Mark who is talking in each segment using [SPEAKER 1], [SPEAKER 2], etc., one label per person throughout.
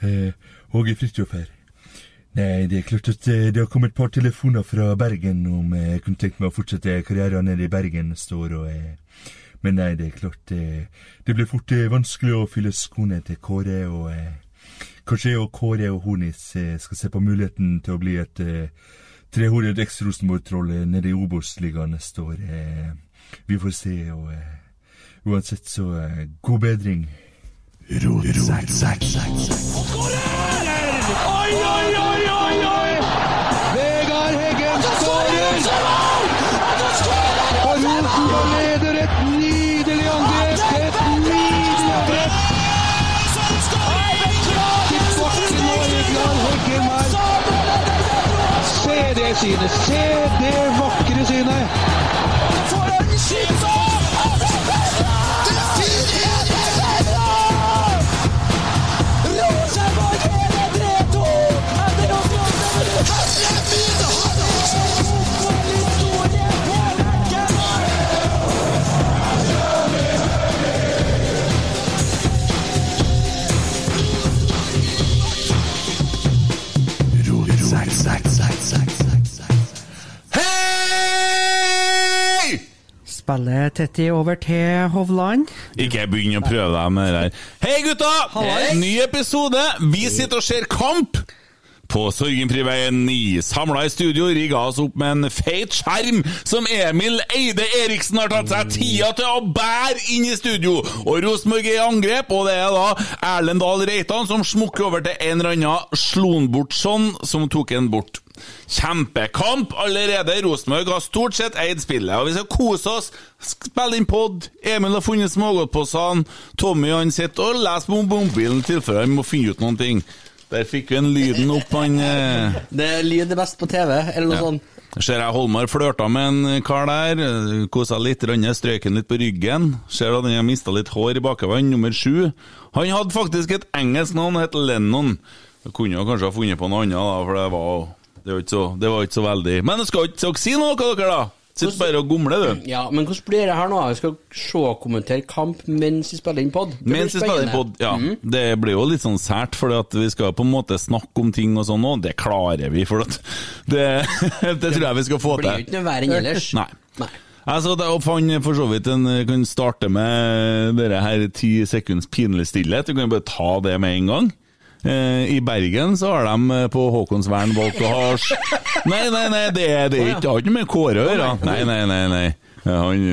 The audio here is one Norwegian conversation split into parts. [SPEAKER 1] Eh, Åge Fristjofer. Nei, det er klart at eh, det har kommet et par telefoner fra Bergen om eh, jeg kunne tenkt meg å fortsette karrieren nede i Bergen neste år. Og, eh, men nei, det er klart eh, Det blir fort eh, vanskelig å fylle skoene til Kåre. Og eh, kanskje jeg og Kåre og Hornis eh, skal se på muligheten til å bli et eh, trehodet eks-Rosenborg-troll eh, nede i Obos-ligaen neste år. Eh, vi får se. og... Eh, Uansett så eh, god bedring.
[SPEAKER 2] Oi, oi, oi, oi, oi!
[SPEAKER 3] Vegard Heggen skårer! Og Rosenborg leder et nydelig angrep! Et nydelig angrep! Tilbake nå, Vegard Heggen her. Se det synet! Se det vakre synet!
[SPEAKER 4] Hei!
[SPEAKER 5] Spiller Tetti over til Hovland.
[SPEAKER 4] Ikke begynn å prøve deg med det der. Hei, gutta! Ny episode! Vi sitter og ser kamp! På Sorgenfriveien 9, samla i studio, rigga oss opp med en feit skjerm som Emil Eide Eriksen har tatt seg tida til å bære inn i studio! Og Rosenborg er i angrep, og det er da Erlend Dahl Reitan som smukker over til en eller annen Slonbortsson som tok en bort. Kjempekamp allerede! Rosenborg har stort sett eid spillet, og vi skal kose oss. Spille inn pod. Emil har funnet smågodtposene. Tommy han sitter og leser på mobilen i tilfelle han må finne ut noen ting. Der fikk vi en lyden opp, han eh.
[SPEAKER 6] Det er lyd er best på TV, eller noe sånt.
[SPEAKER 4] Ser jeg Holmar flørta med en kar der. eh, Kosa litt, rann, strøk han litt på ryggen. Ser at han har mista litt hår i bakhodet, nummer sju. Han hadde faktisk et engelsk navn, het Lennon. Jeg kunne jo kanskje ha funnet på noe annet, da, for det var, det var, ikke, så, det var ikke så veldig Men jeg skal ikke skal ikke si noe, dere, da! Sitter bare og gomler, du.
[SPEAKER 6] Ja, men hvordan blir det her nå? Vi skal se og kommentere kamp mens vi spiller inn pod.
[SPEAKER 4] Mens vi spiller pod, ja.
[SPEAKER 6] Mm.
[SPEAKER 4] Det blir jo litt sånn sært, for vi skal på en måte snakke om ting og sånn, og det klarer vi, for at det, det tror jeg vi skal få
[SPEAKER 6] Det
[SPEAKER 4] til.
[SPEAKER 6] blir jo ikke noe verre enn ellers.
[SPEAKER 4] Nei. Altså, da fant for så vidt en Kan starte med dere her ti sekunds pinlig stillhet. Du kan jo bare ta det med en gang. Eh, I Bergen så har de eh, på Håkonsvern valgt å ha s- Nei, nei, nei, det, er- det er ikke, det har ikke med Kåre å gjøre. Nei, nei, nei. nei. Ja, han,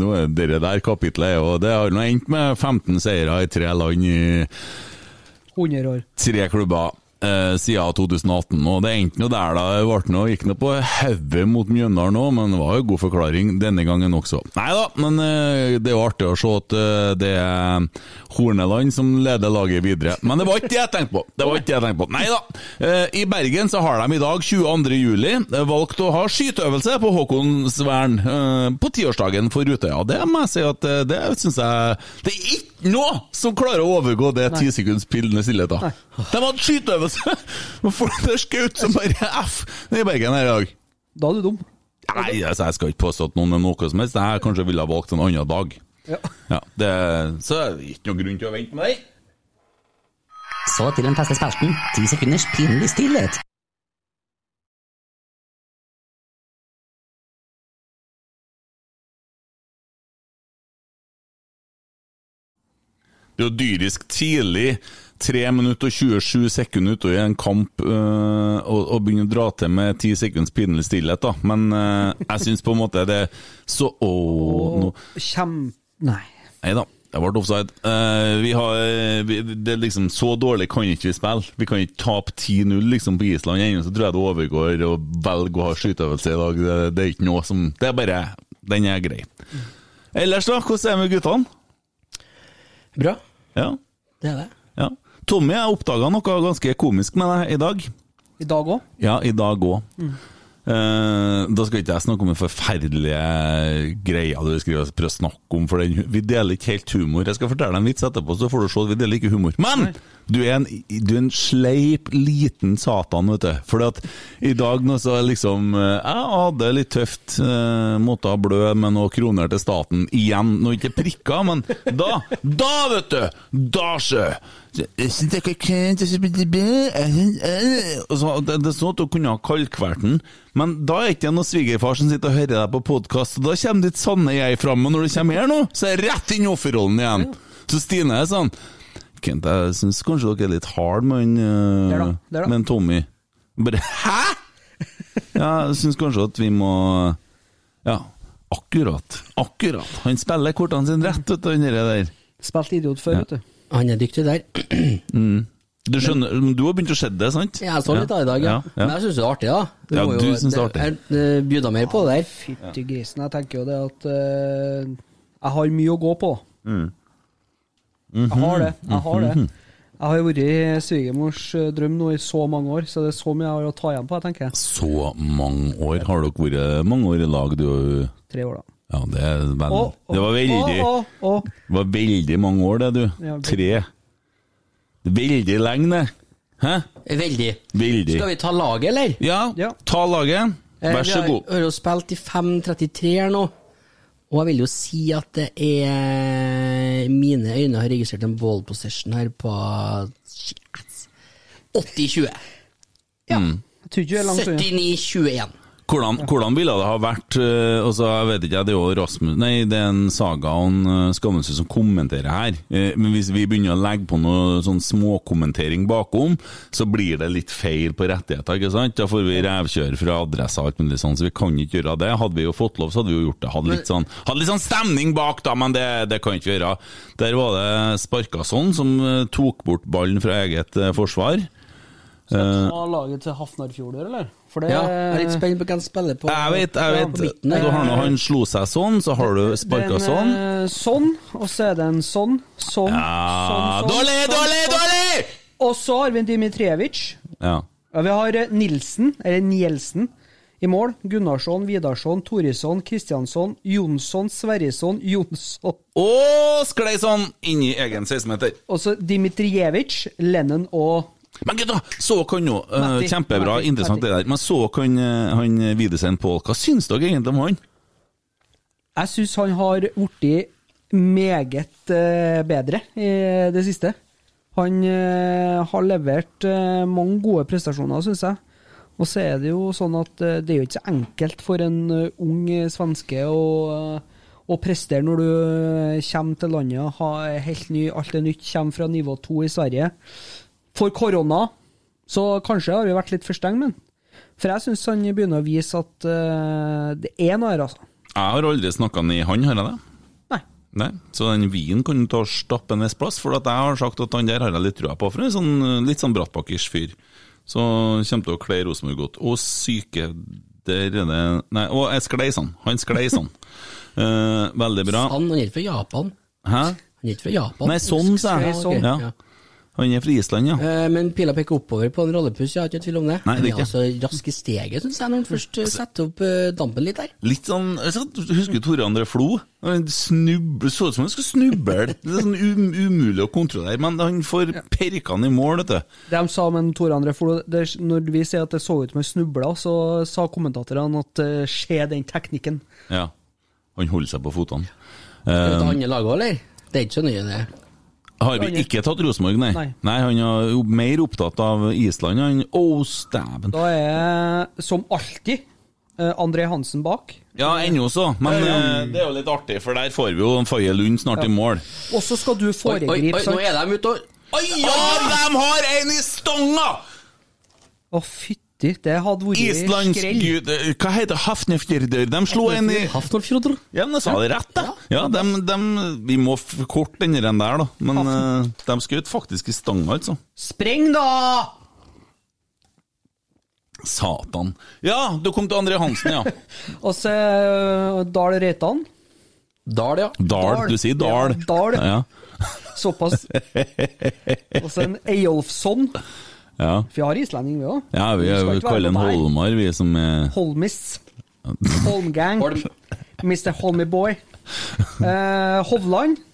[SPEAKER 4] nå er det der kapitlet, og det har nå endt med 15 seire i tre land i
[SPEAKER 5] 100 år.
[SPEAKER 4] tre klubber eh, siden 2018, og det endte noe der da. Det ble noe, gikk noe på hodet mot Mjøndalen òg, men det var jo god forklaring denne gangen også. Nei da, men eh, det er jo artig å se at eh, det er Horneland som leder laget videre. Men det var ikke det jeg tenkte på! Det var ikke det jeg tenkte på. Nei da. Eh, I Bergen så har de i dag, 22. juli, eh, valgt å ha skyteøvelse på Håkonsvern eh, på tiårsdagen for Utøya. Det må jeg si at eh, det syns jeg Det er ikke noe som klarer å overgå det ti sekunds pillende stillhet, da. De hadde skyteøvelse! Og folk der skjøt som bare F i Bergen her i dag.
[SPEAKER 5] Da er du dum.
[SPEAKER 4] Nei, altså, jeg skal ikke påstå at noen er noe som helst. Jeg kanskje ville ha valgt en annen dag.
[SPEAKER 5] Ja.
[SPEAKER 4] Ja, det, så er det ikke noen grunn til å vente med det.
[SPEAKER 7] Så til den faste spalten. Ti sekunders pinlig stillhet.
[SPEAKER 4] Det er jo dyrisk tidlig, 3 minutter og 27 sekunder ute i en kamp, øh, og, og begynne å dra til med 10 sekunds pinlig stillhet, da. Men øh, jeg syns på en måte det er så Ååå, nå
[SPEAKER 5] Kjem... Nei.
[SPEAKER 4] Nei da, det ble offside. Eh, vi har, vi, det er liksom, så dårlig kan ikke vi spille. Vi kan ikke tape 10-0 liksom, på Island ennå, så tror jeg det overgår å velge å ha skyteøvelse i dag. Det, det er ikke noe som Det er bare Den er grei. Ellers, da? Hvordan er det med guttene?
[SPEAKER 6] Bra.
[SPEAKER 4] Ja,
[SPEAKER 6] Det er det.
[SPEAKER 4] ja. Tommy, jeg oppdaga noe ganske komisk med deg i dag.
[SPEAKER 5] I dag òg?
[SPEAKER 4] Ja, i dag òg.
[SPEAKER 6] Mm.
[SPEAKER 4] Eh, da skal ikke jeg snakke om den forferdelige greia du skriver prøver å snakke om, for den, vi deler ikke helt humor. Jeg skal fortelle deg en vits etterpå, så får du se at vi deler ikke humor. Men Du er en, du er en sleip, liten satan, vet du. For at i dag nå så er liksom eh, Jeg hadde litt tøft. eh, Måtte ha blø med noen kroner til staten. Igjen. Nå ikke prikker, men da, da, vet du! Da, sjø! Jeg synes det er kønt, jeg synes det er bæ, jeg synes- eh. Og så- Det det er sånn at du kunne ha kalkvært den, men da er ikke det noen svigerfar som sitter og hører deg på podkast, og da kommer ditt sanne jeg fram. Og når du kommer her nå, så er jeg rett inn i offerrollen igjen. Så Stine er sånn Kent, jeg syns kanskje dere er litt hard med han eh,
[SPEAKER 5] Der da, der da.
[SPEAKER 4] med han Tommy. Bare Hæ?! Ja, jeg syns kanskje at vi må Ja, akkurat. Akkurat. Han spiller kortene sine rett, vet du, han der der.
[SPEAKER 5] Spilt idiot før, vet du.
[SPEAKER 6] Han er dyktig der.
[SPEAKER 4] Du skjønner, du har begynt å se det, sant?
[SPEAKER 6] Jeg så litt av i dag, ja.
[SPEAKER 4] ja.
[SPEAKER 6] Men jeg syns det er artig, da.
[SPEAKER 4] Ja,
[SPEAKER 6] må
[SPEAKER 4] du synes det er artig.
[SPEAKER 6] Jeg, eh, bjuda mer på det der.
[SPEAKER 5] Fytti grisen. Jeg tenker jo det at eh, jeg har mye å gå på. Jeg
[SPEAKER 4] Mhm.
[SPEAKER 5] har det. Jeg har det. Jeg har jo vært i svigermors eh, drøm nå i så mange år, så det er så mye jeg har å ta igjen på, jeg tenker jeg.
[SPEAKER 4] Så mange år har dere vært mange år i lag, du
[SPEAKER 5] Tre år, da.
[SPEAKER 4] Ja, det er vel
[SPEAKER 5] Å, å,
[SPEAKER 4] Mm. Det var veldig
[SPEAKER 5] å, å, å.
[SPEAKER 4] Det var veldig mange år, det, du.
[SPEAKER 5] Ja, vel-
[SPEAKER 4] Tre. Veldig lenge, det. Hæ?
[SPEAKER 6] Veldig.
[SPEAKER 4] Veldig.
[SPEAKER 6] Skal vi ta laget, eller?
[SPEAKER 4] Ja,
[SPEAKER 5] Ja.
[SPEAKER 4] ta laget.
[SPEAKER 6] Eh,
[SPEAKER 4] Vær så god.
[SPEAKER 6] Vi har- har jo spilt i 5.33 her nå, og jeg vil jo si at det er Mine øyne har registrert en ball possession her på shit, 80-20.
[SPEAKER 5] Jeg tror ikke vi er langt unna.
[SPEAKER 6] 79-21.
[SPEAKER 4] Hvordan, hvordan ville det ha vært eh, altså, Jeg vet ikke, det er jo Rasmus Nei, det er en saga og en eh, Skamløse som kommenterer her. Eh, Men hvis vi begynner å legge på noe sånn småkommentering bakom, så blir det litt feil på rettigheter, ikke sant? Da får vi revkjør fra adressa og alt mulig sånn, så vi kan ikke gjøre det. Hadde vi jo fått lov, så hadde vi jo gjort det. Hadde litt sånn, hadde litt sånn stemning bak, da, men det, det kan ikke vi gjøre. Der var det Sparkason som eh, tok bort ballen fra eget eh, forsvar.
[SPEAKER 5] Ta laget til Hafnarfjord, eller? For det
[SPEAKER 6] Ja, jeg er litt spent på hvem som spiller på
[SPEAKER 4] Jeg vet, jeg
[SPEAKER 6] Ja,
[SPEAKER 4] vet.
[SPEAKER 6] på midten der.
[SPEAKER 4] Du har nå han slo seg sånn, så har du sparka sånn.
[SPEAKER 5] eh, sånn, og så er det en sånn, sånn,
[SPEAKER 4] Ja,
[SPEAKER 5] sånn, sånn,
[SPEAKER 4] Ah, Dårlig,
[SPEAKER 5] sånn,
[SPEAKER 4] dårlig,
[SPEAKER 5] sånn.
[SPEAKER 4] dårlig!
[SPEAKER 5] Og så har vi en Dimitrijevic.
[SPEAKER 4] Ja.
[SPEAKER 5] Ja, vi har eh, Nilsen, eller Nielsen, i mål. Gunnarsson, Vidarsson, Torisson, Kristiansson, Jonsson, Sverrisson, Jonsson.
[SPEAKER 4] Og sklei sånn inn i egen 16-meter.
[SPEAKER 5] Og så Dimitrijevic, Lennon og
[SPEAKER 4] Men gutta, så kan jo eh,
[SPEAKER 5] Matti,
[SPEAKER 4] Kjempebra,
[SPEAKER 5] Matti,
[SPEAKER 4] interessant det der. Men så kan eh, han Widersen Pål. Hva syns dere egentlig om han?
[SPEAKER 5] Jeg syns han har blitt meget eh, bedre i det siste. Han eh, har levert eh, mange gode prestasjoner, syns jeg. Og så er det jo sånn at eh, det er jo ikke så enkelt for en eh, ung eh, svenske å, eh, å prestere når du eh, kommer til landet, ha helt ny, alt er nytt, kommer fra nivå to i Sverige. For korona, så kanskje har vi vært litt for strenge med han. For jeg syns han begynner å vise at eh, det er noe her, altså.
[SPEAKER 4] Jeg har aldri snakka ned han, har jeg det?
[SPEAKER 5] Nei.
[SPEAKER 4] Nei, Så den vinen kan du ta og stappe en viss plass, for at jeg har sagt at han der har jeg litt trua på. For han er sånn, litt sånn brattbakkers fyr. Så kommer til å kle Rosenborg godt. Og syke der er det Nei, og jeg sklei sånn. Han sklei sånn. Eh, veldig bra.
[SPEAKER 6] Han han er ikke fra Japan.
[SPEAKER 4] Hæ?
[SPEAKER 6] Han er ikke fra Japan.
[SPEAKER 4] Nei, sånn, sa jeg.
[SPEAKER 6] Ja, ok.
[SPEAKER 4] Ja.
[SPEAKER 6] Ja.
[SPEAKER 4] Han er fra Island, ja.
[SPEAKER 6] Eh, Men pila peker oppover på en rollepuss, jeg har ikke tvil om det.
[SPEAKER 4] Nei, det er ikke.
[SPEAKER 6] altså rask i steget, syns jeg, når han først eh, setter opp eh, dampen litt der.
[SPEAKER 4] Litt sånn så Husker du Tore André Flo? Han snub, så ut som han skulle snuble. Det er sånn um, umulig å kontrollere, men han får perkene i mål, vet du.
[SPEAKER 5] Det de sa med Tore André Flo, det, er- når vi sier at det så ut som han snubla, så sa kommentatorene at eh, se den teknikken.
[SPEAKER 4] Ja. Han holder seg på føttene. Eh.
[SPEAKER 6] Skal vi ta andre laget òg, eller? Det er ikke så nøye, det.
[SPEAKER 4] Har vi ikke tatt Rosenborg, nei. nei.
[SPEAKER 5] Nei.
[SPEAKER 4] Han er jo mer opptatt av Island, han. Å, stæven.
[SPEAKER 5] Da er som alltid eh, André Hansen bak.
[SPEAKER 4] Ja, ennå så, men eh, det er jo litt artig, for der får vi jo en Faye Lund snart i mål.
[SPEAKER 5] Og så skal du
[SPEAKER 6] Oi, oi,
[SPEAKER 5] foregripe,
[SPEAKER 6] oi, nå
[SPEAKER 5] sant?
[SPEAKER 6] er de ute og
[SPEAKER 4] Ja,
[SPEAKER 6] Oi, oi, oi!
[SPEAKER 4] de har en i stonga!
[SPEAKER 5] Å, fytti, det hadde vært
[SPEAKER 4] Islandsk
[SPEAKER 5] skrell.
[SPEAKER 4] gud eh, Hva heter det? Hafnefjordur? De slo en i
[SPEAKER 6] Hafnarfjord,
[SPEAKER 4] Ja, men jeg sa det rett, da. Ja, dem- dem- Vi må korte den der, da. Men eh, de skjøt faktisk i stanga, altså.
[SPEAKER 5] Spreng, da!
[SPEAKER 4] Satan. Ja, du kom til André Hansen, ja.
[SPEAKER 5] Og så eh, Dahl Reitan.
[SPEAKER 6] Dal, ja.
[SPEAKER 4] Dal. Du sier Dal.
[SPEAKER 5] Ja, Dahl.
[SPEAKER 4] Ja,
[SPEAKER 5] Såpass. Og så en Eyolfsson.
[SPEAKER 4] ja.
[SPEAKER 5] For vi har islending, vi òg.
[SPEAKER 4] ja vi, vi kaller han Holmar, vi som er
[SPEAKER 5] Holmis. Holmgang.
[SPEAKER 6] Holm.
[SPEAKER 5] Mr. Holmy Boy. Eh, Hovland.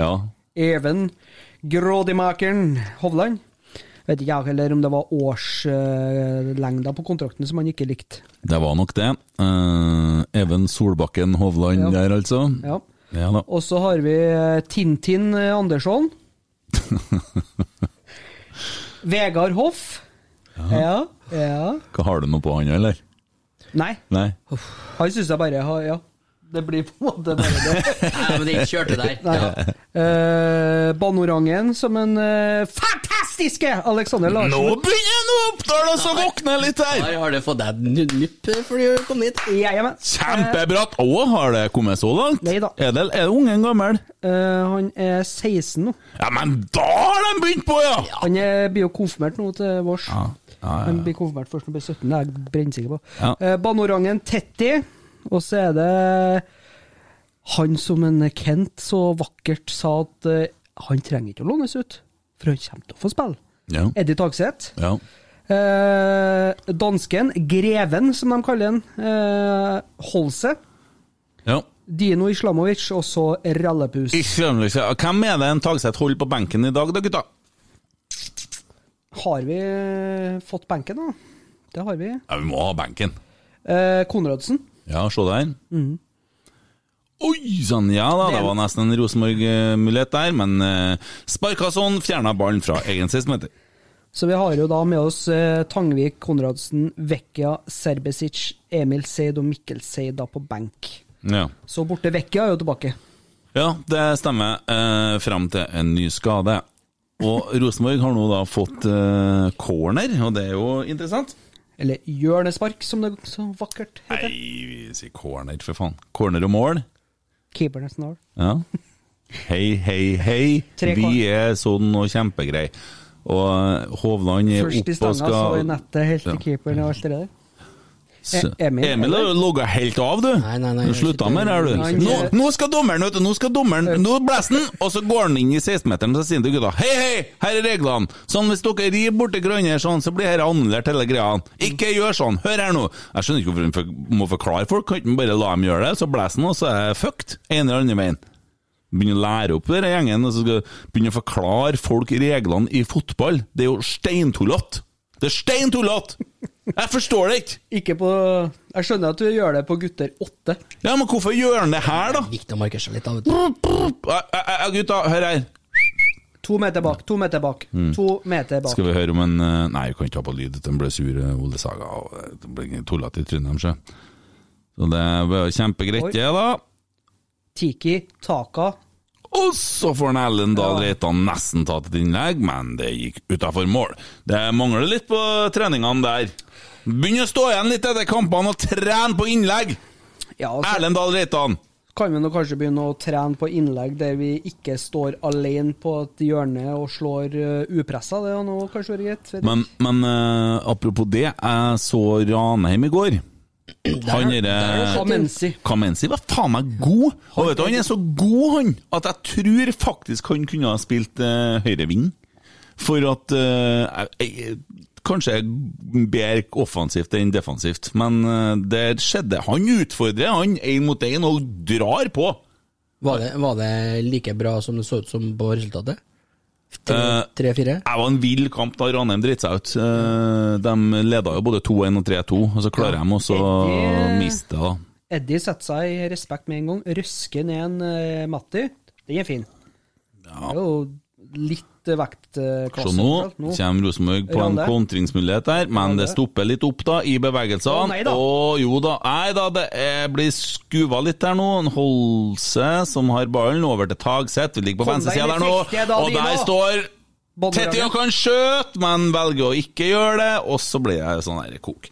[SPEAKER 4] Ja.
[SPEAKER 5] Even Grådimakeren Hovland. Vet ikke jeg heller om det var årslengda på kontrakten som han ikke likte.
[SPEAKER 4] Det var nok det. Eh, Even Solbakken Hovland
[SPEAKER 5] Ja.
[SPEAKER 4] der, altså.
[SPEAKER 5] Ja.
[SPEAKER 4] Ja da.
[SPEAKER 5] Og så har vi eh, Tintin eh, Andersson. Vegard Hoff. Ja. ja.
[SPEAKER 4] Hva Har du noe på han, eller?
[SPEAKER 5] Nei,
[SPEAKER 4] Nei?
[SPEAKER 5] han syns jeg bare har Ja. Det blir på en måte bare det.
[SPEAKER 6] Nei, men den kjørte der.
[SPEAKER 5] Nei. Eh, Bannorangen som en eh, fantastiske Alexander
[SPEAKER 4] Nå
[SPEAKER 5] Larsen.
[SPEAKER 4] begynner nå Oppdal å våkne litt her!
[SPEAKER 6] Der har du fått deg en nupp før du kom hit.
[SPEAKER 5] Ja, ja, men.
[SPEAKER 4] Kjempebratt! Å, har det kommet så langt?
[SPEAKER 5] Nei da.
[SPEAKER 4] Er, det, er ungen gammel?
[SPEAKER 5] Eh, han er 16 nå.
[SPEAKER 4] Ja, men da har de begynt på, ja!
[SPEAKER 5] Han er, blir jo konfirmert nå til vårs.
[SPEAKER 4] Ja, ja, ja.
[SPEAKER 5] Han blir konfirmert først når han blir 17, det er jeg brennsikker på.
[SPEAKER 4] Ja.
[SPEAKER 5] Eh, Bannorangen Tetti, og så er det han som en Kent så vakkert sa at eh, han trenger ikke å lånes ut, for han kommer til å få spille.
[SPEAKER 4] Ja.
[SPEAKER 5] Eddie Tagseth.
[SPEAKER 4] ja.
[SPEAKER 5] Eh, dansken, Greven som de kaller han, eh, Holse.
[SPEAKER 4] ja.
[SPEAKER 5] Dino Islamovic, og så Rallepus.
[SPEAKER 4] I svømmelse. Hvem er det en Tagseth holder på benken i dag, da, gutta?
[SPEAKER 5] Har vi eh, fått benken, da? Det har vi.
[SPEAKER 4] Ja, vi må ha benken.
[SPEAKER 5] Eh, Konradsen.
[SPEAKER 4] Ja, se der. Oi sann, ja da, det var nesten en Rosenborg-mulighet der, men uh, sparka sånn, fjerna ballen fra egen siste
[SPEAKER 5] Så vi har jo da med oss eh, Tangvik, Konradsen, Vekkia, Serbesic, Emil Seid og Mikkel Seid da på benk.
[SPEAKER 4] Ja.
[SPEAKER 5] Så borte Vekkia er jo tilbake.
[SPEAKER 4] ja, det stemmer. Uh, Fram til en ny skade. Og Rosenborg har nå da fått eh, corner, og det er jo interessant.
[SPEAKER 5] Eller hjørnespark, som det så vakkert
[SPEAKER 4] Nei,
[SPEAKER 5] heter.
[SPEAKER 4] vi sier corner, for faen. Corner og mål.
[SPEAKER 5] Keeperen er snar.
[SPEAKER 4] Ja. Hei, hei, hei.
[SPEAKER 5] Tre
[SPEAKER 4] Vi er sånn og kjempegreie. Og Hovland er
[SPEAKER 5] Først i
[SPEAKER 4] oppe og
[SPEAKER 5] stanga, så i
[SPEAKER 4] skal
[SPEAKER 5] nettet, helt til
[SPEAKER 4] Ja.
[SPEAKER 5] keeperen og alt det der.
[SPEAKER 4] Så-
[SPEAKER 5] E- Emil,
[SPEAKER 4] Emil har
[SPEAKER 5] eller?
[SPEAKER 4] jo logga helt av, du.
[SPEAKER 6] Nei, nei, nei,
[SPEAKER 4] du
[SPEAKER 6] jeg
[SPEAKER 4] slutta
[SPEAKER 6] sitter-
[SPEAKER 4] med det, her, du.
[SPEAKER 5] Nei,
[SPEAKER 4] Nå,
[SPEAKER 5] jeg-
[SPEAKER 4] nå skal dommeren, vet du. Nå skal dommeren Nå blåser han, og så går han inn i 16-meteren og så sier han til gutta Hei, hei, her er reglene. Sånn hvis dere rir borti hverandre sånn, så blir dette annullert, hele greia. Ikke gjør sånn. Hør her nå. Jeg skjønner ikke hvorfor han for- må forklare folk. Kan ikke han bare la dem gjøre det? Så blåser han, og så er det fucked. En eller annen veien. Begynne å lære opp denne gjengen, og så skal begynne å forklare folk reglene i fotball. Det er jo steintullete! Det er steintullete! Jeg forstår det ikke!
[SPEAKER 5] Ikke på Jeg skjønner at du gjør det på gutter åtte.
[SPEAKER 4] Ja, men hvorfor gjør han det her, da?
[SPEAKER 6] Viktig å markere seg litt, da. vet du.
[SPEAKER 4] Ja, ja, ja, Gutta, hør her.
[SPEAKER 5] To meter bak, to meter bak, to meter
[SPEAKER 4] Mm.
[SPEAKER 5] bak.
[SPEAKER 4] Skal vi høre om en eh, Nei, vi kan ikke ha på lyd. Den ble sur, eh, Ole Saga. og, eh, Den ble tullete i Trondheim, sjø. Så det var jo kjempegreit,
[SPEAKER 5] Oi.
[SPEAKER 4] det, da.
[SPEAKER 5] Tiki, Taka.
[SPEAKER 4] Og så får han Ellen Dahl Reitan nesten tatt et innlegg, men det gikk utafor mål. Det mangler litt på treningene der. Begynn å stå igjen litt etter kampene og trene på innlegg!
[SPEAKER 5] Ja, og så
[SPEAKER 4] Erlend Dahl Reitan!
[SPEAKER 5] kan vi nå kanskje begynne å trene på innlegg der vi ikke står alene på et hjørne og slår eh, upressa. Det har nå kanskje vært greit. vet ikke.
[SPEAKER 4] Men, men eh, apropos det, jeg så Ranheim i går. Han derre
[SPEAKER 5] Kamenzi.
[SPEAKER 4] Kamenzi var faen meg god. Og vet du, han er så god, han, at jeg tror faktisk han kunne ha spilt uh, høyreving. For at eh, jeg, Kanskje bedre offensivt enn defensivt, men eh, det skjedde. Han utfordrer, han én mot én, og drar på.
[SPEAKER 6] Var det, var det like bra som det så ut som på resultatet?
[SPEAKER 4] Eh,
[SPEAKER 6] Tre-fire?
[SPEAKER 4] Det var en vill kamp da Ranheim dreit seg ut. Eh, De leda jo både 2-1 og 3-2, og så klarer de også å
[SPEAKER 5] Det-
[SPEAKER 4] miste det. da.
[SPEAKER 5] Eddie setter seg i respekt med en gang. Røsker ned en eh, Matti. Den er fin. Det er jo litt eh,
[SPEAKER 4] Så
[SPEAKER 5] vektklasse.
[SPEAKER 4] nå
[SPEAKER 5] overalt nå.
[SPEAKER 4] kommer Rosenborg på en
[SPEAKER 5] Rande.
[SPEAKER 4] kontringsmulighet der, men
[SPEAKER 5] Rande.
[SPEAKER 4] det stopper litt opp da i
[SPEAKER 5] Å,
[SPEAKER 4] bevegelsene.
[SPEAKER 5] nei da.
[SPEAKER 4] Og jo da, nei da, det er, blir skuva litt der nå. En Holse som har ballen over til Tagseth, vi ligger på
[SPEAKER 5] Kom
[SPEAKER 4] venstre
[SPEAKER 5] deg
[SPEAKER 4] sida der
[SPEAKER 5] litt
[SPEAKER 4] nå.
[SPEAKER 5] riktig, da,
[SPEAKER 4] Og der
[SPEAKER 5] Dino.
[SPEAKER 4] står
[SPEAKER 5] Bonderangen.
[SPEAKER 4] Tetti og kan skjøte, men velger å ikke gjøre det, og så blir jeg sånn her kok.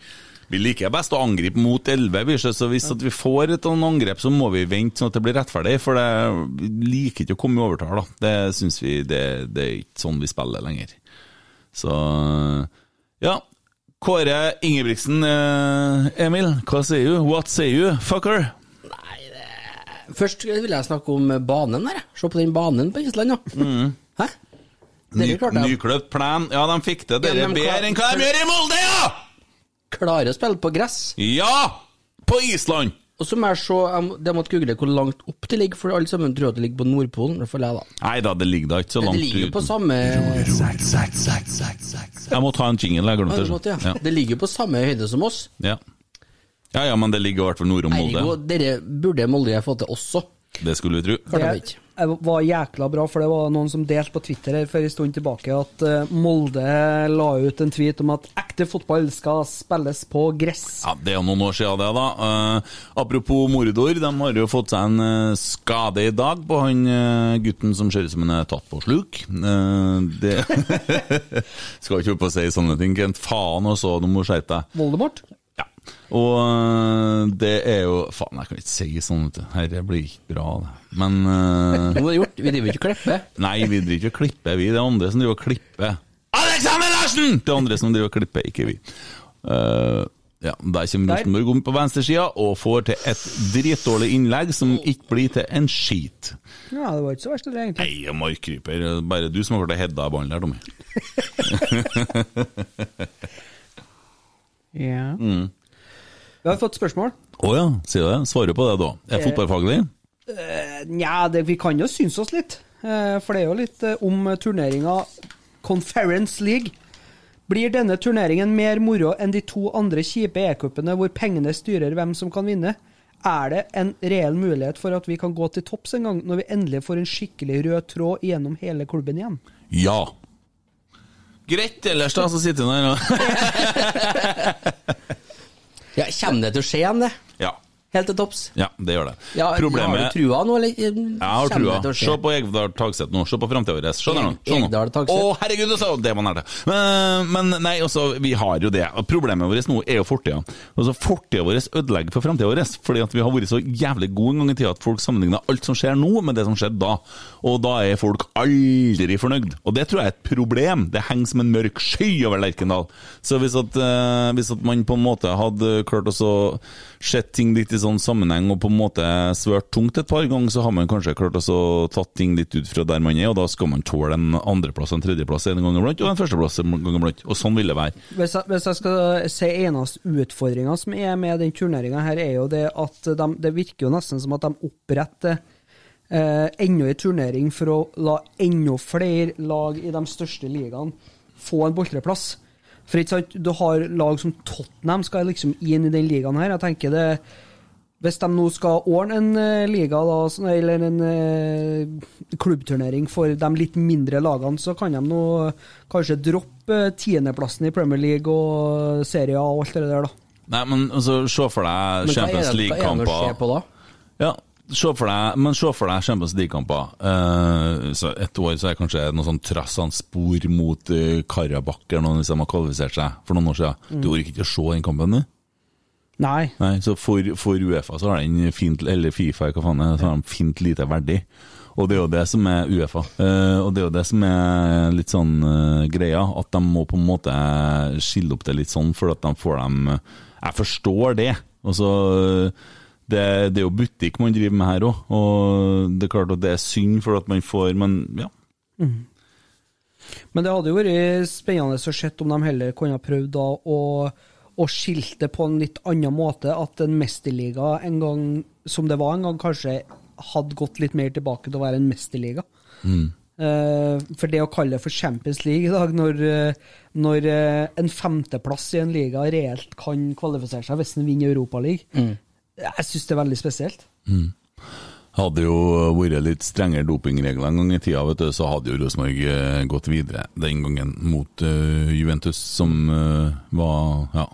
[SPEAKER 4] Vi liker best å angripe mot 11, vi, så så hvis at vi får et sånn angrep, så må vi vente sånn at det blir rettferdig, for det, vi liker ikke å komme i overtall. da. Det syns vi det, det er ikke sånn vi spiller lenger. Så ja. Kåre Ingebrigtsen, eh, Emil, hva sier du? What sier du, fucker?
[SPEAKER 6] Først vil jeg snakke om banen der. jeg. Se på den banen på Island, ja.
[SPEAKER 4] Mm.
[SPEAKER 6] Hæ? Dere klarte jeg.
[SPEAKER 4] Nykløpt plen. Ja, de fikk det. Dere
[SPEAKER 6] Ja, men hva-
[SPEAKER 4] bedre enn hva de gjør i Molde, ja!
[SPEAKER 6] klarer å spille på gress.
[SPEAKER 4] Ja! På Island!
[SPEAKER 6] Og så må jeg se, jeg må- jeg måtte google hvor langt opp det ligger, for alle sammen tror at det ligger på Nordpolen. Det får jeg da.
[SPEAKER 4] Nei da, det ligger da ikke så
[SPEAKER 6] Men
[SPEAKER 4] langt
[SPEAKER 6] det ligger jo på
[SPEAKER 4] ut.
[SPEAKER 6] samme
[SPEAKER 4] Jeg må ta en jingle, jeg
[SPEAKER 6] Ja,
[SPEAKER 4] glemte
[SPEAKER 6] det måtte,
[SPEAKER 4] det.
[SPEAKER 6] ja. Det ligger jo på samme høyde som oss.
[SPEAKER 4] Ja. ja ja, men det ligger i hvert fall nord om
[SPEAKER 6] Ergo,
[SPEAKER 4] Molde.
[SPEAKER 6] dere burde Molde få til også.
[SPEAKER 4] Det skulle vi tro.
[SPEAKER 6] Klart de
[SPEAKER 5] Det
[SPEAKER 6] ikke.
[SPEAKER 5] var jækla bra, for det var noen som delte på Twitter her for en stund tilbake at eh, Molde la ut en tweet om at ekte fotball skal spilles på gress.
[SPEAKER 4] Ja, Det er jo noen år siden det, da. Eh, apropos Mordor, de har jo fått seg en eh, skade i dag på han eh, gutten som ser ut som han er tatt på sluk. Eh, det Skal ikke opp og si sånne ting, Kent. Faen også, du må skjerpe deg.
[SPEAKER 5] Voldemort?
[SPEAKER 4] Ja. Og eh, det er jo Faen, jeg kan ikke si sånn, vet du. Herre blir ikke bra, det. Men eh,
[SPEAKER 6] Nå er det gjort. Vi driver ikke og klipper.
[SPEAKER 4] Nei, vi driver ikke og klipper, vi. Det er andre som driver og klipper. Alexander Larsen! Det er andre som driver og klipper, ikke vi. Eh, ja, Der kommer
[SPEAKER 5] Der.
[SPEAKER 4] Rosenborg om på venstresida og får til et dritdårlig innlegg som ikke blir til en skit.
[SPEAKER 5] Ja, det var ikke så verst, det, egentlig.
[SPEAKER 4] Nei, og markkryper. det er Bare du som har klart å hedde av ballen der, Tommy.
[SPEAKER 5] Ja. Vi har fått spørsmål.
[SPEAKER 4] Å ja, sier du det? Svarer på det, da. Er fotballfaglig?
[SPEAKER 5] Eh, Nja, det- vi kan jo synes oss litt. eh, For det er jo litt eh, om turneringa Conference League. Blir denne turneringen mer moro enn de to andre kjipe e-cupene hvor pengene styrer hvem som kan vinne? Er det en reell mulighet for at vi kan gå til topps en gang, når vi endelig får en skikkelig rød tråd gjennom hele klubben igjen?
[SPEAKER 4] Ja. Greit, ellers da, så sitter hun der og
[SPEAKER 6] Ja, Kommer det til å skje igjen, det?
[SPEAKER 4] Ja.
[SPEAKER 6] Helt til topps?
[SPEAKER 4] Ja, det gjør det.
[SPEAKER 6] Ja, Har du trua nå, eller? eh,
[SPEAKER 4] Jeg har
[SPEAKER 6] Kommer
[SPEAKER 4] trua.
[SPEAKER 6] det til å skje?
[SPEAKER 4] Se på Egdal Tagseth nå. Se på framtida vår. Se der nå. Se nå.
[SPEAKER 6] Egdal Tagseth.
[SPEAKER 4] Å, herregud, det sa- det var nært. Men, men nei, altså, vi har jo det. Og Problemet vårt nå er jo fortida. Altså, fortida vår ødelegger for framtida vår. Fordi at vi har vært så jævlig gode en gang i tida at folk sammenligner alt som skjer nå, med det som skjedde da. Og da er folk aldri fornøyd. Og det tror jeg er et problem. Det henger som en mørk sky over Lerkendal. Så hvis at, eh, hvis at man på en måte hadde klart å så sett ting litt i sånn sammenheng og på en måte svørt tungt et par ganger, så har man kanskje klart å så tatt ting litt ut fra der man er, og da skal man tåle en andreplass og en tredjeplass en gang iblant, og en førsteplass en gang iblant. Og sånn vil det være.
[SPEAKER 5] Hvis jeg, hvis jeg skal si eneste utfordringa som er med den turneringa her, er jo det at de, det virker jo nesten som at de oppretter eh, enda en turnering for å la enda flere lag i de største ligaene få en boltreplass. For ikke sant, du har lag som Tottenham skal liksom inn i den ligaen her. Jeg tenker det hvis de nå skal ordne en eh, liga, da, sånn- eller en eh, klubbturnering for de litt mindre lagene, så kan de nå eh, kanskje droppe eh, tiendeplassen i Premier League og Serie A og alt det der, da.
[SPEAKER 4] Nei, men altså, se for
[SPEAKER 6] Men
[SPEAKER 4] deg
[SPEAKER 6] hva er det-
[SPEAKER 4] Champions
[SPEAKER 6] Hva er det å se
[SPEAKER 4] League-kamper.
[SPEAKER 6] på da?
[SPEAKER 4] Ja, se for deg, men se for deg Champions League-kamper. Eh, så et år så er kanskje noe sånn trassende spor mot eh, Karabakh eller noe, hvis de har kvalifisert seg for noen år siden. Du orker ikke å se den kampen, du?
[SPEAKER 5] Nei.
[SPEAKER 4] Nei, så for, for Uefa så har den fint, eller Fifa, hva faen er det, så har de fint lite verdig. Og det er jo det som er Uefa. Eh, og det er jo det som er litt sånn eh, greia, at de må på en måte skille opp det litt sånn, for at de får dem eh, Jeg forstår det. Altså, det, det er jo butikk man driver med her òg, og det er klart at det er synd for at man får Men ja.
[SPEAKER 5] Men det hadde jo vært spennende å se om de heller kunne ha prøvd da å, å skilte på en litt annen måte. At en mesterliga en gang, som det var en gang, kanskje hadde gått litt mer tilbake til å være en mesterliga. Eh, for det å kalle det for Champions League i dag, når, eh, når eh, en femteplass i en liga reelt kan kvalifisere seg hvis den vinner Europaligaen, jeg syns det er veldig spesielt.
[SPEAKER 4] Hadde jo vært litt strengere dopingregler en gang i tida, vet du, så hadde jo Rosenborg eh, gått videre den gangen mot eh, Juventus, som eh, var Ja,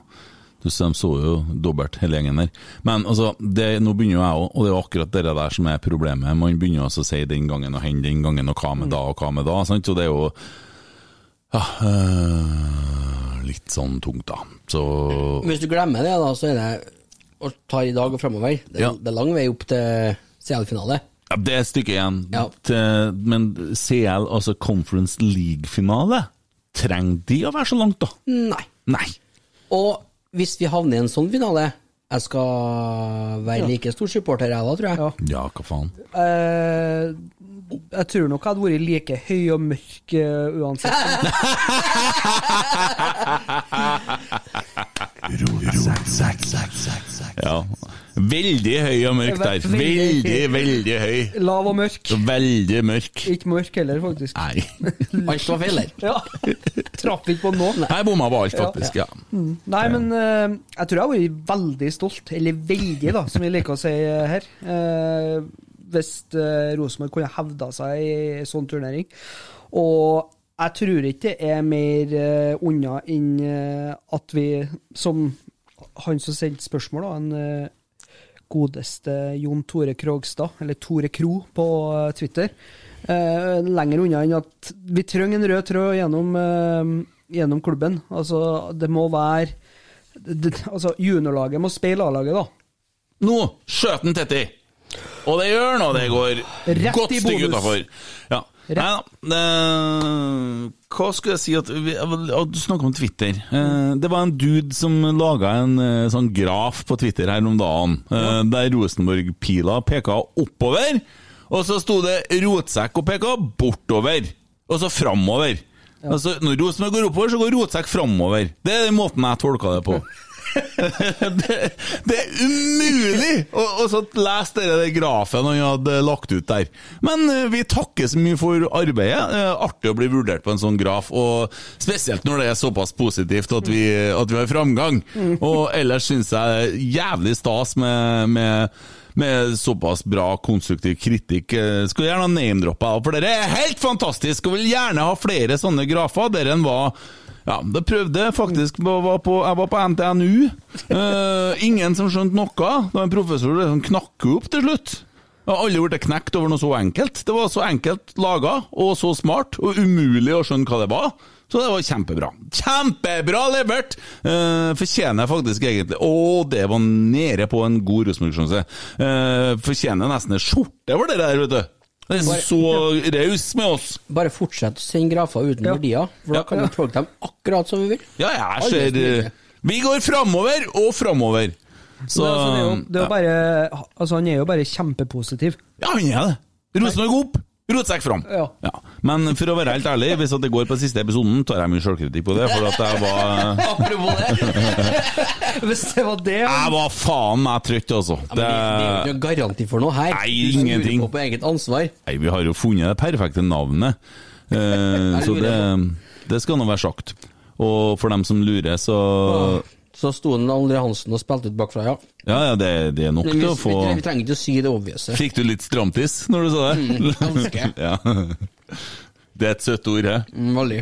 [SPEAKER 4] du ser, de så jo dobbelt, hele gjengen der. Men altså, det, nå begynner jo jeg òg, og det er jo akkurat det der som er problemet. Man begynner jo også å si den gangen og hen den gangen, og hva med da, og hva med da? sant? Så det er jo ja, eh, litt sånn tungt, da. Så
[SPEAKER 6] Hvis du glemmer det, da, så er det å ta i dag og fremover. Det, er-
[SPEAKER 4] Ja.
[SPEAKER 6] det er lang vei opp til CL-finale.
[SPEAKER 4] Ja, det er et stykke igjen.
[SPEAKER 6] Ja.
[SPEAKER 4] Til, men CL, altså Conference League-finale, trenger de å være så langt, da?
[SPEAKER 6] Nei.
[SPEAKER 4] Nei.
[SPEAKER 6] Og hvis vi havner i en sånn finale Jeg skal være like stor supporter jeg da, tror jeg.
[SPEAKER 5] Ja.
[SPEAKER 4] Ja, hva faen.
[SPEAKER 5] Eh, jeg tror nok jeg hadde vært like høy og mørk eh, uansett.
[SPEAKER 4] Ja. Veldig høy og mørk der.
[SPEAKER 5] Veldig.
[SPEAKER 4] Veldig, veldig høy.
[SPEAKER 5] Lav og mørk.
[SPEAKER 4] Veldig mørk.
[SPEAKER 5] Ikke mørk heller, faktisk.
[SPEAKER 4] Nei.
[SPEAKER 6] Alt var feil der.
[SPEAKER 5] Ja. Traff ikke på nå.
[SPEAKER 4] Jeg bomma på alt, faktisk. ja.
[SPEAKER 5] Nei, men eh, jeg tror jeg har vært veldig stolt, eller veldig, da, som vi liker å si eh, her. eh, Hvis eh, Rosenborg kunne hevda seg i en sånn turnering. Og jeg tror ikke det er mer eh, unna enn eh, at vi, som han som sendte spørsmål, da, en eh, godeste Jon Tore Krogstad, eller Tore Kro på eh, Twitter. Eh, lenger unna enn at vi trenger en rød tråd gjennom, eh, gjennom klubben. Altså, det må være det, altså, Juniorlaget må speile A-laget, da.
[SPEAKER 4] Nå skjøt han Tetti! Og det gjør han, og det går
[SPEAKER 5] Rett
[SPEAKER 4] godt
[SPEAKER 5] i
[SPEAKER 4] stykke
[SPEAKER 5] bonus.
[SPEAKER 4] utafor. Ja. Nei da. det- Hva skulle jeg si at vi, at Du snakka om Twitter. Eh, Det var en dude som laga en eh, sånn graf på Twitter her om dagen, eh, der Rosenborg-pila peka oppover, og så sto det rotsekk og peka bortover, og så framover. Altså, når Rosenborg går oppover, så går rotsekk framover. Det er den måten jeg tolka det på. det, det er umulig å, å så lese dere den grafen han hadde lagt ut der. Men eh, vi takker så mye for arbeidet. Eh, Artig å bli vurdert på en sånn graf, og spesielt når det er såpass positivt at vi, at vi har framgang. Og ellers syns jeg det er jævlig stas med, med med såpass bra konstruktiv kritikk. eh, Skulle gjerne name-droppe av, for dere er helt fantastisk og vil gjerne ha flere sånne grafer. Dere enn var ja, det prøvde jeg faktisk på, var på, Jeg var på NTNU. Eh, ingen som skjønte noe. Det var en professor som knakk opp til slutt. Jeg har aldri blitt knekt over noe så enkelt. Det var så enkelt laga, og så smart, og umulig å skjønne hva det var. Så det var kjempebra. Kjempebra levert! Eh, fortjener jeg faktisk egentlig Å, det var nede på en god Rosenborg-sjanse. Eh, fortjener nesten en skjorte for det der, vet du. Det er så raus med oss.
[SPEAKER 6] Bare fortsett å sende grafer uten
[SPEAKER 5] Ja.
[SPEAKER 6] verdier, for da
[SPEAKER 4] Ja.
[SPEAKER 6] kan vi tolke dem akkurat som vi vil.
[SPEAKER 4] Ja, jeg
[SPEAKER 6] Aldri
[SPEAKER 4] ser
[SPEAKER 6] smidig.
[SPEAKER 4] eh, Vi går framover og framover. Så
[SPEAKER 5] Men, altså, det er jo, det er
[SPEAKER 4] ja.
[SPEAKER 5] jo bare, altså, han er jo bare kjempepositiv.
[SPEAKER 4] Ja, han er det. Rosenborg opp, rotsekk fram.
[SPEAKER 5] Ja.
[SPEAKER 4] Men for å være helt ærlig, hvis at det går på siste episoden, tar jeg mye sjølkritikk på det. For at jeg var
[SPEAKER 6] Apropos det.
[SPEAKER 5] Hvis det var det
[SPEAKER 4] Jeg var faen meg trøtt, altså.
[SPEAKER 6] Ja, men det, det er jo ikke
[SPEAKER 4] Det,
[SPEAKER 6] noe garanti for noe her.
[SPEAKER 4] Nei,
[SPEAKER 6] Du som lurer
[SPEAKER 4] ingenting.
[SPEAKER 6] På, på eget ansvar.
[SPEAKER 4] nei, vi har jo funnet det perfekte navnet, eh, så det, det skal nå være sagt. Og for dem som lurer, så
[SPEAKER 6] Så sto den André Hansen og spilte ut bakfra, ja.
[SPEAKER 4] Ja, ja, det, det er nok
[SPEAKER 6] Men vi,
[SPEAKER 4] til å
[SPEAKER 6] vi,
[SPEAKER 4] få
[SPEAKER 6] vi trenger ikke å si det obviouse.
[SPEAKER 4] Fikk du litt stramtiss når du sa det?
[SPEAKER 6] Mm, ganske.
[SPEAKER 4] ja. Det er et søtt ord, hæ?
[SPEAKER 6] Mm, Veldig.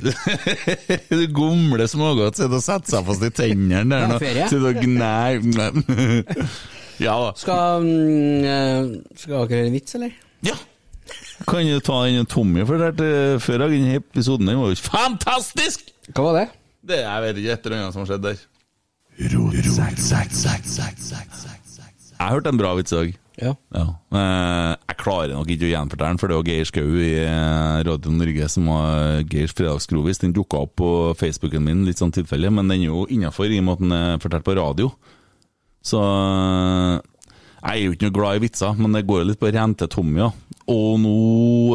[SPEAKER 4] Du gomle smågodt sitter og setter seg fast i tennene der nå.
[SPEAKER 6] Ja, ferie.
[SPEAKER 4] Sitter og gnær Ja da.
[SPEAKER 6] Skal, mm, eh, skal dere høre en vits, eller?
[SPEAKER 4] Ja. Kan du ta den Tommy fortalte før av denne episoden? Den var jo fantastisk!
[SPEAKER 6] Hva var det?
[SPEAKER 4] Det Jeg vet ikke et eller annet som har skjedd der. Jeg hørte en bra vits i dag.
[SPEAKER 6] Ja.
[SPEAKER 4] Ja. Eh, Jeg klarer nok ikke å gjenfortelle den, for det var Geir Skau i eh, Radio Norge som var Geirs fredagsgrovis. Den dukka opp på Facebooken min, litt sånn tilfeldig, men den er jo innafor i og med at den er fortalt på radio. Så eh, jeg er jo ikke noe glad i vitser, men det går jo litt på å rente Tommy, ja. Og nå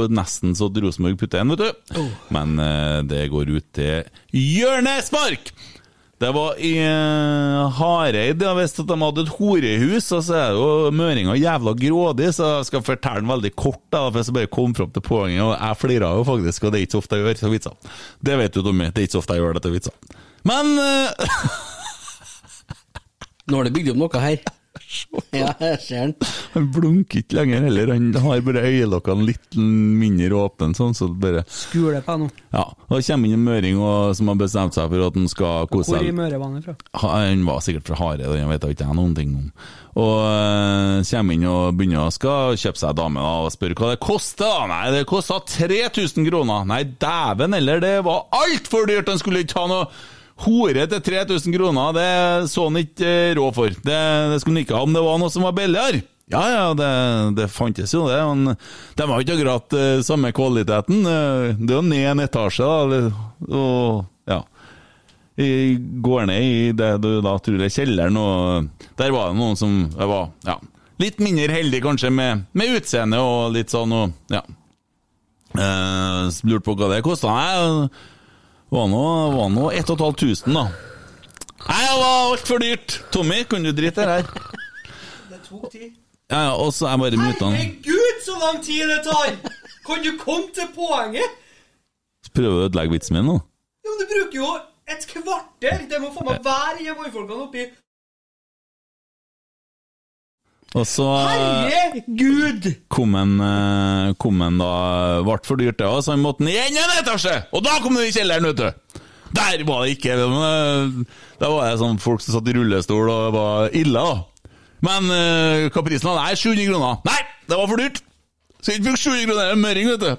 [SPEAKER 4] er det nesten så at Rosenborg putter en, vet du. Men eh, det går ut til hjørnespark! Det var i eh, Hareid, ja, hvis at de hadde et horehus, og så er jo møringa jævla grådig, så jeg skal fortelle den veldig kort, da, for jeg bare kom fram til poenget, og jeg flira jo faktisk, og det er ikke så ofte jeg gjør så vitser. Det vet du, Tommy, det er ikke så ofte jeg gjør dette vitser. Men eh,
[SPEAKER 6] Nå har du bygd opp noe her. Ja, jeg ser den.
[SPEAKER 4] han blunker ikke lenger heller, han har bare øyelokkene litt mindre åpne, sånn, så det bare
[SPEAKER 5] Skule på nå.
[SPEAKER 4] Ja. Og det kommer inn en møring og, som har bestemt seg for at han skal kose
[SPEAKER 5] Hvor i
[SPEAKER 4] seg.
[SPEAKER 5] Møre var han fra?
[SPEAKER 4] Han var sikkert fra Hareid, og han vet jeg ikke jeg noen ting om. Og øh, kommer inn og begynner å skal kjøpe seg dame da, og spør hva det koster. da. Nei, det kosta 3000 kroner. Nei, dæven heller, det var altfor dyrt! Han skulle ikke ha noe hore til 3000 kroner, det så han ikke eh, råd for. Det, det skulle han ikke ha om det var noe som var billigere. Ja, ja, det, det fantes jo det, men de har ikke akkurat eh, samme kvaliteten. Eh, Det er jo ned en etasje, da, eller- og ja i- går ned i det du da tror er kjelleren, og der var det noen som jeg var ja, litt mindre heldig kanskje med, med utseende og litt sånn, og ja. Eh, lurte på hva det kosta. Nei, det var nå- var nå 1500, da. Nei, det var altfor dyrt! Tommy, kunne du drite i det her?
[SPEAKER 8] tok tid.
[SPEAKER 4] Ja, ja, og så er jeg bare muta den.
[SPEAKER 8] Herregud, så lang tid det tar! Kan du komme til poenget?
[SPEAKER 4] Prøver du å ødelegge vitsen min nå?
[SPEAKER 8] Jo, men du bruker jo et kvarter! Det må faen meg være i mannfolkene oppi
[SPEAKER 4] Og så eh,
[SPEAKER 8] Herregud!
[SPEAKER 4] kom en, eh, kom en da Ble for dyrt, det òg, så han måtte ned igjen en etasje! Og da kom du i kjelleren, vet du! Der var det ikke men, eh, Der var det sånn folk som satt i rullestol, og det var ille, da. Men eh, hva prisen var? Nei, 700 kroner. Nei, det var for dyrt! Så jeg fikk 700 kroner i en møring, vet du.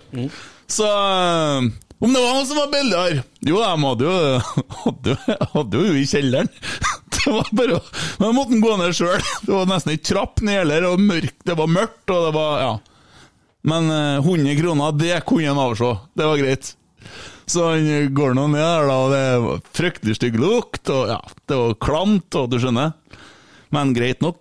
[SPEAKER 4] Så eh, om det var noen som var billigere Jo, de hadde jo, hadde jo, hadde jo i kjelleren. Det var bare å- Men jeg måtte gå ned sjøl. Det var nesten ikke trapp ned heller, og mørkt, det var mørkt, og det var Ja. Men eh, 100 kroner, det kunne han avse. Det var greit. Så han går nå ned der, da, og det var fryktelig stygg lukt, og ja, det var klamt, og du skjønner. Men greit nok.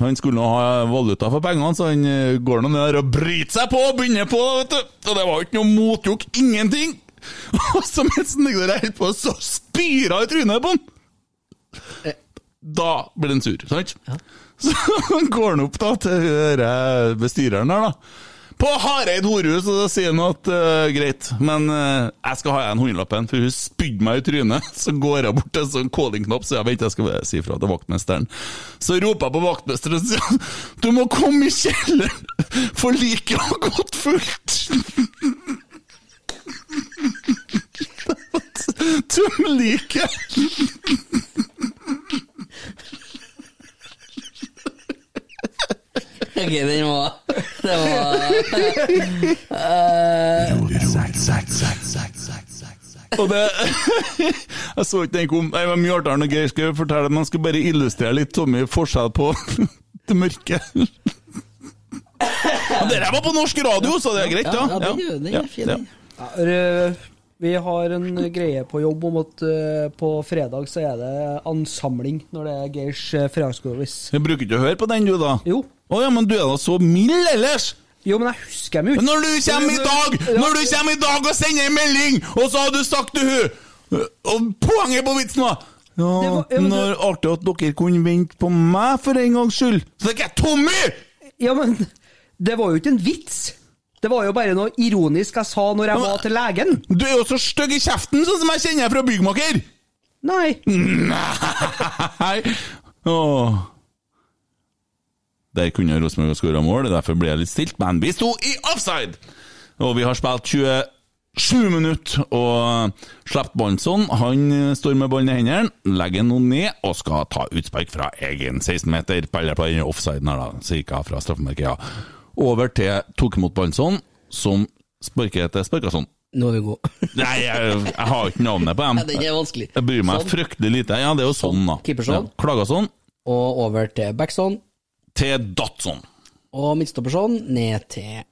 [SPEAKER 4] Han skulle nå ha valuta for pengene, så han eh, går nå ned der og bryter seg på og begynner på, da, vet du. Og det var jo ikke noe motjukk, ingenting. Og så mens han ligger der og holder på, så spyrer hun i trynet på han. Da blir han sur, sant? Så han går han opp da til hun der eh, bestyreren der, da. På Hareid horehus, og da sier han at eh, greit, men eh, jeg skal ha igjen hundrelappen, for hun spydde meg i trynet. Så går jeg bort til en sånn calling-knapp, så jeg vent, jeg skal bare si ifra til vaktmesteren. Så roper jeg på vaktmesteren og sier han, du må komme i kjelleren, for liket har gått fullt. Tøm liket!
[SPEAKER 6] Ok, den var Det var
[SPEAKER 4] Og det Jeg så ikke den kom. Jeg var mye artigere enn Geir skulle fortelle, men jeg skulle bare illustrere litt Tommy forskjell på det mørke. Men dere var på norsk radio, så det er greit,
[SPEAKER 6] Ja,
[SPEAKER 4] ja.
[SPEAKER 6] den er- den er fin, den.
[SPEAKER 5] Ja, r- vi har en greie på jobb om at eh, på fredag så er det ansamling når det er Geirs eh, fredagsgodis.
[SPEAKER 4] Jeg bruker ikke å høre på den, du, da.
[SPEAKER 5] Jo.
[SPEAKER 4] Å ja, men du er da så mild ellers!
[SPEAKER 5] jo, men jeg husker dem jo
[SPEAKER 4] Men
[SPEAKER 5] ikke.
[SPEAKER 4] når du kommer i dag Når du kommer i dag og sender en melding, og så har du sagt til hun Og poenget på vitsen var ja,
[SPEAKER 5] Det var- ja, men du-
[SPEAKER 4] når artig at dere kunne vente på meg for en gangs skyld. Så det er ikke Tommy!
[SPEAKER 5] Ja, men det var jo ikke en vits. Det var jo bare noe ironisk jeg sa når jeg
[SPEAKER 4] men-
[SPEAKER 5] var til legen.
[SPEAKER 4] Du er jo så stygg i kjeften, sånn som jeg kjenner deg fra byggmaker!
[SPEAKER 5] Nei.
[SPEAKER 4] Nei! Åh. Der kunne Rosenborg ha skåra mål, derfor ble jeg litt stilt, men vi sto i offside! Og vi har spilt 27 minutter, og Slept Bansson han står med ballen i hendene, legger den ned og skal ta utspark fra egen 16-meter, eller på den offsiden her, da, cirka fra straffemerket, ja. Over til tok imot Bansson, som sparker til Sparkason.
[SPEAKER 6] Nå er vi gode.
[SPEAKER 4] Nei, jeg, jeg har ikke navnet på dem.
[SPEAKER 6] Ja, den er vanskelig.
[SPEAKER 4] Jeg bryr meg
[SPEAKER 6] Sånn.
[SPEAKER 4] fryktelig lite. Ja, det er jo sånn, da.
[SPEAKER 6] Keeper sånn.
[SPEAKER 4] Ja. Klager sånn.
[SPEAKER 6] Og over til Backson,
[SPEAKER 4] Til sånn. Datson.
[SPEAKER 6] og midtstopperson ned til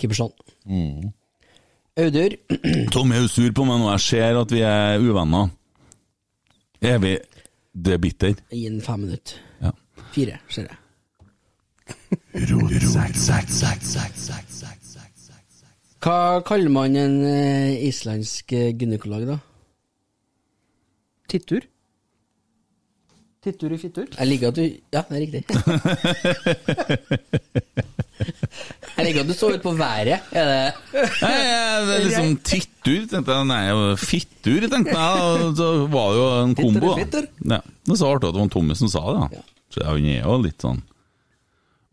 [SPEAKER 6] keeperson.
[SPEAKER 4] Mm.
[SPEAKER 6] Audur
[SPEAKER 4] Tommy er jo sur på meg nå. Jeg ser at vi er uvenner. Er vi Du er bitter?
[SPEAKER 6] gi den fem minutter.
[SPEAKER 4] Ja.
[SPEAKER 6] Fire, ser jeg. Hva kaller man en eh, islandsk eh, gynekolog, da?
[SPEAKER 5] Tittur. Tittur i fittur.
[SPEAKER 6] Jeg liker at du Ja, det er riktig. Jeg liker at du så ut på været. Er det
[SPEAKER 4] Nei, jeg- det er liksom tittur, tenkte jeg. Nei, fittur, tenkte jeg. Og så var det jo en kombo. da.
[SPEAKER 6] Tittur,
[SPEAKER 4] Ja. Det er så artig at det var Tommy som sa det. da.
[SPEAKER 6] Ja.
[SPEAKER 4] Så han er jo litt sånn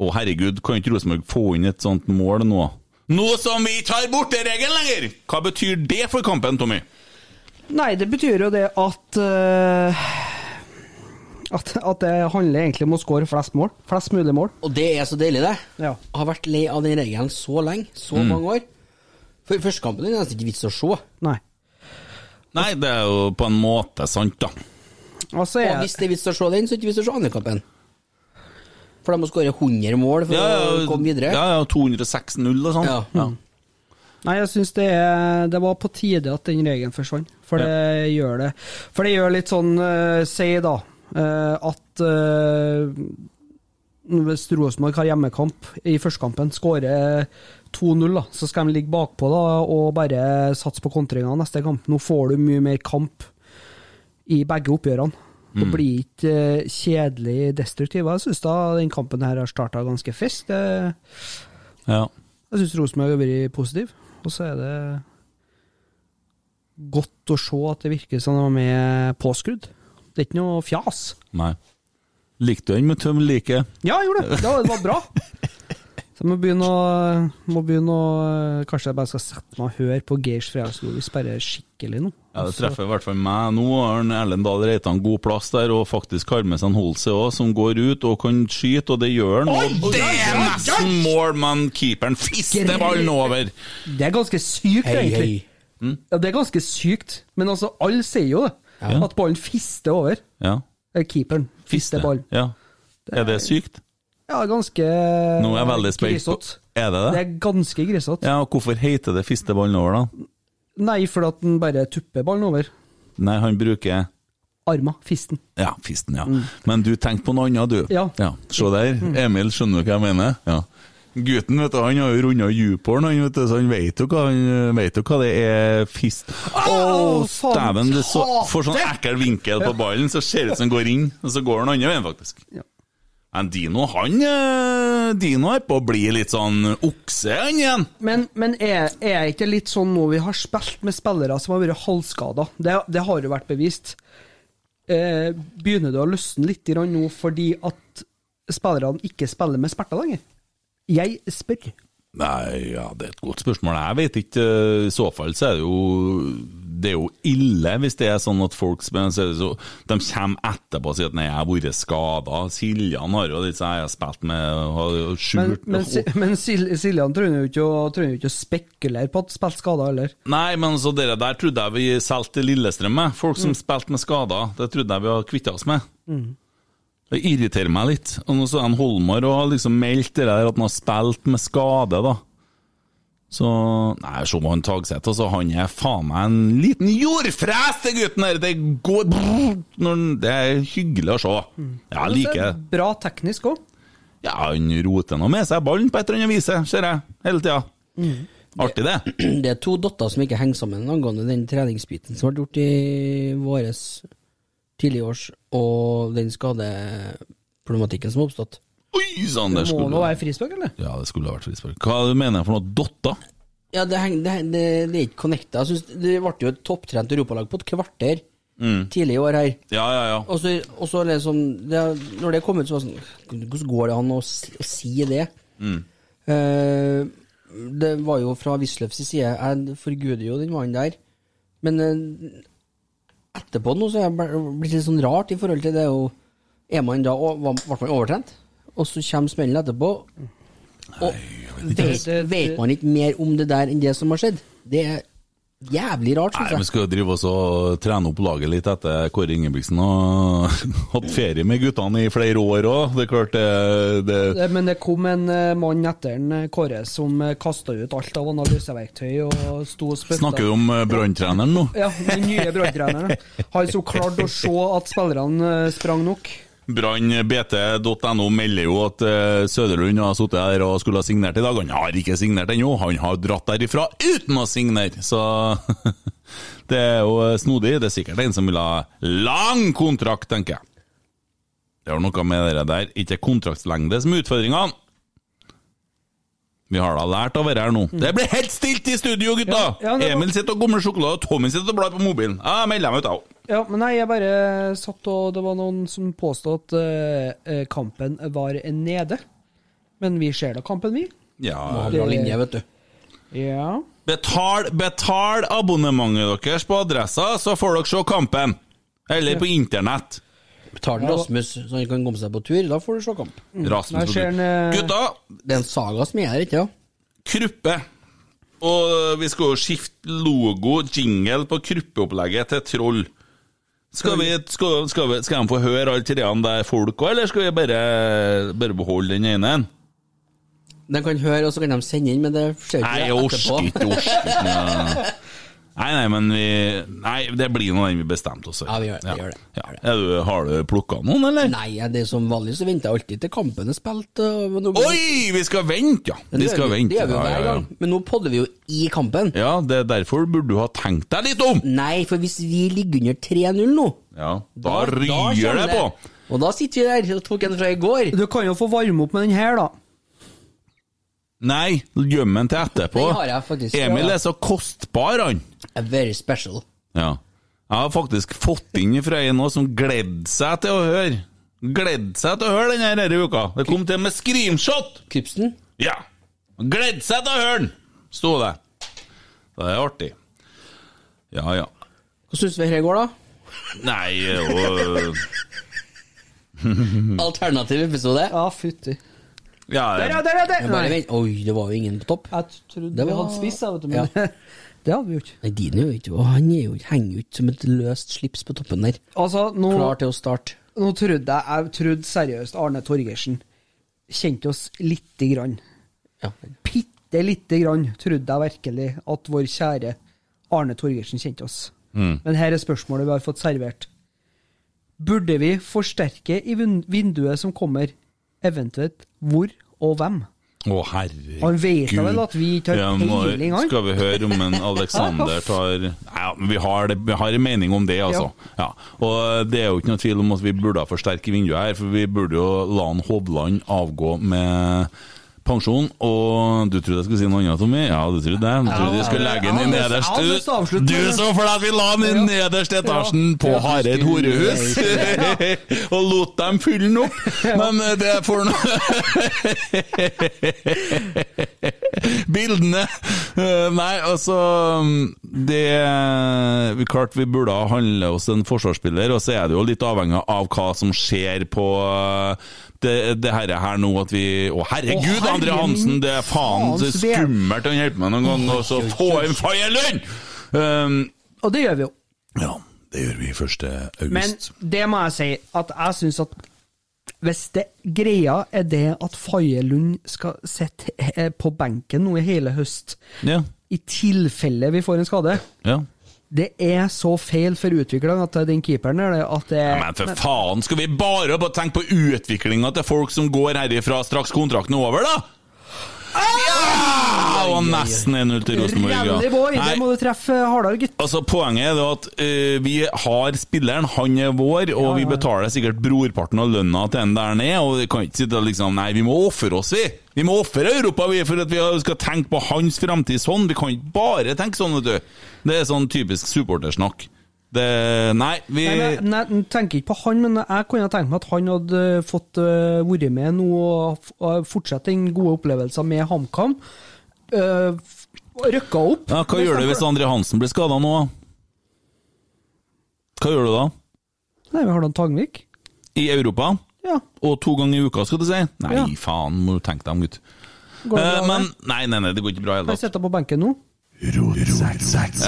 [SPEAKER 4] Å, herregud, kan ikke Rosenborg få inn et sånt mål nå? Nå som vi tar bort den regelen lenger! Hva betyr det for kampen, Tommy?
[SPEAKER 5] Nei, det betyr jo det at eh, at, at det handler egentlig om å score flest mål. Flest mulig mål.
[SPEAKER 6] Og det er så deilig, det.
[SPEAKER 5] Ja.
[SPEAKER 6] Jeg har vært lei av den regelen så lenge, så mange år. For Førstekampen er det nesten ikke vits å se.
[SPEAKER 5] Nei.
[SPEAKER 4] Nei, det er jo på en måte sant, da.
[SPEAKER 5] Altså,
[SPEAKER 6] Og
[SPEAKER 5] jeg,
[SPEAKER 6] hvis det er vits å se den, så er det ikke vits å se andre kampen. For de må skåre 100 mål for å komme videre.
[SPEAKER 4] Ja, ja, 206-0 og sånn.
[SPEAKER 6] Ja.
[SPEAKER 5] Nei, jeg syns det, er- det var på tide at den regelen forsvant, for det gjør det. For det gjør litt sånn eh, Si, da, eh, at eh, hvis Rosenborg har hjemmekamp i førstekampen, skårer 2-0, da, så skal de ligge bakpå da, og bare satse på kontringer neste kamp. Nå får du mye mer kamp i begge oppgjørene. og
[SPEAKER 6] Mm.
[SPEAKER 5] blir ikke eh, kjedelig destruktiv. Jeg syns da den kampen her har starta ganske fest. Det-
[SPEAKER 4] Ja.
[SPEAKER 5] Jeg syns Rosenborg har vært positiv, og så er det godt å se at det virker som de er med påskrudd. Det er ikke noe fjas.
[SPEAKER 4] Nei. Likte du den med tøm like?
[SPEAKER 5] Ja, jeg gjorde det! Det var, det var bra. Så jeg må begynne å, må begynne å Kanskje jeg bare skal sette meg og høre på Geirs Fredagsgod hvis bare skikkelig nå.
[SPEAKER 4] Ja, Det treffer i hvert fall meg nå. Arne Erlend Dahl Reitan god plass der, og faktisk har med seg en Holse òg, som går ut og kan skyte, og det gjør han. Og det er nesten mål, men keeperen fister ballen over!
[SPEAKER 5] Det er ganske sykt,
[SPEAKER 6] Hei, hei.
[SPEAKER 5] egentlig. Ja, det er ganske sykt. Men altså, alle sier jo det. At ballen fister over.
[SPEAKER 4] Ja.
[SPEAKER 5] Eh, Keeperen fister ballen.
[SPEAKER 4] Ja. Er det sykt?
[SPEAKER 5] Ja, ganske
[SPEAKER 4] Nå er jeg veldig spent. på-
[SPEAKER 5] grisete.
[SPEAKER 4] Er det
[SPEAKER 5] Det
[SPEAKER 4] det?
[SPEAKER 5] er ganske grisete.
[SPEAKER 4] Ja, og hvorfor heter det fiste ballen over, da?
[SPEAKER 5] Nei, fordi at den bare tupper ballen over.
[SPEAKER 4] Nei, han bruker
[SPEAKER 5] Arma, fisten.
[SPEAKER 4] Ja, fisten, ja. Men du tenkte på noe annet, du.
[SPEAKER 5] Mm. Ja. Mm.
[SPEAKER 4] Se der, Emil, skjønner du hva jeg mener? Ja. Gutten vet du, han har jo runda Djuporn, han, vet du, så han vet jo hva, han vet jo hva det er fist Å,
[SPEAKER 5] Au,
[SPEAKER 4] dæven! det så-
[SPEAKER 5] fantastisk!
[SPEAKER 4] Får sånn ekkel vinkel på ballen, så ser det ut som den går inn, og så går den andre veien, faktisk.
[SPEAKER 5] Ja.
[SPEAKER 4] Men Dino, han eh, Dino er på å bli litt sånn okse, han igjen.
[SPEAKER 5] Men, men er, er ikke litt sånn nå vi har spilt med spillere som har vært halvskada? Det, det har jo vært bevist. Eh, begynner det å løsne litt grann nå fordi at spillerne ikke spiller med sperter lenger? Jeg spør.
[SPEAKER 4] Nei, ja, det er et godt spørsmål. Jeg vet ikke. eh, I så fall så er det jo Det er jo ille hvis det er sånn at folk sp- så er det så, De kommer etterpå og sier at 'nei, jeg har vært skada'. Siljan har jo litt sånn 'jeg har spilt med har jo
[SPEAKER 5] Men,
[SPEAKER 4] skjult
[SPEAKER 5] men, Si- men Sil Siljan trenger jo ikke å, trenger jo ikke å spekulere på at spilt skada, heller.
[SPEAKER 4] Nei, men så dere der trodde jeg vi solgte til Lillestrøm med. Folk som
[SPEAKER 5] Mm.
[SPEAKER 4] spilte med skader. Det trodde jeg vi hadde kvitta oss med. Det irriterer meg litt. Og nå så er han Holmar og har liksom meldt det der at han har spilt med skade, da. Så Nei, se på han Tagseth, altså. Han er faen meg en liten jordfres, den gutten der! Det går brrr, når han- Det er hyggelig å se.
[SPEAKER 5] Mm.
[SPEAKER 4] Jeg liker det.
[SPEAKER 5] Bra teknisk òg.
[SPEAKER 4] Ja, han roter nå med seg ballen på et eller annet vis, ser jeg. Hele tida.
[SPEAKER 5] Mm.
[SPEAKER 4] Artig, det.
[SPEAKER 6] Det er to dotter som ikke henger sammen angående den treningsbiten som ble gjort i våres tidlig års, og den skadeproblematikken som har oppstått.
[SPEAKER 4] Oi sann, der
[SPEAKER 5] Må
[SPEAKER 4] skulle
[SPEAKER 5] nå være frispark, eller?
[SPEAKER 4] Ja, det skulle ha vært frispark. Hva du mener jeg for noe? Dotta?
[SPEAKER 6] Ja, det, heng, det, heng- det, det er ikke connecta. Jeg synes det ble jo et topptrent europalag på et kvarter tidlig i år her.
[SPEAKER 4] Ja, ja, ja.
[SPEAKER 6] Og så, og så liksom det, Når det kom ut, så var det sånn Hvordan går det an å si, å si det? Mm. Eh, det var jo fra Wisløffs side. Jeg forguder jo den mannen der. Men eh, etterpå nå så er jeg bare- blitt litt sånn rart i forhold til det jo Er man da og var- Ble man overtrent? Og så kommer smellen etterpå. Og vet,
[SPEAKER 5] Det- det-
[SPEAKER 6] vet man ikke mer om det der enn det som har skjedd? Det er jævlig rart,
[SPEAKER 4] Nei, Vi
[SPEAKER 6] syns jeg.
[SPEAKER 4] skal jo drive oss og trene opp laget litt etter Kåre Ingebrigtsen og hatt ferie med guttene i flere år òg. Det er klart det, det
[SPEAKER 5] Det- Men det kom en eh, mann etter en eh, Kåre som kasta ut alt av analyseverktøy og sto og spytta.
[SPEAKER 4] Snakker du om eh, branntreneren nå?
[SPEAKER 5] Ja, den nye branntreneren. Han som klarte å se at spillerne eh, sprang nok.
[SPEAKER 4] Brannbt.no melder jo at eh, Søderlund har sittet her og skulle ha signert i dag. Han har ikke signert ennå, han har dratt derifra uten å signere! Så det er jo eh, snodig. Det er sikkert en som vil ha lang kontrakt, tenker jeg. Det har noe med det der. Ikke kontraktslengde som er utfordringa. Vi har da lært av dette her nå. Det blir helt stilt i studio, gutta!
[SPEAKER 5] Mm. Ja, ja, det var-
[SPEAKER 4] Emil sitter og gomler sjokolade, og Tommy sitter og blar på mobilen. Jeg melder dem ut, jeg òg.
[SPEAKER 5] Ja, men nei, jeg bare satt og Det var noen som påstod at eh, eh, kampen var nede. Men vi ser da kampen, vi.
[SPEAKER 4] Ja,
[SPEAKER 6] Bra linje, vet du.
[SPEAKER 5] Ja.
[SPEAKER 4] Betal, betal abonnementet deres på adressa, så får dere se kampen. Eller på internett.
[SPEAKER 6] Betaler Rasmus så han kan komme seg på tur, da får du se kamp.
[SPEAKER 5] Nei,
[SPEAKER 4] Rasmus
[SPEAKER 5] Mm. ser den, eh,
[SPEAKER 4] Gutta,
[SPEAKER 6] Det er en saga som er her, ikke sant?
[SPEAKER 4] Kruppe. Og vi skal jo skifte logo, jingle, på Kruppeopplegget til Troll. Skal, vi, skal, skal, vi, skal de få høre alle treene der folk òg, eller skal vi bare, bare beholde den ene?
[SPEAKER 6] De kan høre, og så kan de sende inn, men det ser
[SPEAKER 4] Nei,
[SPEAKER 6] vi
[SPEAKER 4] jeg
[SPEAKER 6] ikke
[SPEAKER 4] orker
[SPEAKER 6] etterpå.
[SPEAKER 4] ikke orker ikke. Nei, nei, men vi Nei, det blir nå den vi bestemte oss for.
[SPEAKER 6] Ja, vi gjør- vi gjør det.
[SPEAKER 4] Ja. Er du, har du plukka noen, eller?
[SPEAKER 6] Nei, ja, det er som vanlig så venter jeg alltid til kampen er spilt. og nå blir-
[SPEAKER 4] Oi, vi skal vente, ja! Vi
[SPEAKER 6] Men det
[SPEAKER 4] skal
[SPEAKER 6] gjør vi-
[SPEAKER 4] vente.
[SPEAKER 6] Det gjør vi jo
[SPEAKER 4] ja,
[SPEAKER 6] hver
[SPEAKER 4] ja, ja.
[SPEAKER 6] gang. Men nå podder vi jo i kampen.
[SPEAKER 4] Ja, det er derfor burde du ha tenkt deg litt om!
[SPEAKER 6] Nei, for hvis vi ligger under 3-0 nå,
[SPEAKER 4] Ja, da
[SPEAKER 6] Da- da
[SPEAKER 4] ryr
[SPEAKER 6] kommer
[SPEAKER 4] det på!
[SPEAKER 6] Og da sitter vi der og tok en fra i går.
[SPEAKER 5] Du kan jo få varme opp med den her, da.
[SPEAKER 4] Nei, gjem den til etterpå.
[SPEAKER 6] Den har jeg faktisk.
[SPEAKER 4] Emil
[SPEAKER 6] Ja.
[SPEAKER 4] er så kostbar, han.
[SPEAKER 6] A very special.
[SPEAKER 4] Ja. Jeg har faktisk fått inn fra en nå som gledde seg til å høre. Gledde seg til å høre den her denne uka. Det kom til med screenshot!
[SPEAKER 6] Krypsen.
[SPEAKER 4] Ja. Gledde seg til å høre den, sto det. Så det er artig. Ja, ja.
[SPEAKER 6] Hva syns vi her går, da?
[SPEAKER 4] Nei, og Mm.
[SPEAKER 6] Alternativ episode.
[SPEAKER 5] Ja, fytti.
[SPEAKER 4] Ja,
[SPEAKER 5] Der, ja, der, ja, der!
[SPEAKER 6] Jeg bare
[SPEAKER 5] Nei,
[SPEAKER 6] vent. Oi, det var jo ingen på topp.
[SPEAKER 5] jeg trodde
[SPEAKER 6] Det
[SPEAKER 5] vi
[SPEAKER 6] var-
[SPEAKER 5] hadde spist, jeg, vet du.
[SPEAKER 6] Ja.
[SPEAKER 5] Men det hadde vi jo ikke.
[SPEAKER 6] Nei, din er jo ikke Å, Han er jo, henger jo ikke som et løst slips på toppen der.
[SPEAKER 5] Altså, nå,
[SPEAKER 6] Klar til å starte.
[SPEAKER 5] nå trodde jeg Jeg trodde seriøst Arne Torgersen kjente oss lite grann.
[SPEAKER 6] Ja.
[SPEAKER 5] Bitte lite grann trodde jeg virkelig at vår kjære Arne Torgersen kjente oss. Men her er spørsmålet vi har fått servert. Burde vi forsterke i vin- vinduet som kommer, eventuelt hvor og hvem?
[SPEAKER 4] Å, herregud.
[SPEAKER 5] Han vet da vel at vi ikke har
[SPEAKER 4] Ja, må-
[SPEAKER 5] peiling, han?
[SPEAKER 4] Skal vi høre om en Alexander tar Nei, ja, men vi har, det, vi har en mening om det, altså. Ja. Og det er jo ikke noe tvil om at vi burde ha forsterke vinduet her, for vi burde jo la han Hovland avgå med pensjon, og du trodde jeg skulle si noe annet, Tommy? Ja, du trodde det. Du trodde jeg skulle legge han i
[SPEAKER 5] Ja, jeg har lyst til å
[SPEAKER 4] nederst
[SPEAKER 5] avslutte med
[SPEAKER 4] Du
[SPEAKER 5] det.
[SPEAKER 4] så for deg at vi la han i nederst etasjen på Hareid horehus, og lot dem fylle den opp, men eh, det får nå Bildene Eh, Nei, altså mm, Det vi- Klart vi burde ha handlet oss en forsvarsspiller, og så er det jo litt avhengig av hva som skjer på eh, det, det herre her nå at vi Å, herregud,
[SPEAKER 5] Å, herre
[SPEAKER 4] André Hansen! Det er faen så
[SPEAKER 5] min faens vel.
[SPEAKER 4] skummelt han hjelper meg noen gang, og så få inn Fagerlund! Um,
[SPEAKER 5] Og det gjør vi jo.
[SPEAKER 4] ja, det gjør vi 1.
[SPEAKER 5] Men
[SPEAKER 4] august.
[SPEAKER 5] det må jeg si, at jeg syns at hvis det greia er det at Faye Lund skal sitte eh, på benken nå i hele høst,
[SPEAKER 4] Ja,
[SPEAKER 5] i tilfelle vi får en skade
[SPEAKER 4] ja.
[SPEAKER 5] Det er så feil for utvikleren at den keeperen er det at det
[SPEAKER 4] Men for faen, skal vi bare bare tenke på utviklinga til folk som går herifra straks kontrakten er over, da? Ja! Og nesten 1-0 til Rosenborg.
[SPEAKER 5] Rally boy, det
[SPEAKER 4] Nei,
[SPEAKER 5] må du treffe hardere, gutt.
[SPEAKER 4] Altså, Poenget er det at eh, vi har spilleren, han er vår, og vi betaler sikkert brorparten av lønna til den der nede. Og vi kan ikke sitte og liksom Nei, vi må ofre oss, vi! Vi må ofre Europa vi, for at vi skal tenke på hans framtid sånn. Vi kan ikke bare tenke sånn, vet du. Det er sånn typisk supportersnakk. Det Nei, vi
[SPEAKER 5] Nei, men- nei, jeg tenker ikke på han, men jeg kunne tenkt meg at han hadde fått eh, vært med nå og f- og fortsatt den gode opplevelsen med HamKam. Uh, rykka opp.
[SPEAKER 4] Ja, hva gjør du hvis André Hansen blir skada nå? Hva gjør du da?
[SPEAKER 5] Nei, vi har da Tangvik.
[SPEAKER 4] I Europa?
[SPEAKER 5] Ja.
[SPEAKER 4] Og to ganger i uka, skal du si? Nei,
[SPEAKER 5] Ja.
[SPEAKER 4] faen, må du tenke deg om, gutt.
[SPEAKER 5] Går det
[SPEAKER 4] Eh,
[SPEAKER 5] bra,
[SPEAKER 4] men
[SPEAKER 5] det?
[SPEAKER 4] Nei, nei, nei, det går ikke bra i
[SPEAKER 5] Kan
[SPEAKER 4] hele
[SPEAKER 5] jeg
[SPEAKER 4] tatt.
[SPEAKER 5] sitte på benken nå?
[SPEAKER 4] Eh,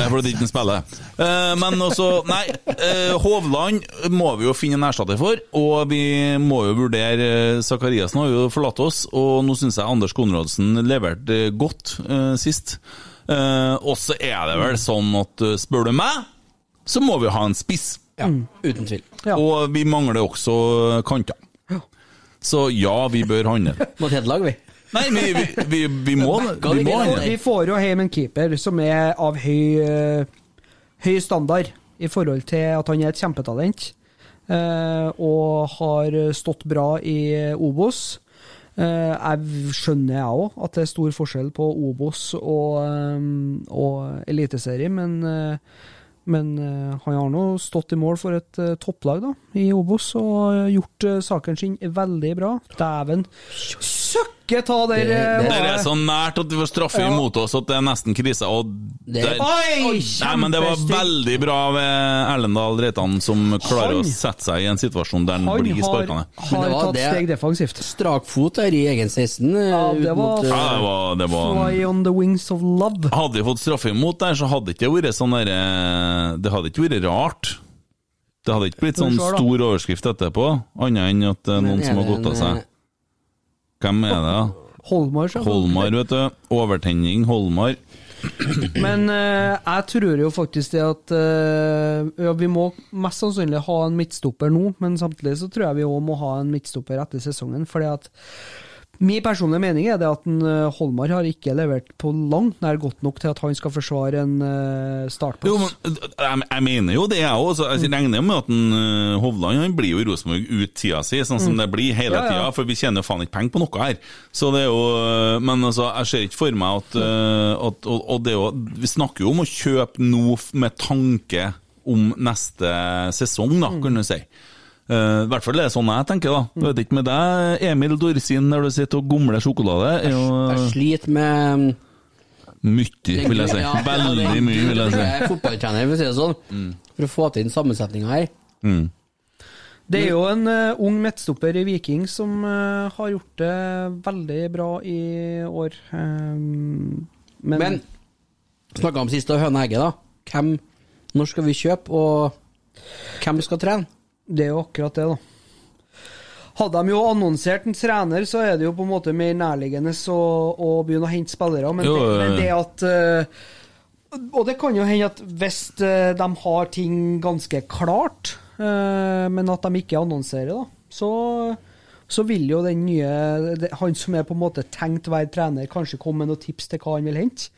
[SPEAKER 4] Fordi det ikke kan spille. Eh, Men også Nei, eh, Hovland må vi jo finne en erstatter for, og vi må jo vurdere eh, Zakariassen har jo forlatt oss, og nå syns jeg Anders Konradsen leverte eh, godt eh, sist. Eh, Og så er det vel sånn at eh, spør du meg, så må vi ha en spiss.
[SPEAKER 6] ja.
[SPEAKER 5] Mm.
[SPEAKER 6] Uten tvil.
[SPEAKER 5] Ja.
[SPEAKER 4] Og vi mangler også kanter. Så ja, vi bør handle.
[SPEAKER 6] Mot et lag, vi.
[SPEAKER 4] Nei, vi, vi, vi, vi må, vi må
[SPEAKER 5] Og
[SPEAKER 4] handle.
[SPEAKER 5] vi får jo hjem en keeper som er av høy, eh, høy standard i forhold til at han er et kjempetalent eh, og har stått bra i Obos. Eh, jeg skjønner jeg òg at det er stor forskjell på Obos og, eh, og Eliteserie, men, eh, men eh, han har nå stått i mål for et eh, topplag da, i Obos og gjort eh, saken sin veldig bra. Dæven søkke ta der! eh,
[SPEAKER 4] Det
[SPEAKER 6] Det-
[SPEAKER 5] var-
[SPEAKER 4] er så nært at vi får straffe imot oss at det er nesten krise. Og
[SPEAKER 6] Det er-
[SPEAKER 4] der,
[SPEAKER 5] Oi,
[SPEAKER 4] nei, men det var
[SPEAKER 5] kjempestygt.
[SPEAKER 4] veldig bra av eh, Erlendal Reitan som klarer
[SPEAKER 5] Han-
[SPEAKER 4] å sette seg i en situasjon der han
[SPEAKER 5] Han
[SPEAKER 4] blir
[SPEAKER 5] har,
[SPEAKER 4] sparkende.
[SPEAKER 5] har
[SPEAKER 6] Men det var
[SPEAKER 5] tatt
[SPEAKER 6] det-
[SPEAKER 5] steg defensivt.
[SPEAKER 6] Strakfot der i egen 16. eh,
[SPEAKER 5] Ja,
[SPEAKER 6] ut
[SPEAKER 5] det var
[SPEAKER 6] mot, eh,
[SPEAKER 4] Ja, det var, det var
[SPEAKER 5] Fly on the wings of love.
[SPEAKER 4] Hadde vi fått straffe imot der, så hadde ikke det vært sånn der, eh, Det hadde ikke vært rart. Det hadde ikke blitt
[SPEAKER 5] Skal vi
[SPEAKER 4] sånn
[SPEAKER 5] se, da.
[SPEAKER 4] stor overskrift etterpå, annet enn at det er
[SPEAKER 6] Men
[SPEAKER 4] noen
[SPEAKER 6] er
[SPEAKER 4] som har
[SPEAKER 6] det
[SPEAKER 4] gått av
[SPEAKER 6] en,
[SPEAKER 4] seg.
[SPEAKER 6] eh,
[SPEAKER 4] Hvem er det, da?
[SPEAKER 5] Holmar, sa han.
[SPEAKER 4] Holmar, vet du. Overtenning, Holmar.
[SPEAKER 5] Men eh, jeg tror jo faktisk det at eh, ja, Vi må mest sannsynlig ha en midtstopper nå, men samtidig så tror jeg vi òg må ha en midtstopper etter sesongen. Fordi at Min personlige mening er det at en, eh, Holmar har ikke levert på langt nær godt nok til at han skal forsvare en eh, startplass.
[SPEAKER 4] Jo, men jeg, jeg mener jo det, jeg òg. Jeg regner jo med at en, eh, Hovland han blir jo i Rosenborg ut tida si, sånn
[SPEAKER 6] Mm.
[SPEAKER 4] som det blir hele
[SPEAKER 5] Ja, ja.
[SPEAKER 4] tida. For vi tjener jo faen ikke penger på noe her. Så det er jo, eh, Men altså, jeg ser ikke for meg at, eh, at og, og det er jo, Vi snakker jo om å kjøpe nå f- med tanke om neste sesong, da, kan du si. Eh, I hvert fall er det sånn jeg tenker, da.
[SPEAKER 6] Mm.
[SPEAKER 4] Jeg vet ikke med deg, Emil Dorsin, der du sitter og gomler sjokolade. Er
[SPEAKER 6] Jeg
[SPEAKER 4] jo
[SPEAKER 6] sliter med um,
[SPEAKER 4] mye, vil jeg si.
[SPEAKER 6] Ja, ja, det er
[SPEAKER 4] Veldig
[SPEAKER 6] en
[SPEAKER 4] mye, vil jeg si. Mm.
[SPEAKER 6] Jeg er fotballtrener, for å si det sånn. For å få til den sammensetninga her.
[SPEAKER 5] Mm. Det er jo en eh, ung midtstopper i Viking som eh, har gjort det veldig bra i år. Ehm, men,
[SPEAKER 6] Men snakka om sist og høna og egget, da. Hvem, når skal vi kjøpe, og hvem skal trene?
[SPEAKER 5] det er jo akkurat det, da. Hadde de jo annonsert en trener, så er det jo på en måte mer nærliggende å, å begynne å hente spillere. Men,
[SPEAKER 4] Jo,
[SPEAKER 5] det,
[SPEAKER 4] ja, ja.
[SPEAKER 5] men det at eh, Og det kan jo hende at hvis eh, de har ting ganske klart, eh, men at de ikke annonserer, da, så, så vil jo den nye det- Han som er på en måte tenkt å være trener, kanskje komme med noen tips til hva han vil hente.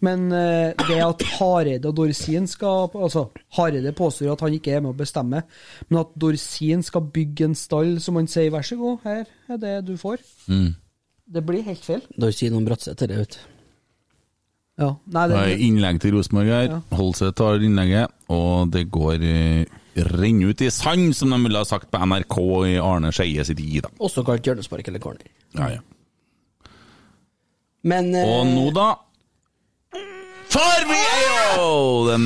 [SPEAKER 5] Men eh, det at Hareide og Dorsin skal Altså, Hareide påstår at han ikke er med å bestemme, men at Dorsin skal bygge en stall som han sier 'vær så god, her er det du får', det blir helt feil.
[SPEAKER 6] Da sier noen Bratseth det, vet du.
[SPEAKER 5] Ja. Nei,
[SPEAKER 4] Det
[SPEAKER 5] det,
[SPEAKER 4] er innlegg til Rosenborg her. Holse tar innlegget, og det går eh, renner ut i sand, som de ville ha sagt på NRK i Arne Skeie sitt gi, da.
[SPEAKER 6] Også kalt hjørnespark eller corner.
[SPEAKER 4] Ja, ja.
[SPEAKER 6] Men eh,
[SPEAKER 4] Og nå, da? For vi er jo de er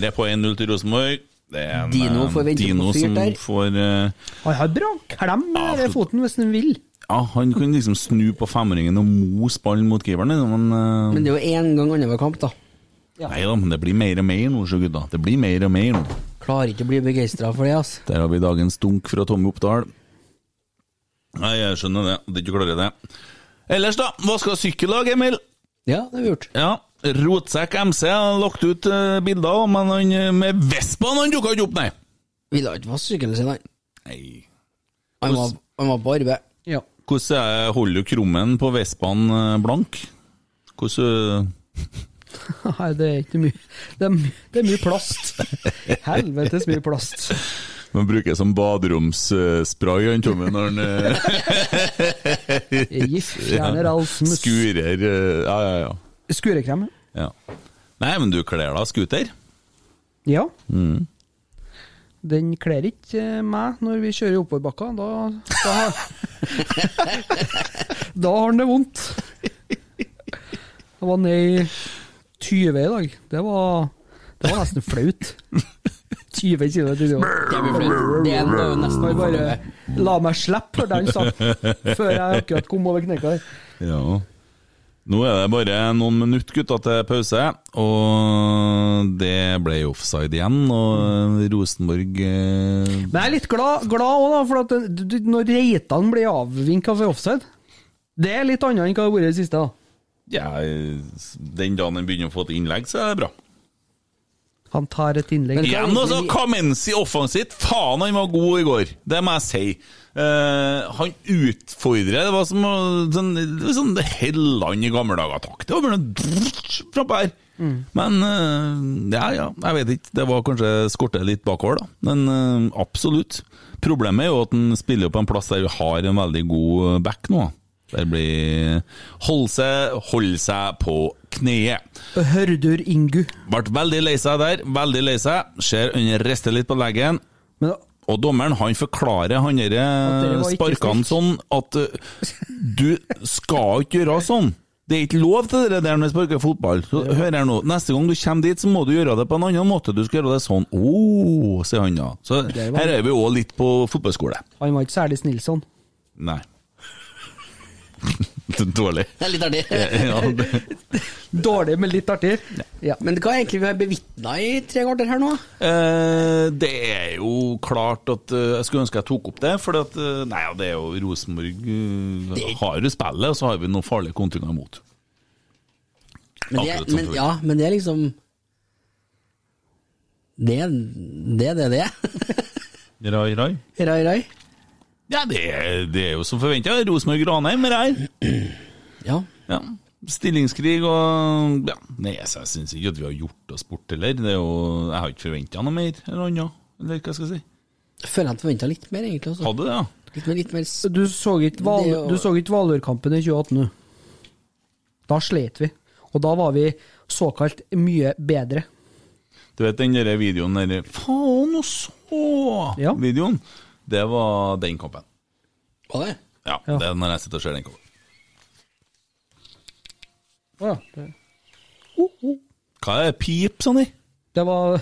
[SPEAKER 4] nede på 1-0 til Rosenborg. Det er en,
[SPEAKER 6] Dino
[SPEAKER 4] eh,
[SPEAKER 6] får vente på
[SPEAKER 4] Dino
[SPEAKER 6] fyrt
[SPEAKER 4] som
[SPEAKER 6] der.
[SPEAKER 4] får eh,
[SPEAKER 5] Han har bra klem med
[SPEAKER 4] Ja,
[SPEAKER 5] foten hvis han vil.
[SPEAKER 4] Ja, han kan liksom snu på femringen og mose ballen mot keeperen, liksom, men, eh,
[SPEAKER 6] Men det er jo én gang annenhver kamp, da.
[SPEAKER 4] Nei da, men det blir mer og mer nå, så gutta. Det blir mer og mer nå.
[SPEAKER 6] Klarer ikke å bli begeistra for det, altså.
[SPEAKER 4] Der har vi dagens dunk fra Tommy Oppdal. Nei, jeg skjønner det. Det er ikke klarer det. Ellers, da. Hva skal sykkellag, Emil?
[SPEAKER 6] Ja, det har vi gjort.
[SPEAKER 4] Ja, Rotsekk MC har lagt ut eh, bilder, men han eh, med Vespaen han dukka ikke opp, nei.
[SPEAKER 6] Ville ikke vaske sykkelen sin, han.
[SPEAKER 4] nei.
[SPEAKER 6] Han var, han var på arbeid.
[SPEAKER 5] Ja.
[SPEAKER 4] Hvordan er- holder du krummen på Vespaen eh, blank? Hvordan eh?
[SPEAKER 5] Nei, det er ikke mye. Det er, my- det er mye plast. Helvetes mye plast.
[SPEAKER 4] Man bruker som baderomsspray, han eh, Tommy, når han
[SPEAKER 5] Gift fjerner all smuss.
[SPEAKER 4] skurer eh, Ja, ja, ja.
[SPEAKER 5] Skurekrem.
[SPEAKER 4] ja. Nei, men du kler deg scooter.
[SPEAKER 5] Ja. Den kler ikke eh, meg når vi kjører oppoverbakka. Da, da, har, da har han det vondt. Jeg var ned i 20 i dag. Det var, det var nesten flaut. 20 km i timen.
[SPEAKER 6] Det blir flaut. Det er jo nesten
[SPEAKER 5] Må jeg bare la meg slippe, hørte han sa, før jeg akkurat kom over knekka der.
[SPEAKER 4] Ja. Nå er det bare noen minutter gutta, til pause, og det ble offside igjen. Og Rosenborg eh,
[SPEAKER 5] Men jeg er litt glad, glad også da, for at du- du- når Reitan blir avvinka for offside Det er litt annet enn hva det har vært i det siste. da.
[SPEAKER 4] ja, eh, Den dagen den begynner å få et innlegg, så er det bra.
[SPEAKER 5] Han tar et innlegg.
[SPEAKER 4] Igjen altså, Kamensi offensivt. Faen, han var god i går. Det må jeg si. Eh, han utfordrer. Det var som å sånn, det var sånn Helland i gamle dager. Takk. Det var bare noe frampå her. Men eh, ja, ja, jeg vet ikke. Det var kanskje skorte litt bakover, da. Men eh, absolutt. Problemet er jo at han spiller jo på en plass der vi har en veldig god eh, back nå. Der blir Hold seg, hold seg på kneet.
[SPEAKER 5] Hørdur Ingu.
[SPEAKER 4] Ble veldig lei seg der, veldig lei seg. Ser han rister litt på leggen.
[SPEAKER 5] Men da-
[SPEAKER 4] Og dommeren han forklarer han
[SPEAKER 5] det
[SPEAKER 4] derre
[SPEAKER 5] var ikke
[SPEAKER 4] sparkene sånn at uh, du skal ikke gjøre sånn. Det er ikke lov til det der når du sparker fotball. Så hør her nå, neste gang du kommer dit, så må du gjøre det på en annen måte. Du skal gjøre det sånn. Å, sier han da. Så
[SPEAKER 5] Det var-
[SPEAKER 4] her er vi òg litt på fotballskole.
[SPEAKER 5] Han var ikke særlig snill sånn.
[SPEAKER 4] Nei. Dårlig.
[SPEAKER 6] Det er litt artig.
[SPEAKER 4] Ja, det.
[SPEAKER 5] Dårlig, men litt artig. Ja.
[SPEAKER 6] Men hva er egentlig vi har bevitna i tre kvarter her nå?
[SPEAKER 4] Eh, det er jo klart at eh, Jeg skulle ønske jeg tok opp det, for at, eh, nei, ja, det er jo Rosenborg eh, har jo spillet, og så har vi noen farlige kontringer imot.
[SPEAKER 6] Men det,
[SPEAKER 4] Akkurat som
[SPEAKER 6] men,
[SPEAKER 4] før.
[SPEAKER 6] ja, men det er liksom Det er det, det, er det.
[SPEAKER 4] Rai, rai.
[SPEAKER 6] Rai, rai.
[SPEAKER 4] Ja, det er, det er jo som forventa. Rosenborg-Ranheim er her.
[SPEAKER 6] Ja.
[SPEAKER 4] Ja. Stillingskrig og ja. Nei, så jeg syns ikke at vi har gjort oss bort heller. Det er jo, jeg har ikke forventa noe mer eller annet. Eller hva skal jeg si.
[SPEAKER 6] Jeg føler jeg forventa litt mer, egentlig. Altså.
[SPEAKER 4] Hadde det, ja.
[SPEAKER 6] Litt mer, litt mer s-
[SPEAKER 5] Du så ikke
[SPEAKER 6] Det
[SPEAKER 5] Val-
[SPEAKER 6] å-
[SPEAKER 5] du så ikke Valørkampen i 2018, du. Da slet vi. Og da var vi såkalt mye bedre.
[SPEAKER 4] Du vet den der videoen der Faen og så!
[SPEAKER 5] Ja.
[SPEAKER 4] Videoen. Det var den kampen.
[SPEAKER 6] Hva er det?
[SPEAKER 4] Ja,
[SPEAKER 5] Ja.
[SPEAKER 4] det er når jeg sitter og ser den kampen.
[SPEAKER 5] Å ja. det- Oh, oh.
[SPEAKER 4] Hva er det? pip, Sonny?
[SPEAKER 5] Det var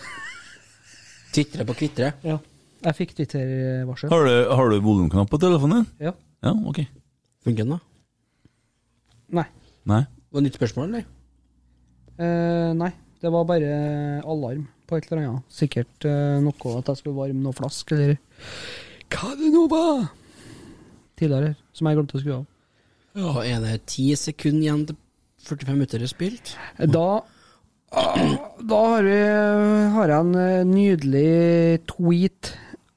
[SPEAKER 6] Tvitre på kvitre.
[SPEAKER 5] Ja. Jeg fikk eh, Twitter-varsel.
[SPEAKER 4] Har du, har du volumknapp på telefonen din?
[SPEAKER 5] Ja.
[SPEAKER 4] Ja, ok.
[SPEAKER 6] Funker den, da?
[SPEAKER 5] Nei.
[SPEAKER 4] Nei.
[SPEAKER 6] Var det nytt spørsmål, eller?
[SPEAKER 5] Eh, nei. Det var bare alarm på et eller annet. Sikkert eh, noe at jeg skulle varme noe flask, eller Hva det nå var? Tidligere, som jeg glemte å skru av.
[SPEAKER 6] Ja, er det ti sekunder igjen til 45 minutter er spilt?
[SPEAKER 5] Eh, Da Da har, vi, har jeg en eh, nydelig tweet.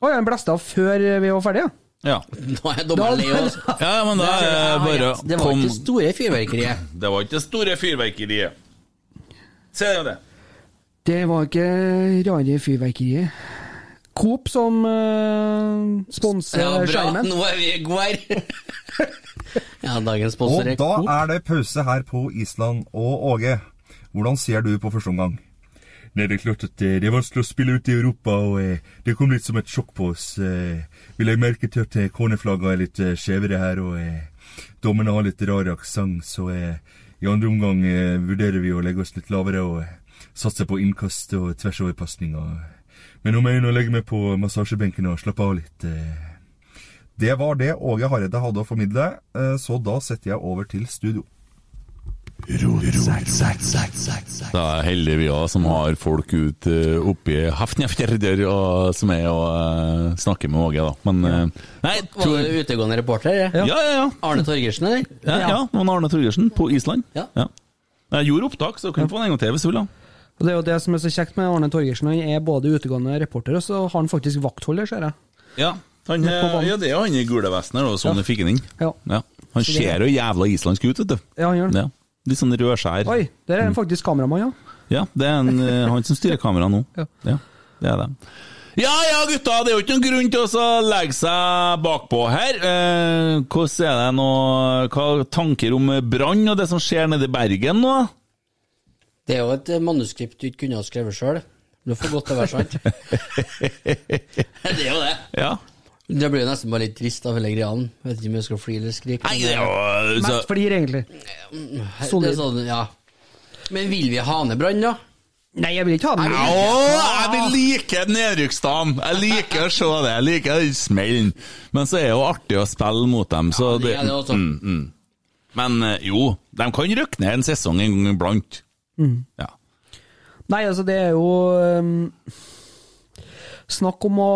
[SPEAKER 5] Å, jeg blæsta før vi var ferdige? ja.
[SPEAKER 4] Ja.
[SPEAKER 6] Nå er dommeren lei oss.
[SPEAKER 4] ja, men da er det bare
[SPEAKER 6] Det var
[SPEAKER 4] kom
[SPEAKER 6] ikke store fyrverkeriet.
[SPEAKER 4] Det var ikke store fyrverkeriet. Se det.
[SPEAKER 5] Det var ikke rare fyrverkeriet. Coop som eh, sponser
[SPEAKER 6] Ja, bra.
[SPEAKER 5] skjermen.
[SPEAKER 6] Nå er vi gode her. ja, dagens
[SPEAKER 9] Og
[SPEAKER 6] sponsor er
[SPEAKER 9] da
[SPEAKER 6] Coop.
[SPEAKER 9] er det pause her på Island. Og Åge, hvordan ser du på første omgang?
[SPEAKER 1] Nei, det er klart at eh, det er vanskelig å spille ut i Europa, og eh, det kom litt som et sjokk på oss. Eh, vi legger merke til at eh, cornerflaggene er litt eh, skjevere her, og eh, dommerne har litt rar aksent, så eh, i andre omgang eh, vurderer vi å legge oss litt lavere og eh, satse på innkast og tversoverpasninger. Men nå må jeg inn og legge meg på massasjebenken og slappe av litt. Eh.
[SPEAKER 9] Det var det Åge Hareide hadde å formidle, eh, så da setter jeg over til studio.
[SPEAKER 4] Da er heldige vi òg, som har folk ut eh, oppi Hafnjafjærder, og som er og eh, snakker med Åge, da. Men eh, Nei,
[SPEAKER 6] Var
[SPEAKER 4] tror
[SPEAKER 6] det
[SPEAKER 4] jeg
[SPEAKER 6] utegående reporter? Ja.
[SPEAKER 4] Ja, ja, ja.
[SPEAKER 6] Arne Torgersen, eller?
[SPEAKER 4] Ja, ja. det var Arne Torgersen på Island.
[SPEAKER 6] Ja.
[SPEAKER 4] Jeg gjorde opptak, så du kan få den en gang til hvis du vil. da.
[SPEAKER 5] Og Det er jo det som er så kjekt med Arne Torgersen. Han er både utegående reporter, og så har han faktisk vaktholder, ser jeg.
[SPEAKER 4] Ja, han,
[SPEAKER 5] Midt på
[SPEAKER 4] eh,
[SPEAKER 5] banen.
[SPEAKER 4] ja det er jo han i gule vesten her, og sånn
[SPEAKER 5] Ja.
[SPEAKER 4] vi fikk han inn.
[SPEAKER 5] Ja.
[SPEAKER 4] Ja. Han
[SPEAKER 5] Så det-
[SPEAKER 4] ser jo jævla islandsk ut, vet du.
[SPEAKER 5] Ja, han gjør det.
[SPEAKER 4] Ja. Mm. Litt sånn rødskjær.
[SPEAKER 5] Oi, der er han faktisk kameramann, ja.
[SPEAKER 4] Ja, det er en, eh, han som styrer kameraet nå.
[SPEAKER 5] Ja.
[SPEAKER 4] Ja, det er det. Ja ja, gutta, det er jo ikke noen grunn til å så legge seg bakpå her. Eh, hvordan er det nå Hva tanker om brann og det som skjer nede i Bergen nå?
[SPEAKER 6] Det er jo et eh, manuskript du ikke kunne ha skrevet sjøl. Du får godt til å være sant. det er jo det.
[SPEAKER 4] Ja.
[SPEAKER 6] Det blir jo nesten bare litt trist av hele greia. Vet ikke om jeg skal flire eller skrike.
[SPEAKER 4] Nei, det er jo altså, så,
[SPEAKER 5] Mest flir, egentlig.
[SPEAKER 6] Det
[SPEAKER 5] solid.
[SPEAKER 6] er sånn, ja. Men vil vi ha ned brann, da?
[SPEAKER 5] Nei, jeg vil ikke ha den.
[SPEAKER 4] Ja, jeg vil like nedrykksdagen! Jeg liker å se det. Jeg liker den smellen. Men så er det jo artig å spille mot dem, så
[SPEAKER 6] det er det også.
[SPEAKER 4] Mm, mm. Men eh, jo, de kan rykke ned en sesong en gang iblant.
[SPEAKER 6] Mm.
[SPEAKER 4] Ja.
[SPEAKER 5] Nei, altså, det er jo ehm, Snakk om å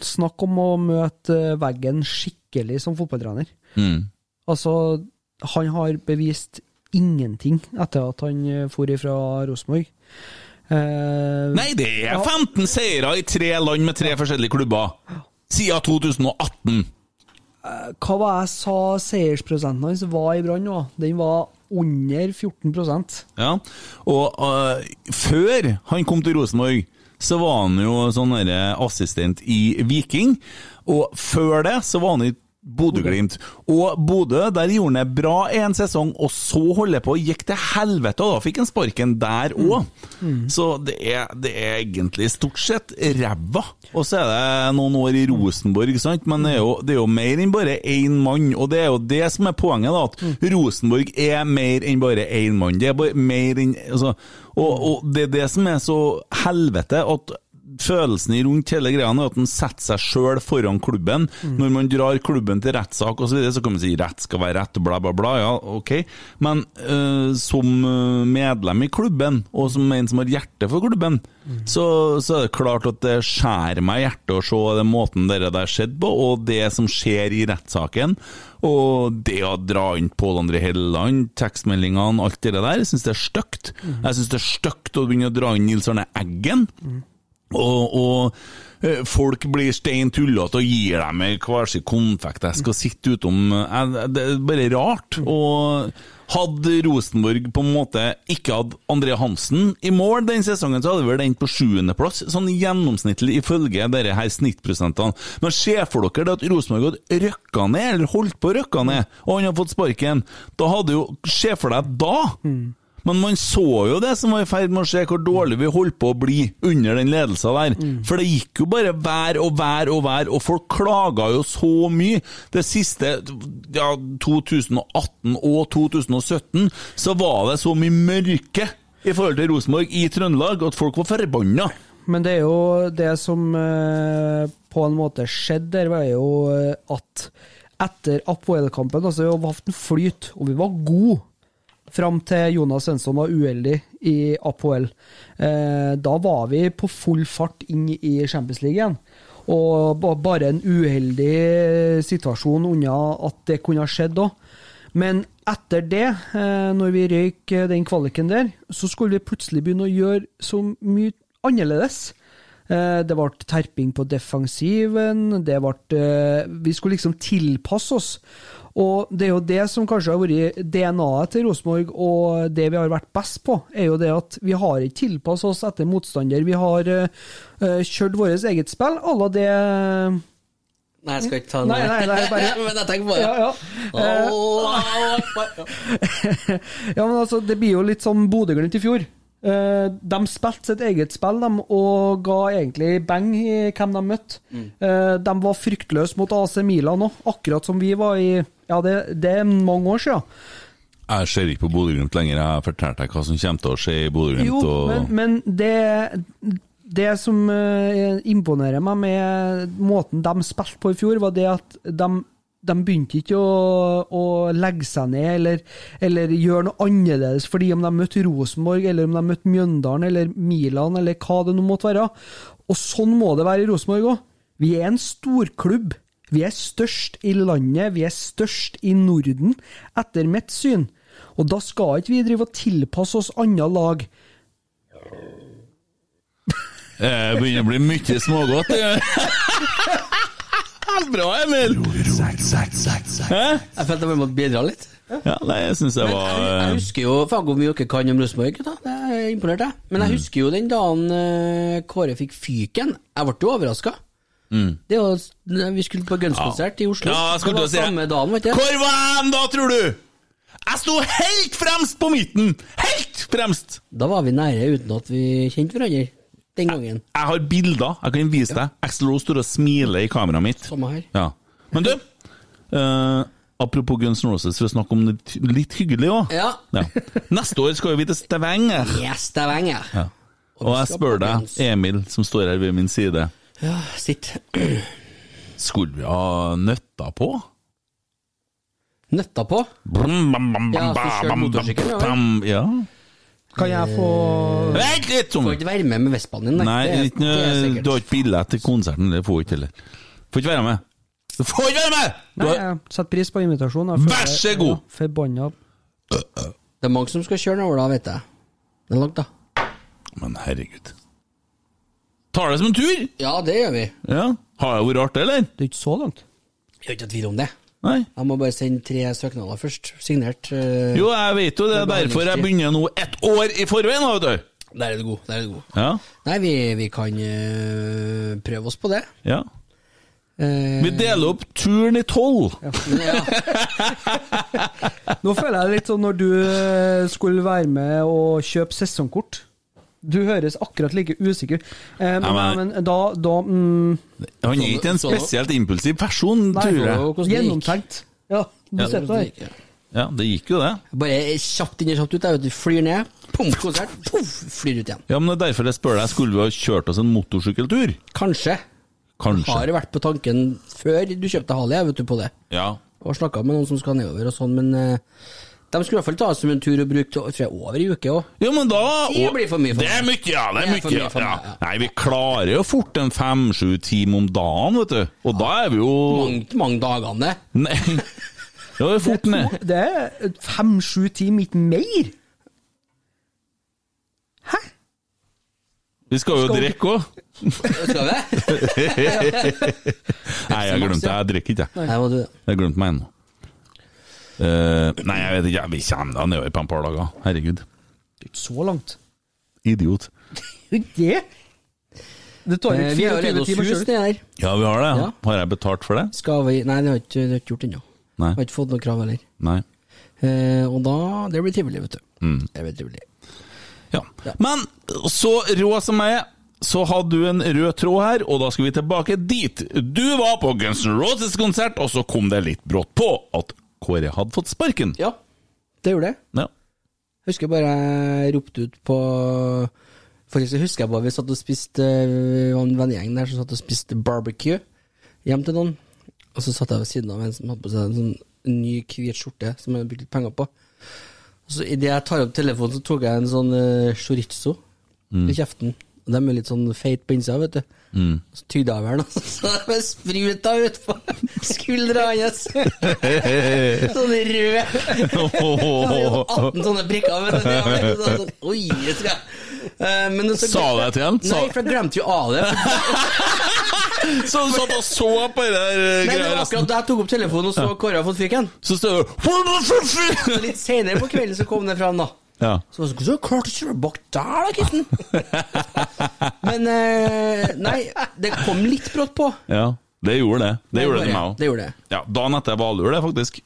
[SPEAKER 5] Snakk om å møte veggen skikkelig som fotballtrener.
[SPEAKER 4] Mm.
[SPEAKER 5] Altså, han har bevist ingenting etter at han eh, for ifra Rosenborg. Eh,
[SPEAKER 4] Nei, det er 15 seire i tre land med tre forskjellige klubber siden 2018.
[SPEAKER 5] hva var jeg sa seiersprosenten hans var i Brann nå? Den var under 14
[SPEAKER 4] Ja, og øh, før han kom til Rosenborg, så var han jo sånn derre assistent i Viking, og før det så var han i Bodø-Glimt. Og Bodø, der gjorde han det bra en sesong, og så holdt det på, gikk til helvete, og da fikk han sparken der òg. Så det er, det er egentlig stort sett ræva. Og så er det eh, noen år i Rosenborg, sant? men det er jo, det er jo mer enn bare én mann. Og det er jo det som er poenget, da, at Rosenborg er mer enn bare én mann. Det er bare mer enn altså, og, og det er det som er så helvete, at følelsen i rundt hele greia er at en setter seg sjøl foran klubben. Når man drar klubben til rettssak osv., så, videre, så kan man si rett skal være rett, og bla, bla, bla. Ja, ok. Men eh, som eh, medlem i klubben, og som en som har hjerte for klubben, så, så er det klart at det skjærer meg i hjertet å se den måten dere der skjedde på, og det som skjer i rettssaken. Og det å dra inn Pål André Helleland, tekstmeldingene, alt det der, jeg syns det er stygt. Jeg syns det er stygt å begynne å dra inn Nils Arne Eggen. Og, og eh, folk blir stein tullete og gir dem ei hver sin konfekteske og sitter utom eh, Det er bare rart. Og hadde Rosenborg på en måte ikke hatt André Hansen i mål den sesongen, så hadde vel den på sjuendeplass, sånn gjennomsnittlig ifølge dere her snittprosentene. Men se for dere det at Rosenborg hadde røkka ned, eller holdt på å røkke ned, og han hadde fått sparken. Da hadde jo Se for deg da! Men man så jo det som var i ferd med å skje, hvor dårlig vi holdt på å bli under den ledelsen der.
[SPEAKER 5] Mm.
[SPEAKER 4] For det gikk jo bare vær og vær og vær, og folk klaga jo så mye. Det siste, ja, 2018 og 2017, så var det så mye mørke i forhold til Rosenborg i Trøndelag at folk var forbanna.
[SPEAKER 5] Men det er jo det som eh, på en måte skjedde der, var jo eh, at etter Apoel-kampen, altså vi har hatt en flyt, og vi var gode fram til Jonas Svensson var uheldig i Apoel. Eh, da var vi på full fart inn i Champions League igjen. Og ba- bare en uheldig situasjon unna at det kunne ha skjedd òg. Men etter det, eh, når vi røyk eh, den kvaliken der, så skulle vi plutselig begynne å gjøre så mye annerledes. Eh, Det ble terping på defensiven, det ble eh, Vi skulle liksom tilpasse oss. Og det er jo det som kanskje har vært DNA-et til Rosenborg, og det vi har vært best på, er jo det at vi har ikke tilpasset oss etter motstander. Vi har eh, eh, kjørt vårt eget spill à la det
[SPEAKER 6] Nei, jeg skal ikke ta den.
[SPEAKER 5] Nei, nei, nei, bare
[SPEAKER 6] Men jeg tenker
[SPEAKER 5] Ja,
[SPEAKER 6] bare
[SPEAKER 5] ja. Eh, ja, men altså, det blir jo litt som Bodø-Glimt i fjor. Eh, de spilte sitt eget spill de, og ga egentlig bang i hvem de møtte. Eh, de var fryktløse mot AC Milan òg, akkurat som vi var i Ja, det, det er mange år siden.
[SPEAKER 4] Jeg ser ikke på Bodø-Glimt lenger, jeg har fortalt deg hva som kommer til å skje i
[SPEAKER 5] Jo,
[SPEAKER 4] Bodø-Glimt.
[SPEAKER 5] men,
[SPEAKER 4] Og...
[SPEAKER 5] men det, det som eh, imponerer meg med måten de spilte på i fjor, var det at de, de begynte ikke å, å legge seg ned eller, eller gjøre noe annerledes fordi om de møtte Rosenborg, eller om de møtte Mjøndalen eller Milan, eller hva det nå måtte være. Og sånn må det være i Rosenborg òg. Vi er en storklubb. Vi er størst i landet, vi er størst i Norden, etter mitt syn. Og da skal ikke vi drive og tilpasse oss andre lag.
[SPEAKER 4] Eh, begynner å bli mye smågodt. det. Bra, Emil!
[SPEAKER 6] Jeg følte jeg bare måtte bidra litt.
[SPEAKER 4] Ja, eh. nei, jeg syns jeg var
[SPEAKER 6] Jeg, jeg husker jo Faen hvor mye dere kan om Rosenborg, gutta. Det er imponert, jeg. Men
[SPEAKER 4] Mm.
[SPEAKER 6] jeg husker jo den dagen eh, Kåre fikk fyken. Jeg ble jo overraska. Det var, vi skulle på Guns-konsert i Oslo.
[SPEAKER 4] Mm. Ja, jeg skulle til
[SPEAKER 6] det
[SPEAKER 4] å
[SPEAKER 6] var
[SPEAKER 4] si det.
[SPEAKER 6] samme dagen, vet du.
[SPEAKER 4] Hvor var jeg da, tror du? Jeg sto helt fremst på midten! Helt fremst!
[SPEAKER 6] Da var vi nære uten at vi kjente hverandre. Den gangen.
[SPEAKER 4] Jeg har bilder, jeg kan vise deg. Axel Rose står og smiler i kameraet mitt.
[SPEAKER 6] Samme her.
[SPEAKER 4] Ja. Men du, eh, apropos Guns N' Roses, for å snakke om det ty- litt hyggelig òg.
[SPEAKER 6] Ja.
[SPEAKER 4] Neste år skal jo vi til Stavanger.
[SPEAKER 6] Yes, Stavanger.
[SPEAKER 4] Ja. Og jeg spør deg, Emil, som står her ved min side,
[SPEAKER 6] Ja, sitt.
[SPEAKER 4] skulle vi ha nøtta på?
[SPEAKER 6] Nøtta på.
[SPEAKER 4] Brum, bam, bam,
[SPEAKER 6] Ja,
[SPEAKER 4] bam,
[SPEAKER 6] så kjører
[SPEAKER 4] bam,
[SPEAKER 6] motorsykkel, ja.
[SPEAKER 4] bam, ja.
[SPEAKER 5] Kan jeg få
[SPEAKER 4] Vent litt, Tommy!
[SPEAKER 6] Får ikke være med med Vespaen din,
[SPEAKER 4] Nei,
[SPEAKER 6] Det-
[SPEAKER 4] ikke, noe-
[SPEAKER 6] det er sikkert.
[SPEAKER 4] du har ikke billett til konserten. Det får du ikke heller. Får ikke være med! Du får ikke være med! Du
[SPEAKER 5] Nei,
[SPEAKER 4] har,
[SPEAKER 5] jeg setter pris på invitasjonen. jeg
[SPEAKER 4] Eh,
[SPEAKER 5] føler-
[SPEAKER 4] Vær så god!
[SPEAKER 5] Ja, Forbanna.
[SPEAKER 6] Det er mange som skal kjøre nedover da, vet jeg. Det er langt, da.
[SPEAKER 4] men herregud. Tar det som en tur!
[SPEAKER 6] Ja, det gjør vi.
[SPEAKER 4] Ja. Har det vært rart, eller?
[SPEAKER 5] Det er ikke så langt.
[SPEAKER 6] Jeg er ikke i tvil om det.
[SPEAKER 4] Nei.
[SPEAKER 6] Jeg må bare sende tre søknader først. Signert. eh,
[SPEAKER 4] Jo, jeg vet jo det. er Derfor jeg begynner nå ett år i forveien, da, vet du.
[SPEAKER 6] Der er du god. Der er du god.
[SPEAKER 4] Ja.
[SPEAKER 6] Nei, vi, vi kan eh, prøve oss på det.
[SPEAKER 4] ja.
[SPEAKER 6] Eh,
[SPEAKER 4] Vi deler opp turen i tolv.
[SPEAKER 6] ja.
[SPEAKER 5] Nå føler jeg litt sånn når du eh, skulle være med og kjøpe sesongkort. Du høres akkurat like usikker eh, men,
[SPEAKER 4] Nei,
[SPEAKER 5] men da, da mm,
[SPEAKER 4] Han er ikke en
[SPEAKER 6] Så- så-
[SPEAKER 4] spesielt impulsiv person, tror jeg.
[SPEAKER 6] så- hvordan det gikk.
[SPEAKER 5] Gjennomtenkt. Ja, du ser på det. her.
[SPEAKER 4] Ja, det gikk jo, det.
[SPEAKER 6] Bare kjapt inn og kjapt ut. Jeg vet, du flyr ned, pum, konsert, puff, flyr ut igjen.
[SPEAKER 4] Ja, men det er derfor jeg spør deg, skulle vi ha kjørt oss en motorsykkeltur?
[SPEAKER 6] Kanskje.
[SPEAKER 4] Kanskje.
[SPEAKER 6] Har vært på tanken før du kjøpte Harley, jeg vet du på det.
[SPEAKER 4] Ja.
[SPEAKER 6] Og snakka med noen som skal nedover og sånn, men eh, de skulle i hvert fall ta oss som en tur og bruke til- tror jeg, over i uke òg.
[SPEAKER 4] Ja, men da
[SPEAKER 6] Det blir for mye for
[SPEAKER 4] Det er
[SPEAKER 6] meg.
[SPEAKER 4] mye, ja. Det er
[SPEAKER 6] Det er for
[SPEAKER 4] mye,
[SPEAKER 6] mye for
[SPEAKER 4] ja.
[SPEAKER 6] meg, ja.
[SPEAKER 4] Nei, vi klarer jo fort en fem-sju timer om dagen, vet du. Og da er vi jo
[SPEAKER 6] Mange, mange dagene.
[SPEAKER 4] Nei. Ja, det er fort ned.
[SPEAKER 5] Det er fem-sju timer, ikke mer. Hæ?
[SPEAKER 4] Vi skal jo drikke òg.
[SPEAKER 6] Skal vi?
[SPEAKER 4] Nei, jeg glemte det. Jeg drikker ikke, jeg.
[SPEAKER 6] Nei, må du det.
[SPEAKER 4] Jeg glemte meg ennå. Eh, nei, jeg vet ikke. Vi kommer da nedover på et par dager. Herregud.
[SPEAKER 5] Det er ikke så langt.
[SPEAKER 4] Idiot.
[SPEAKER 5] Det Det tar jo
[SPEAKER 6] Eh, Vi har jo leid
[SPEAKER 5] 24
[SPEAKER 6] oss
[SPEAKER 5] timer
[SPEAKER 6] hus
[SPEAKER 5] sjøl.
[SPEAKER 6] nedi her.
[SPEAKER 4] Ja, vi har det.
[SPEAKER 6] Ja.
[SPEAKER 4] Har jeg betalt for det?
[SPEAKER 6] Skal vi Nei, det har ikke, det har ikke gjort ennå.
[SPEAKER 4] Nei.
[SPEAKER 6] Har ikke fått noe krav heller.
[SPEAKER 4] Nei.
[SPEAKER 6] Eh, og da Det blir trivelig, vet du. Det blir trivelig.
[SPEAKER 4] Ja. Men så rå som jeg er, så hadde du en rød tråd her, og da skal vi tilbake dit. Du var på Guns N' Roses-konsert, og så kom det litt brått på at Kåre hadde fått sparken.
[SPEAKER 6] Ja, det gjorde det.
[SPEAKER 4] Ja.
[SPEAKER 6] Husker jeg bare jeg ropte ut på Forresten husker jeg bare vi satt og spiste Vi var en vennegjeng der som satt og spiste barbecue hjem til noen. Og så satt jeg ved siden av en som hadde på seg en sånn ny hvit skjorte som jeg hadde brukt litt penger på. Og så Idet jeg tar opp telefonen, så tok jeg en sånn eh, chorizo i kjeften. Og De er litt sånn feite på innsida, vet du. Så tygde jeg over den, og så de spruta ut på skuldra hans. Sånn rød.
[SPEAKER 4] Sa
[SPEAKER 6] 18 sånne prikker. Men det var liksom sånn, oi, det skal jeg. Eh, Men så,
[SPEAKER 4] du det til ham? Sa-
[SPEAKER 6] Nei, for jeg glemte jo av det.
[SPEAKER 4] Så du satt og så på det der eh,
[SPEAKER 6] Nei, det
[SPEAKER 4] greia
[SPEAKER 6] var
[SPEAKER 4] resten?
[SPEAKER 6] akkurat da jeg tok opp telefonen og så Kåre har fått fyken.
[SPEAKER 4] Så står det
[SPEAKER 6] Litt senere på kvelden så kom det fram, da.
[SPEAKER 4] Ja.
[SPEAKER 6] Så var det sånn, hvordan klarte du å kjøre bak der, da, kitten? Men eh, nei, det kom litt brått på.
[SPEAKER 4] ja. Det gjorde det. Det gjorde det Mm. til meg
[SPEAKER 6] Det
[SPEAKER 4] òg.
[SPEAKER 6] gjorde det.
[SPEAKER 4] Ja, dagen etter var allur, det, faktisk.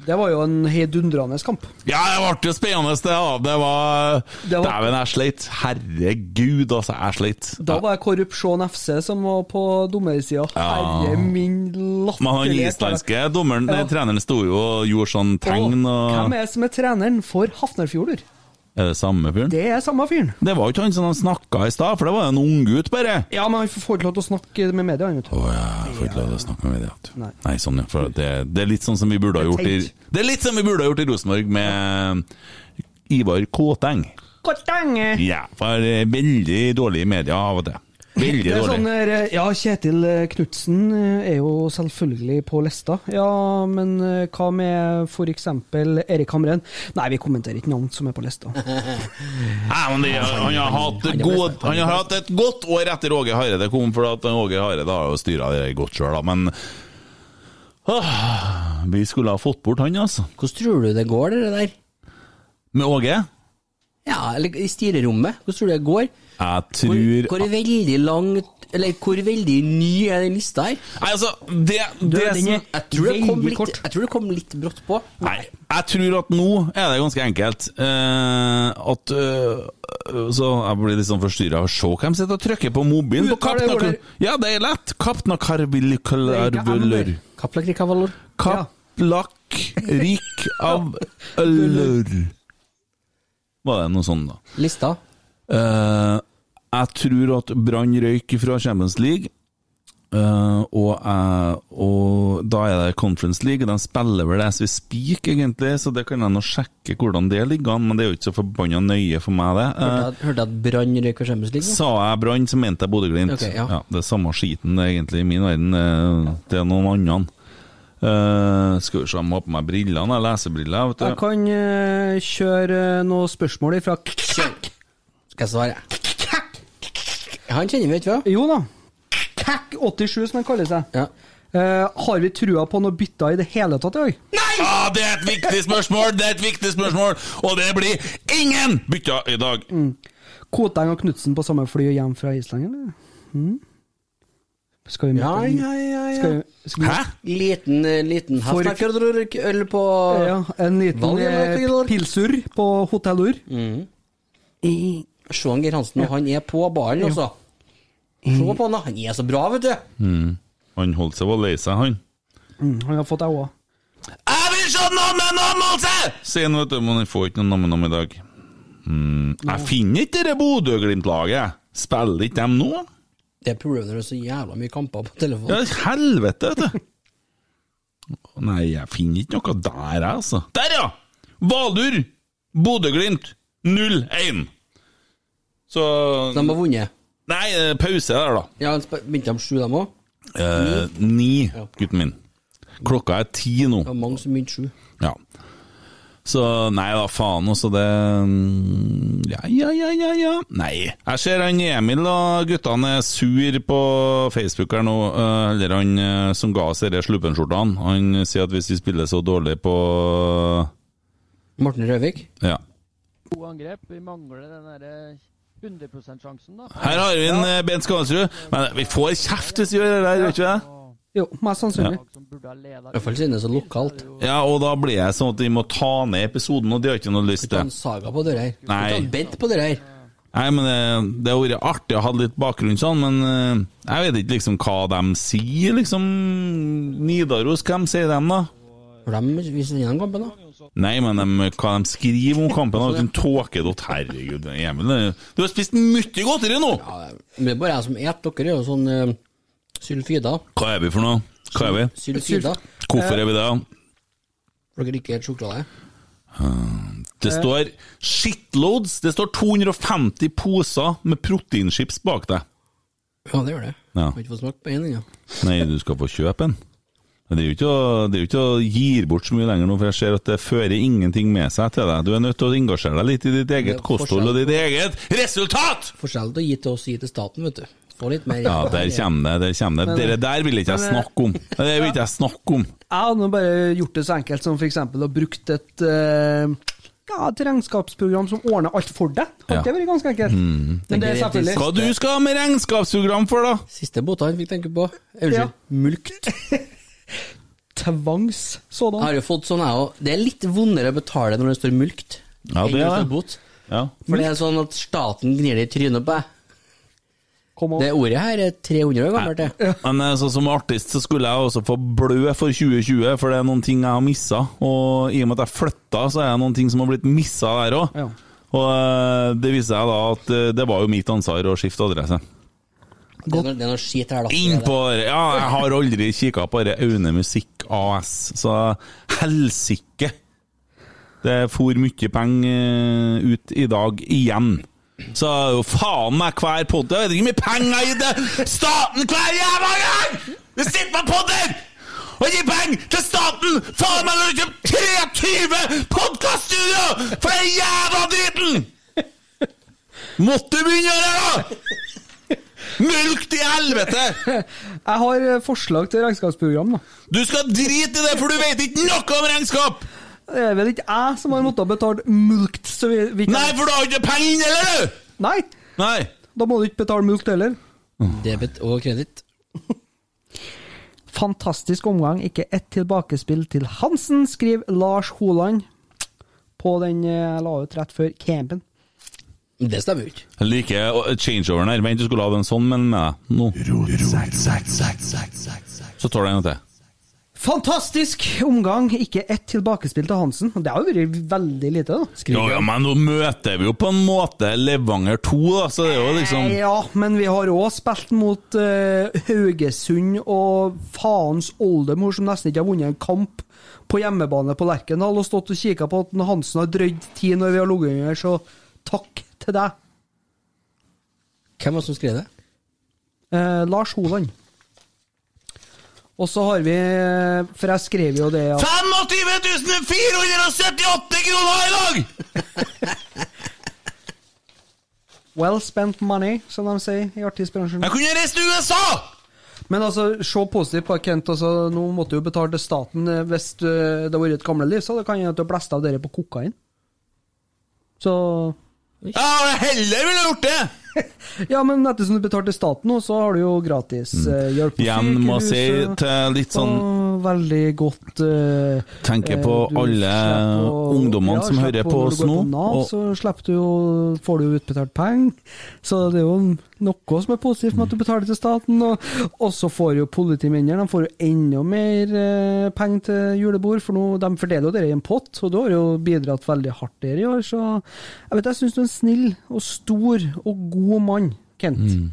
[SPEAKER 5] Det var jo en heidundrende kamp.
[SPEAKER 4] Ja, det ble jo spennende, det. da. Det var
[SPEAKER 5] Det var-
[SPEAKER 4] Dæven, jeg sleit. Herregud, altså, jeg sleit.
[SPEAKER 5] Da var det Korrupsjon FC som var på dommersida.
[SPEAKER 4] Ja.
[SPEAKER 5] Herre min
[SPEAKER 4] Men han
[SPEAKER 5] latterlige
[SPEAKER 4] islandske dommeren, nei,
[SPEAKER 5] Ja.
[SPEAKER 4] treneren sto jo og gjorde sånn tegn
[SPEAKER 5] Og altså. Hvem
[SPEAKER 4] og
[SPEAKER 5] er det som er treneren for Hafnarfjordur?
[SPEAKER 4] Er det samme fyren?
[SPEAKER 5] Det er samme fyren.
[SPEAKER 4] Det var jo ikke han som de snakka i stad, for det var en unggutt, bare.
[SPEAKER 5] Ja, men han får ikke lov til å snakke med media. han, vet du.
[SPEAKER 4] Å ja, jeg får ikke lov til å snakke med det. Nei.
[SPEAKER 5] Nei.
[SPEAKER 4] Nei, sånn, ja. For det, det er litt sånn som vi burde ha gjort i
[SPEAKER 5] Tenkt.
[SPEAKER 4] Det er litt som vi burde ha gjort i Rosenborg med eh, Ivar Kåteng.
[SPEAKER 5] Kortenge!
[SPEAKER 4] Ja, for det er veldig dårlig i media av og til. Veldig
[SPEAKER 5] Det er
[SPEAKER 4] dårlig.
[SPEAKER 5] sånn der, ja, Kjetil eh, Knutsen eh, er jo selvfølgelig på lista. Ja, men eh, hva med for eksempel Erik Hamren? Nei, vi kommenterer ikke navn som er på lista.
[SPEAKER 4] Nei, men det, han, har hatt et god, han har hatt et godt år etter Åge Hareide kom, for at Åge Hareide har jo styra det godt sjøl, da, men Åh, Vi skulle ha fått bort han, altså.
[SPEAKER 6] Hvordan tror du det går, det der?
[SPEAKER 4] Med Åge?
[SPEAKER 6] Ja, eller i styrerommet. Hvordan tror du det går?
[SPEAKER 4] Jeg
[SPEAKER 6] Hvor,
[SPEAKER 4] tror
[SPEAKER 6] hvor veldig langt Eller hvor veldig ny er den lista her?
[SPEAKER 4] Nei, altså, det, det
[SPEAKER 5] den
[SPEAKER 4] som
[SPEAKER 5] er-
[SPEAKER 6] sånn, Jeg tror, det kom
[SPEAKER 5] Veldig
[SPEAKER 6] litt,
[SPEAKER 5] kort.
[SPEAKER 6] jeg tror det kom litt brått på.
[SPEAKER 4] Nei, jeg tror at nå er det ganske enkelt eh, at eh, Så jeg blir litt sånn forstyrra. Se hvem sitter og trykker på mobilen på
[SPEAKER 5] Uttale
[SPEAKER 4] Kapna
[SPEAKER 5] ordet.
[SPEAKER 4] Ja, det er lett! Kapna
[SPEAKER 5] Det er ikke M
[SPEAKER 4] Karvilkarvulur.
[SPEAKER 5] der.
[SPEAKER 6] Kaplakrikavalor.
[SPEAKER 4] Kaplakrik av ølur. Var det noe sånn, da?
[SPEAKER 6] Lista.
[SPEAKER 4] Eh, jeg tror at Brann røyk fra Champions League. eh, og, jeg- og da er det Conference League, og de spiller vel det vi speak, egentlig, så det kan jeg nå sjekke hvordan det ligger an, men det er jo ikke så forbanna nøye for meg, det. Eh,
[SPEAKER 6] Hørte jeg- hørte jeg at Brann røyk og skjemmes litt?
[SPEAKER 4] Sa jeg Brann, så mente jeg Bodø-Glimt.
[SPEAKER 6] Ok,
[SPEAKER 4] ja.
[SPEAKER 6] ja.
[SPEAKER 4] det er samme skiten det er egentlig i min verden. eh, Det er noen annen. Eh, skal vi se, jeg må ha på meg brillene. Jeg lesebriller, vet
[SPEAKER 5] Jeg
[SPEAKER 4] du.
[SPEAKER 5] kan eh, kjøre noen spørsmål ifra
[SPEAKER 6] Skal jeg svare? Han kjenner vi, ikke hva?
[SPEAKER 5] Jo da. Kakk87, som han kaller seg.
[SPEAKER 6] Ja.
[SPEAKER 5] Eh, har vi trua på noe bytter i det hele tatt i dag?
[SPEAKER 4] Ja, det er et viktig spørsmål! Det er et viktig spørsmål! Og det blir ingen bytter i dag!
[SPEAKER 5] Koteng og Knutsen på samme fly og hjem fra Island, eller? Mm. Skal vi møte
[SPEAKER 6] Ja, ja, ja, ja.
[SPEAKER 5] Skal vi, skal vi,
[SPEAKER 4] Hæ?
[SPEAKER 6] Liten, eh, liten
[SPEAKER 5] For-
[SPEAKER 6] Hafnarfjordøl på
[SPEAKER 5] Ja, en liten
[SPEAKER 6] Valg, eller,
[SPEAKER 5] eh,
[SPEAKER 6] Kvidor?
[SPEAKER 5] pilsur på Hotell Ur.
[SPEAKER 6] Mm. Se han Geir Hansen, og han er på ballen, altså. Se
[SPEAKER 5] Mm.
[SPEAKER 6] på han, da. Han er så bra, vet du.
[SPEAKER 4] Han holdt seg på lei seg, han.
[SPEAKER 5] Mm, han har fått jeg òg.
[SPEAKER 4] Jeg vil se namme-nammelse! Sier han, vet du, men han får ikke noe namme-nam i dag. Mm, jeg finner ikke det Bodø-Glimt-laget. Spiller ikke dem nå?
[SPEAKER 6] Det er problemet når det er så jævla mye kamper på
[SPEAKER 4] Ja,
[SPEAKER 6] telefonen.
[SPEAKER 4] helvete, vet du. Nei, jeg finner ikke noe der, jeg, altså. Der, ja! Valur, Bodø-Glimt, 0-1. Så
[SPEAKER 6] De har vunnet.
[SPEAKER 4] Nei, eh, pause der, da.
[SPEAKER 6] Ja, han sp- Begynte de sju, dem òg?
[SPEAKER 4] Eh, ni, gutten min. Klokka er ti nå.
[SPEAKER 6] Det var mange som begynte sju.
[SPEAKER 4] Ja. Så nei da, faen også, det mm, Ja, ja, ja, ja, ja. Nei. Jeg ser han Emil og guttene er sur på Facebook her nå, eh, eller han eh, som ga oss disse slubbenskjortene. Han sier at hvis vi spiller så dårlig på eh,
[SPEAKER 6] Morten Røvik.
[SPEAKER 4] Ja.
[SPEAKER 10] to angrep. Vi mangler den derre 100 %-sjansen, da.
[SPEAKER 4] Her har vi en eh, Bent Skansrud. Men vi får kjeft hvis vi gjør det der, gjør vi ikke det?
[SPEAKER 5] Jo, mest sannsynlig.
[SPEAKER 10] Lag som burde ha leda
[SPEAKER 6] I hvert fall siden det er så lokalt.
[SPEAKER 4] Ja, og da blir jeg sånn at vi må ta ned episoden, og det har jeg ikke noe lyst
[SPEAKER 6] Ta en
[SPEAKER 4] til.
[SPEAKER 6] saga på døra her.
[SPEAKER 4] Nei.
[SPEAKER 6] Ta en Bent på døra her.
[SPEAKER 4] Nei, men eh, det, det har vært artig å ha litt bakgrunn sånn, men eh, jeg vet ikke liksom hva de sier, liksom. Nidaros, hvem sier dem da?
[SPEAKER 6] For dem viser den gjennom kampen, da.
[SPEAKER 4] Nei, men dem- hva de skriver om kampen, har vært en tåkedott. Herregud, Emil, det- du har spist mye godteri nå!
[SPEAKER 6] Men det er bare jeg som et. Dere er jo sånn eh, sylfida.
[SPEAKER 4] Hva er vi for noe? Hva er vi?
[SPEAKER 6] Sylfida.
[SPEAKER 4] Hvorfor er vi det?
[SPEAKER 6] For dere ikke helt sjokolade.
[SPEAKER 4] Det står shitloads, det står 250 poser med proteinchips bak deg.
[SPEAKER 6] Ja, det gjør det.
[SPEAKER 4] Ja.
[SPEAKER 6] Har ikke fått smakt på én ennå.
[SPEAKER 4] Nei, du skal få kjøpe en. Men det er jo ikke å, det er jo ikke å gi bort så mye lenger nå, for jeg ser at det fører ingenting med seg til deg. Du er nødt til å engasjere deg litt i ditt eget
[SPEAKER 6] Det er
[SPEAKER 4] kosthold og ditt eget resultat!
[SPEAKER 6] Forskjell til å gi til oss, gi til staten, vet du. Få litt mer.
[SPEAKER 4] Ja, der kommer det. der kommer Det Det der vil ikke jeg snakke om. Det der vil ikke jeg snakke om.
[SPEAKER 5] Jeg hadde nå bare gjort det så enkelt som f.eks. å brukt et eh, ja, et regnskapsprogram som ordner alt for deg. Hadde
[SPEAKER 4] Ja.
[SPEAKER 5] det vært ganske enkelt? Men
[SPEAKER 6] Mm.
[SPEAKER 5] det er
[SPEAKER 6] Tenker jeg
[SPEAKER 5] selvfølgelig
[SPEAKER 4] Hva du skal ha med regnskapsprogram for, da?
[SPEAKER 6] Siste båta han fikk tenke på. Eh, Unnskyld.
[SPEAKER 5] Ja.
[SPEAKER 6] Mulkt.
[SPEAKER 5] tvangs
[SPEAKER 6] Jeg
[SPEAKER 5] sådan.
[SPEAKER 6] har jo fått sånn, jeg òg. Det er litt vondere å betale når det står mulkt.
[SPEAKER 4] Ja,
[SPEAKER 6] enn
[SPEAKER 4] det
[SPEAKER 6] når
[SPEAKER 4] er
[SPEAKER 6] står
[SPEAKER 4] det.
[SPEAKER 6] bot.
[SPEAKER 4] Ja.
[SPEAKER 6] For det er sånn at staten gnir det i trynet på deg.
[SPEAKER 5] Kom og
[SPEAKER 6] Det ordet her er 300 år gammelt, det.
[SPEAKER 4] Men eh, så som artist så skulle jeg også få blø for 2020, for det er noen ting jeg har missa. Og i og med at jeg flytta, så er det noen ting som har blitt missa der òg.
[SPEAKER 5] Ja.
[SPEAKER 4] Og eh, det viser seg da at eh, det var jo mitt ansvar å skifte adresse.
[SPEAKER 6] Det er noe, det er noe skit her, da.
[SPEAKER 4] Inn på det! Ja, jeg har aldri kikka på det Aune Musikk AS, så helsike! Det for mye penger ut i dag igjen. Så jo faen meg hver podd Jeg vet ikke hvor mye penger jeg har gitt til staten hver jævla gang! Det sitter med podder! Og gir penger til staten! Faen meg, når du kjøper 23 podkaststudio for den jævla driten! Måtte begynne å gjøre det, da! Mulk til helvete!
[SPEAKER 5] Jeg har eh, forslag til regnskapsprogram, da.
[SPEAKER 4] Du skal drite i det, for du vet ikke noe om regnskap!
[SPEAKER 5] Det er vel ikke jeg som har måttet betale mulkt, så vi, vi
[SPEAKER 4] Nei, for du har ikke penger inne, eller du?
[SPEAKER 5] Nei!
[SPEAKER 4] Nei.
[SPEAKER 5] Da må du ikke betale mulkt heller.
[SPEAKER 6] Debit og kreditt.
[SPEAKER 5] Fantastisk omgang, ikke ett tilbakespill til Hansen, skriver Lars Holand på den eh, jeg la ut rett før campen.
[SPEAKER 6] Men Det stemmer jo ikke.
[SPEAKER 4] Jeg liker å- changeoveren her. Vent, du skulle ha den sånn, men med deg nå. Så tar du en gang til.
[SPEAKER 5] Fantastisk omgang, ikke ett tilbakespill til Hansen. Det har jo vært veldig lite, da.
[SPEAKER 4] Jo, ja, men nå møter vi jo på en måte Levanger 2, da, så det er jo liksom
[SPEAKER 5] Eh, Ja, men vi har òg spilt mot eh, Haugesund og faens oldemor, som nesten ikke har vunnet en kamp på hjemmebane på Lerkendal, og stått og kikka på at Hansen har drøyd ti når vi har ligget under, så takk til deg,
[SPEAKER 6] Hvem var det som skrev det?
[SPEAKER 5] eh, Lars Holand. Og så har vi eh, For jeg skrev jo det at
[SPEAKER 4] 25 478 kroner i dag!
[SPEAKER 5] Well spent money, som de sier i artistbransjen.
[SPEAKER 4] Jeg kunne reist til USA!
[SPEAKER 5] Men altså, se positivt på Kent. altså, Nå måtte du jo betale til staten eh, hvis eh, det har vært et gamle liv, så det kan hende at du har blæsta av dere på kokain. Så
[SPEAKER 4] Ja, jeg heller ville gjort det!
[SPEAKER 5] Ja, men ettersom du betalte til staten nå, så har du jo gratis eh, hjelp på
[SPEAKER 4] Mm. Igjen må jeg si
[SPEAKER 5] sykehuset,
[SPEAKER 4] til litt sånn
[SPEAKER 5] og veldig godt eh,
[SPEAKER 4] Tenker
[SPEAKER 5] eh,
[SPEAKER 4] på
[SPEAKER 5] du
[SPEAKER 4] alle
[SPEAKER 5] slipper å-
[SPEAKER 4] ungdommene som
[SPEAKER 5] slipper
[SPEAKER 4] hører
[SPEAKER 5] å-
[SPEAKER 4] på
[SPEAKER 5] når du
[SPEAKER 4] oss
[SPEAKER 5] går
[SPEAKER 4] nå,
[SPEAKER 5] Nav,
[SPEAKER 4] og-
[SPEAKER 5] Så slipper du jo, får du jo utbetalt penger. Så det er jo noe som er positivt med at du betaler til staten. Og, og så får jo politimennene de får jo enda mer eh, penger til julebord, for nå, de fordeler jo det i en pott. Og du har jo bidratt veldig hardt der i år, så jeg vet jeg syns du er en snill og stor og god mann, Kent.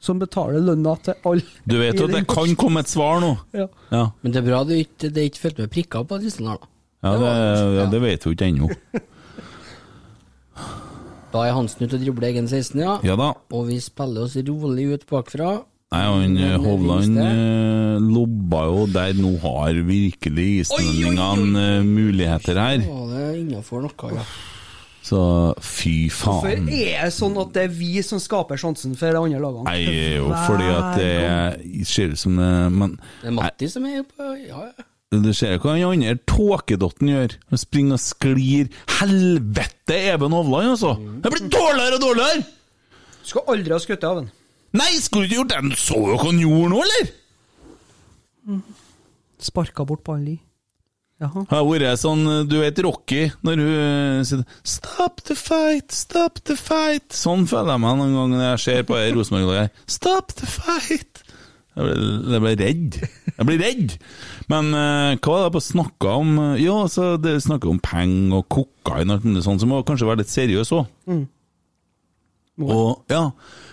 [SPEAKER 5] Som betaler lønna til alle.
[SPEAKER 4] Mm. Du vet
[SPEAKER 5] i
[SPEAKER 4] jo at
[SPEAKER 5] den
[SPEAKER 4] det kan komme et svar nå.
[SPEAKER 5] Ja.
[SPEAKER 4] Ja,
[SPEAKER 6] Men det er bra det ikke, det ikke fulgte med prikker på listen her, da.
[SPEAKER 4] ja, det, ja det vet vi ikke ennå.
[SPEAKER 6] Da er Hansen ute og dribler egen 16, ja.
[SPEAKER 4] Ja da.
[SPEAKER 6] Og vi spiller oss rolig ut bakfra.
[SPEAKER 4] Nei, han eh,
[SPEAKER 6] Men,
[SPEAKER 4] Hovland
[SPEAKER 6] Ringstad?
[SPEAKER 4] eh, lobba jo der nå har virkelig islendingene eh, muligheter her.
[SPEAKER 6] Var det innafor noe, ja.
[SPEAKER 4] Så fy
[SPEAKER 5] For
[SPEAKER 4] faen.
[SPEAKER 5] er det sånn at det er vi som skaper sjansen for de andre lagene?
[SPEAKER 4] Nei, det er jo fordi at det ser ut som det Men
[SPEAKER 6] Det er Matti som er på Ja, ja.
[SPEAKER 4] du ser jo hva den andre tåkedotten gjør. Han springer og sklir. Helvete, Even Hovland, altså! Det blir dårligere og dårligere!
[SPEAKER 5] Skal aldri ha skutt av den.
[SPEAKER 4] Nei, skulle du ikke gjort det? Du så jo hva han gjorde nå, eller?
[SPEAKER 5] Sparka bort ballen i. Jaha.
[SPEAKER 4] Har vært sånn, du vet Rocky, når hun eh, sier 'Stop the fight, stop the fight'. Sånn føler jeg meg noen ganger når jeg ser på det Rosenborg-laget. 'Stop the fight'. Jeg ble, jeg ble redd. Jeg blir redd. Men eh, hva var det på snakka om? Ja, altså, det snakka om penger og kokain og alt mulig sånt, så må kanskje være litt seriøs òg. Og ja,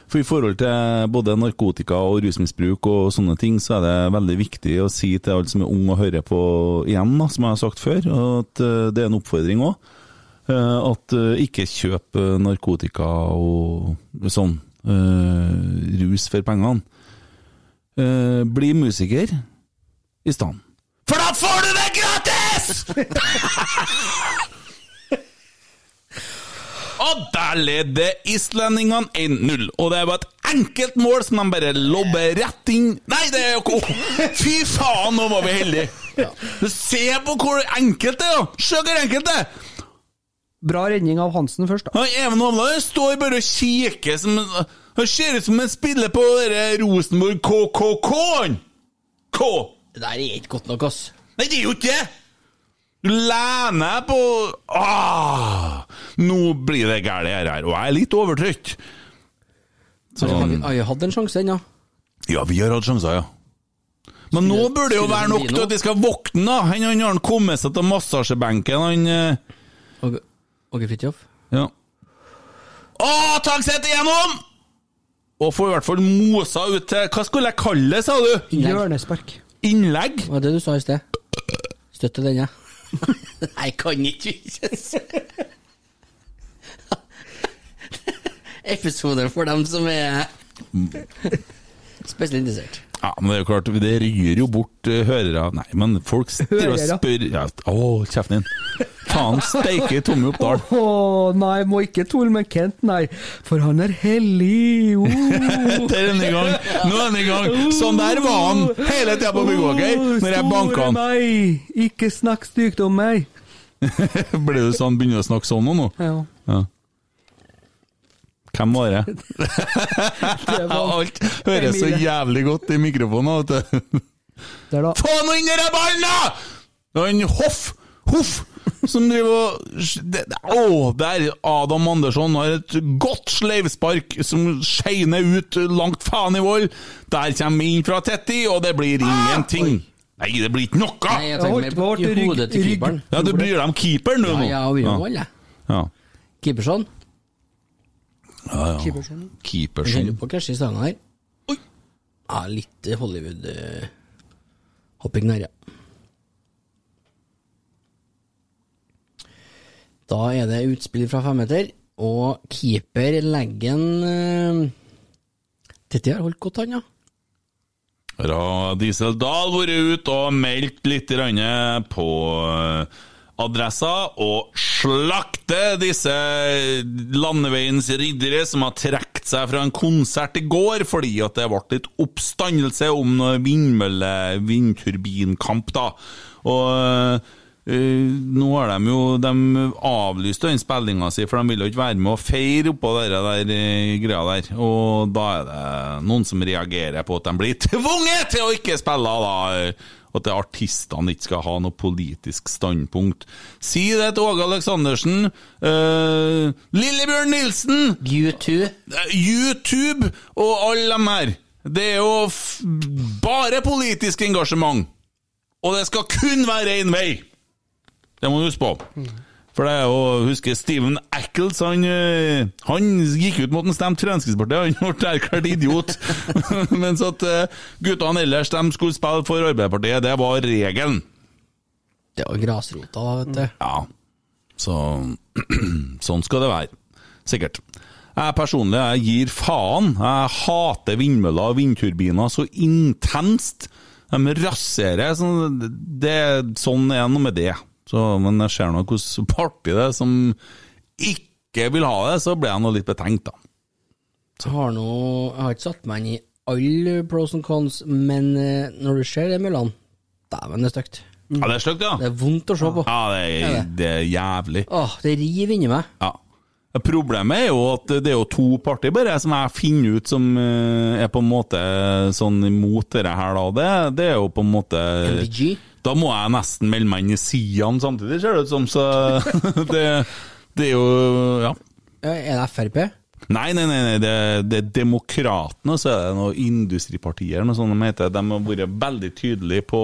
[SPEAKER 4] for i forhold til både narkotika og rusmisbruk og sånne ting, så er det veldig viktig å si til alle som er unge og hører på igjen, da, som jeg har sagt før, at eh, det er en oppfordring òg. At eh, ikke kjøp eh, narkotika og sånn. eh, rus for pengene. Eh, bli musiker i stedet. For da får du det gratis! Og der leder islendingene 1-0. Og det var et enkelt mål som de bare lobber rett inn Nei, det er jo ikke Fy faen, nå var vi heldige! Se på hvor enkelt det er! da. Se hvor enkelt det er!
[SPEAKER 5] Bra redning av Hansen først, da.
[SPEAKER 4] Han Even Hovland står bare og kikker som Han ser ut som han spiller på dere Rosenborg KKK! han. K!
[SPEAKER 6] Det der er ikke godt nok, ass.
[SPEAKER 4] Nei, det er jo ikke det! Du lener deg på ah, Nå blir det galt her, her, og jeg er litt overtrøtt. Sånn.
[SPEAKER 6] Så har vi har hatt en sjanse ennå.
[SPEAKER 4] Ja, vi har hatt sjanser, ja. Men nå burde det jo være nok til at de skal våkne, da! Han han har kommet seg til massasjebenken, han eh,
[SPEAKER 6] Åge Åge Fridtjof.
[SPEAKER 4] Ja. Å, Tagseth igjennom! Og får i hvert fall mosa ut til Hva skulle jeg kalle det, sa du?
[SPEAKER 5] Hjørnespark.
[SPEAKER 4] Innlegg?
[SPEAKER 6] Hva er det du sa i sted? Støtte den, ja. Nei, kan ikke vises. Episode for dem som er spesielt interessert.
[SPEAKER 4] Ja, men det er jo klart, det ryr jo bort eh, hørere Nei, men folk sitter og
[SPEAKER 5] Hørere.
[SPEAKER 4] spør ja, Å, kjeften din! Faen steike Tommy Oppdal!
[SPEAKER 5] Å nei, må ikke tulle med Kent, nei. For han er hellig. Oh.
[SPEAKER 4] Nå er den i gang! Nå er den i gang! Sånn der var han hele tida på Byggvåger,
[SPEAKER 5] Oh,
[SPEAKER 4] når jeg banka han!
[SPEAKER 5] Meg. Ikke snakk stygt om meg.
[SPEAKER 4] Ble du sånn, begynner du å snakke sånn nå? nå?
[SPEAKER 5] Ja,
[SPEAKER 4] Ja. Hvem var det?
[SPEAKER 5] det var
[SPEAKER 4] Alt høres så
[SPEAKER 5] Emilie.
[SPEAKER 4] jævlig godt i mikrofonen. Vet du.
[SPEAKER 5] der, da.
[SPEAKER 4] Få nå inn den ballen, da! Det er en Hoff Hoff som driver og det- det- Å, der Adam Andersson har et godt sleivspark som skeiner ut langt faen i vold. Der kommer vi inn fra Tetti, og det blir ingenting. Nei, det blir ikke
[SPEAKER 6] Nei,
[SPEAKER 4] noe!
[SPEAKER 6] jeg
[SPEAKER 5] Jeg
[SPEAKER 6] tenker
[SPEAKER 5] holdt på å
[SPEAKER 6] meg
[SPEAKER 5] bli
[SPEAKER 6] i
[SPEAKER 5] rygg-
[SPEAKER 6] hodet til
[SPEAKER 5] rygg-
[SPEAKER 6] keeperen.
[SPEAKER 4] Ja, Du bryr deg om keeperen, du,
[SPEAKER 6] Ja,
[SPEAKER 4] nå?
[SPEAKER 6] ja, vi gjør vel det.
[SPEAKER 4] ja.
[SPEAKER 6] Keeperson.
[SPEAKER 5] Keepersen.
[SPEAKER 6] Vi holder
[SPEAKER 4] Keepersen.
[SPEAKER 6] på å krasje i stangen her. Oi! Ja, litt eh, Hollywood-hopping der, ja. Da er det utspill fra femmeter, og keeper legger en eh, Dette har holdt godt, han, ja.
[SPEAKER 4] Ra Diesel Dahl vært ute og meldt litt grann på eh, adressa, og slakte disse landeveiens riddere som har trukket seg fra en konsert i går fordi at det ble litt oppstandelse om noe vindmølle, vindturbinkamp, da. Og eh, nå har de jo De avlyste den spillinga si, for de ville jo ikke være med å feire oppå det der eh, greia der. Og da er det noen som reagerer på at de blir tvunget til å ikke spille, da. eh, At det er artistene ikke skal ha noe politisk standpunkt. Si det til Åge Aleksandersen. eh, Lillebjørn Nilsen!
[SPEAKER 6] U2.
[SPEAKER 4] YouTube og alle dem her. Det er jo f bare politisk engasjement. Og det skal kun være én vei! Det må du huske på. For det er jo, husker Steven Ackles, han, eh, han gikk ut mot en stemt Fremskrittspartiet, han ble erklært idiot. Mens at eh, guttene ellers, de skulle spille for Arbeiderpartiet, det var regelen.
[SPEAKER 6] Det var grasrota, da, vet du.
[SPEAKER 4] Ja, så sånn skal det være. Sikkert. Jeg personlig jeg gir faen. Jeg hater vindmøller og vindturbiner så intenst. De raserer. Sånn, det, sånn er det noe med det. Så, men jeg ser nå hvordan parti det er som ikke vil ha det, så ble jeg nå litt betenkt, da.
[SPEAKER 6] Jeg har, nå, jeg har ikke satt meg inn i alle pros and cons, men eh, når du ser de møllene Dæven, det er stygt.
[SPEAKER 4] Ja, Mm. det er stygt, ja.
[SPEAKER 6] Det er vondt å se på.
[SPEAKER 4] Ja, det er, det er jævlig.
[SPEAKER 6] Åh, det river inni meg.
[SPEAKER 4] Ja. Problemet er jo at det er jo to partier bare som jeg finner ut som eh, er på en måte sånn imot dette her, da. Det, det er jo på en måte
[SPEAKER 6] MDG.
[SPEAKER 4] Da må jeg nesten melde meg inn i Sian samtidig, ser det ut som, så det, det er jo Ja.
[SPEAKER 6] Ja, Eh, Er det Frp?
[SPEAKER 4] Nei, nei, nei, nei. Det, det er Demokratene, og så er det noen industripartier eller noe sånt de heter. De har vært veldig tydelige på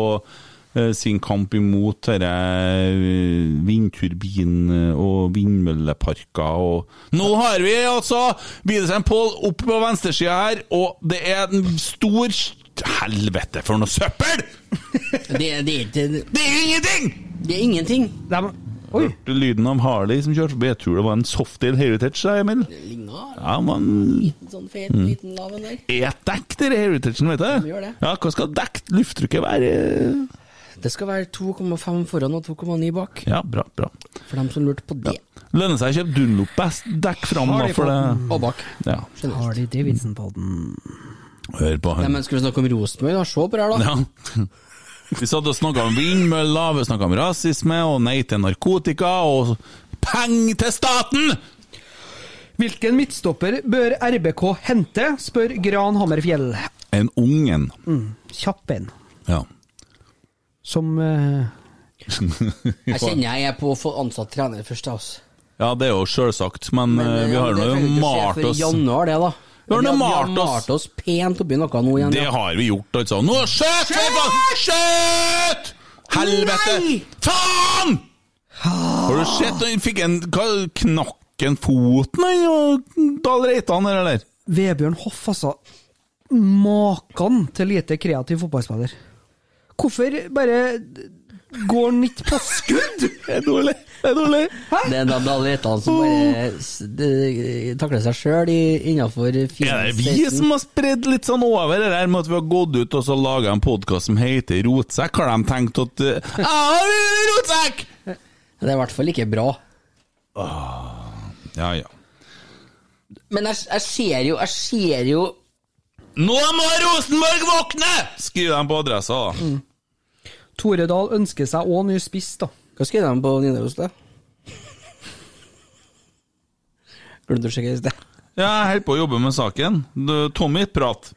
[SPEAKER 4] eh, sin kamp imot dette eh, vindturbin- eh, og vindmølleparker og Nå har vi altså Widersen Pål oppe på venstresida her, og det er en stor Helvete, for noe søppel!
[SPEAKER 6] Det, er- det, er ikke-
[SPEAKER 4] Det er ingenting!
[SPEAKER 6] det er ingenting.
[SPEAKER 5] De, oi!
[SPEAKER 4] Hørte lyden av Harley som kjørte forbi. Jeg tror det var en softail heritage, da, Emil.
[SPEAKER 6] Ligner
[SPEAKER 4] Ja, man
[SPEAKER 6] sånn fet,
[SPEAKER 4] Mm.
[SPEAKER 6] liten lav en der.
[SPEAKER 4] E-dekk, dere heritagen, vet du.
[SPEAKER 6] De gjør det.
[SPEAKER 4] Ja, hva skal dekt lufttrykket være?
[SPEAKER 6] Det skal være 2,5 foran og 2,9 bak,
[SPEAKER 4] Ja, bra, bra.
[SPEAKER 6] for dem som lurte på det.
[SPEAKER 4] Lønner seg å kjøpe Dunlop best dekk fram, da, for det
[SPEAKER 6] Og bak.
[SPEAKER 4] Ja,
[SPEAKER 6] Generelt.
[SPEAKER 5] Harley Davidson-podden.
[SPEAKER 4] hør på
[SPEAKER 6] Nei,
[SPEAKER 4] han.
[SPEAKER 6] men skal vi snakke om Rosenborg, da? Se på det her, da.
[SPEAKER 4] Ja. Vi satt og snakka om vindmøller, vi snakka om rasisme, og nei til narkotika, og penger til staten!
[SPEAKER 5] Hvilken midtstopper bør RBK hente, spør Gran Hammerfjell.
[SPEAKER 4] En ungen.
[SPEAKER 5] Kjapp en.
[SPEAKER 4] Ja.
[SPEAKER 5] Som eh,
[SPEAKER 6] Jeg kjenner jeg er på å få ansatt trener først, jeg, altså.
[SPEAKER 4] ja, det er jo sjølsagt, men, eh, vi har
[SPEAKER 6] det
[SPEAKER 4] nå
[SPEAKER 6] trenger ikke skje
[SPEAKER 4] malt
[SPEAKER 6] før i
[SPEAKER 4] oss
[SPEAKER 6] januar, det, da.
[SPEAKER 4] Vi har nå malt
[SPEAKER 6] Vi har
[SPEAKER 4] oss.
[SPEAKER 6] malt oss pent oppi noe nå igjen.
[SPEAKER 4] Det
[SPEAKER 6] ja.
[SPEAKER 4] har vi gjort, altså. Nå skjøt vi på Skjøt! Helvete!
[SPEAKER 6] Nei!
[SPEAKER 4] Faen! Har du sett han fikk en hva, Knakk en foten, han og Dahl Reitan her, eller?
[SPEAKER 5] Vebjørn Hoff, altså. Maken til lite kreativ fotballspiller. Hvorfor bare går han ikke på skudd?!
[SPEAKER 4] Det er dårlig. Det er dårlig.
[SPEAKER 6] Det er da Dahl Reitan som bare s- det- eh, takler seg sjøl innafor
[SPEAKER 4] Er det vi som har spredd litt sånn over det der med at vi har gått ut og så laga en podkast som heter Rotsekk? Har de tenkt at uh, «Ah, Rotsekk!
[SPEAKER 6] Det er i hvert fall ikke bra.
[SPEAKER 4] Ja, ja.
[SPEAKER 6] Men jeg, jeg ser jo Jeg ser jo
[SPEAKER 4] Nå må Rosenborg våkne! Skriver de på adressa, da.
[SPEAKER 5] Tore Dahl ønsker seg òg ny spiss, da.
[SPEAKER 6] Hva skrev de på Nidaros, da? Glemte å sjekke i sted.
[SPEAKER 4] Ja, jeg holder på å jobbe med saken. Du, Tommy, prat.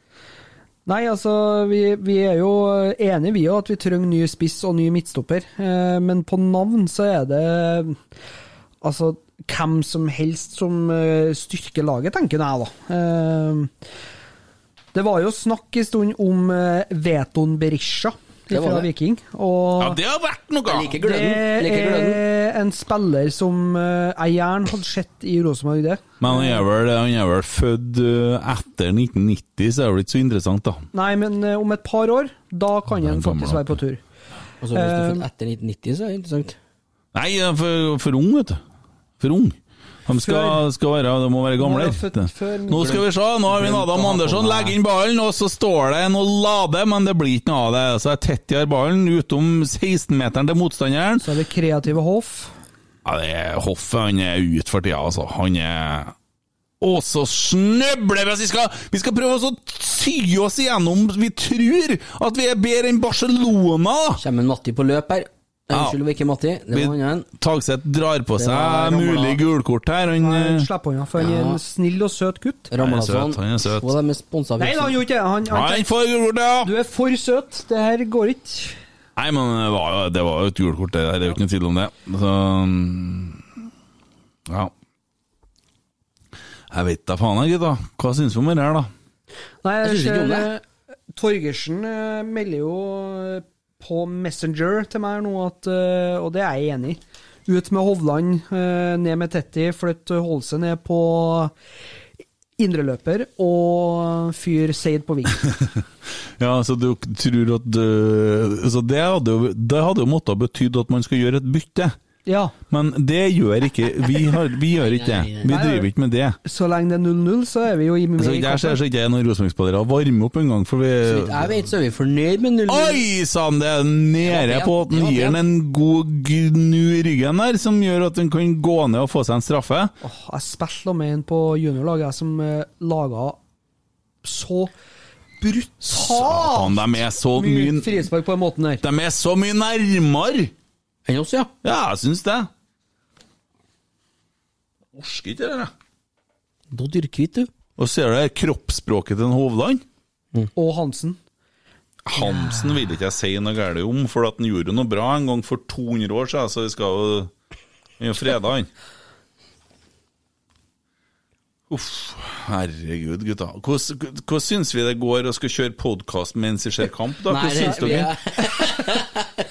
[SPEAKER 5] Nei, altså, vi, vi er jo enige, vi òg, at vi trenger ny spiss og ny midtstopper. Eh, men på navn så er det altså hvem som helst som eh, styrker laget, tenker jeg, da. Eh, det var jo snakk en stund om eh, Veton Berisha
[SPEAKER 6] Det var
[SPEAKER 5] fra
[SPEAKER 6] det.
[SPEAKER 5] Viking. Og
[SPEAKER 4] Ja, det har vært noe!
[SPEAKER 6] Jeg
[SPEAKER 5] det
[SPEAKER 6] liker gløden. Jeg liker gløden.
[SPEAKER 5] er en spiller som eh, jeg gjerne hadde sett i Rosenborg, det.
[SPEAKER 4] Men han er vel, han er vel født eh, etter 1990, så det er vel ikke så interessant, da.
[SPEAKER 5] Nei, men eh, om et par år, da kan
[SPEAKER 4] er
[SPEAKER 5] han
[SPEAKER 4] gammel,
[SPEAKER 5] faktisk være på tur.
[SPEAKER 6] Og så hvis du er
[SPEAKER 5] eh,
[SPEAKER 6] født etter 1990, så er det interessant.
[SPEAKER 4] Nei, han er for, for ung, vet du. For ung. De skal,
[SPEAKER 5] Før-
[SPEAKER 4] skal være, de må være gamle.
[SPEAKER 5] Nå er jeg født før min-
[SPEAKER 4] Nå skal vi se, nå har vi en Adam Andersson. Legger inn ballen, og så står det en og lader, men det blir ikke noe av det. Så er Tetty har ballen utom 16-meteren til motstanderen.
[SPEAKER 5] Så er det kreative Hoff.
[SPEAKER 4] Ja, det er Hoff han er ute for tida, altså. Han er Og så snøbler vi! oss. Vi skal, vi skal prøve oss å sy oss igjennom Vi tror at vi er bedre enn Barcelona!
[SPEAKER 6] Kommer en Matti på løp her? Nei,
[SPEAKER 4] Ja.
[SPEAKER 6] Unnskyld, det var ikke Matti. Det
[SPEAKER 4] Vi-
[SPEAKER 6] var han.
[SPEAKER 4] Tagseth drar på
[SPEAKER 6] Det var
[SPEAKER 4] seg
[SPEAKER 6] Ramla.
[SPEAKER 4] mulig gulkort her. Han,
[SPEAKER 5] Han
[SPEAKER 4] eh,
[SPEAKER 5] slipper unna, for han er en snill og søt
[SPEAKER 6] Eh,
[SPEAKER 5] gutt.
[SPEAKER 6] Ramlason.
[SPEAKER 4] søt, han er søt.
[SPEAKER 6] Og de er sponsa
[SPEAKER 5] Nei da, han gjorde ikke det. Han, han,
[SPEAKER 4] han får gulkort, ja!
[SPEAKER 5] du er for søt. Det her går ikke.
[SPEAKER 4] Nei, men det var, jo- det var jo et gulkort, det der. Det er jo ikke noe tvil om det. Så mm, Ja. Jeg vet da faen, jeg, gutta. Hva syns vi om det her, da?
[SPEAKER 5] Nei, jeg
[SPEAKER 6] Jeg synes ikke om
[SPEAKER 5] ser eh, Torgersen eh, melder jo eh, på Messenger til meg nå at eh, Og det er jeg enig i. Ut med Hovland, eh, ned med Tetti, flytt Holse ned på indreløper og fyr Seid på ving.
[SPEAKER 4] Ja, så du eh, tror at øh, Så det hadde jo, det hadde jo måttet betydd at man skal gjøre et bytte.
[SPEAKER 5] Ja.
[SPEAKER 4] Men det gjør ikke Vi, har, vi gjør ikke det. Vi driver ikke med det.
[SPEAKER 5] Så lenge det er 0-0, så er vi jo i med
[SPEAKER 4] Så
[SPEAKER 5] i
[SPEAKER 4] vidt jeg ser
[SPEAKER 5] kampen.
[SPEAKER 4] så ikke jeg er noen Rosenborg-spillere varme opp engang, for
[SPEAKER 6] Så vidt
[SPEAKER 4] vi
[SPEAKER 6] jeg vet, så er vi fornøyd med 0-0.
[SPEAKER 4] Oi sann, det er nede
[SPEAKER 6] Det var pen.
[SPEAKER 4] på at han
[SPEAKER 6] Det var
[SPEAKER 4] gir han
[SPEAKER 6] pen.
[SPEAKER 4] en god gnu i ryggen der, som gjør at han kan gå ned og få seg en straffe.
[SPEAKER 5] Åh, jeg spilte med en på juniorlaget jeg, som uh, laga så brutalt
[SPEAKER 4] Satan, de er så
[SPEAKER 5] mye
[SPEAKER 4] mye
[SPEAKER 5] frispark på den måten der.
[SPEAKER 4] De er så mye nærmere!
[SPEAKER 6] Enn oss, ja.
[SPEAKER 4] Ja, jeg syns det. Orsker ikke det der, jeg.
[SPEAKER 6] Da dyrker vi, du.
[SPEAKER 4] Og ser du det kroppsspråket til en Hovland?
[SPEAKER 5] Og Hansen.
[SPEAKER 4] Hamsen vil ikke jeg si noe galt om, for at han gjorde noe bra en gang for 200 år siden, så vi skal jo Vi er jo freda, han. Uff, herregud, gutta. Hvordan hvordan syns vi det går å skal kjøre podkast mens vi ser kamp, da? Hvordan syns dere?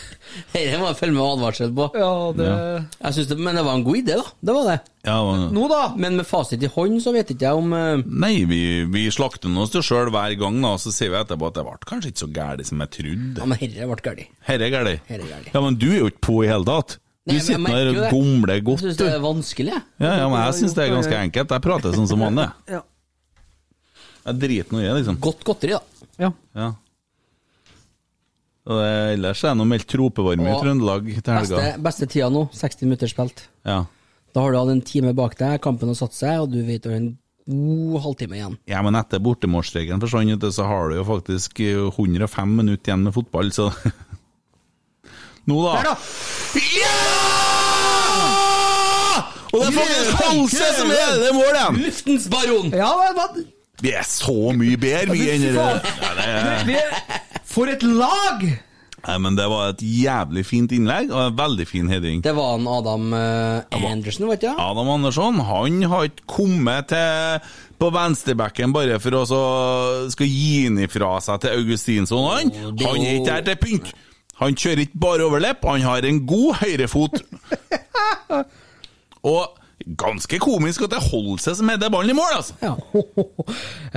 [SPEAKER 6] Dette må jeg følge med advarsel på.
[SPEAKER 5] Ja, det
[SPEAKER 6] Jeg synes det, men det var en god idé, da. Det var det.
[SPEAKER 4] Ja, men-
[SPEAKER 5] Nå, da!
[SPEAKER 6] Men med fasit i hånd så vet ikke jeg om eh,
[SPEAKER 4] Nei, vi, vi slakter nå oss til sjøl hver gang, da, og så sier vi etterpå at det ble kanskje ikke så gærent som jeg
[SPEAKER 6] Ja,
[SPEAKER 4] trodde.
[SPEAKER 6] men herre ble galt.
[SPEAKER 4] Herre er
[SPEAKER 6] Herre er
[SPEAKER 4] gærent.
[SPEAKER 6] gærlig.
[SPEAKER 4] Ja, men du er jo ikke på i hele tatt. Du
[SPEAKER 6] Nei, men jeg
[SPEAKER 4] sitter
[SPEAKER 6] merker
[SPEAKER 4] der
[SPEAKER 6] jo
[SPEAKER 4] og
[SPEAKER 6] det.
[SPEAKER 4] gomler
[SPEAKER 6] Jeg
[SPEAKER 4] godt,
[SPEAKER 6] synes
[SPEAKER 4] du.
[SPEAKER 6] det er vanskelig, jeg.
[SPEAKER 4] Ja, ja, men jeg syns det er ganske enkelt. Jeg prater sånn som vanlig.
[SPEAKER 5] Ja.
[SPEAKER 4] Jeg driter nå i det, liksom.
[SPEAKER 6] Godt godteri, da.
[SPEAKER 5] ja.
[SPEAKER 4] Ja. Og det, ellers er det noe meldt tropevarme i
[SPEAKER 6] Og
[SPEAKER 4] Trøndelag til helga.
[SPEAKER 6] Beste, beste tida nå, 60 minutter spilt.
[SPEAKER 4] Ja.
[SPEAKER 6] Da har du hatt en time bak deg, kampen har satt seg, og du vet du har en god halvtime igjen.
[SPEAKER 4] ja, men etter bortemålsregelen forsvant, vet du, så har du jo faktisk eh, 105 minutter igjen med fotball, så Nå, da. Ja! Og det er faktisk Halse som er det målet!
[SPEAKER 6] Luftens baron!
[SPEAKER 5] ja men, men,
[SPEAKER 4] Vi er så mye bedre, vi, enn det
[SPEAKER 5] faen.
[SPEAKER 4] Ja, det er-
[SPEAKER 5] vi- For et lag!
[SPEAKER 4] Nei, Men det var et jævlig fint innlegg, og en veldig fin heading.
[SPEAKER 6] Det var en Adam eh, Andersen, vet du. Ja.
[SPEAKER 4] Adam Andersson han har ikke kommet til på venstrebacken bare for å så skal gi han ifra seg til Augustinsson. Han
[SPEAKER 6] det-
[SPEAKER 4] Han er ikke her til pynt. Han kjører ikke bare overlepp, han har en god høyrefot. Og ganske komisk at det holder seg som heter ballen i mål, altså.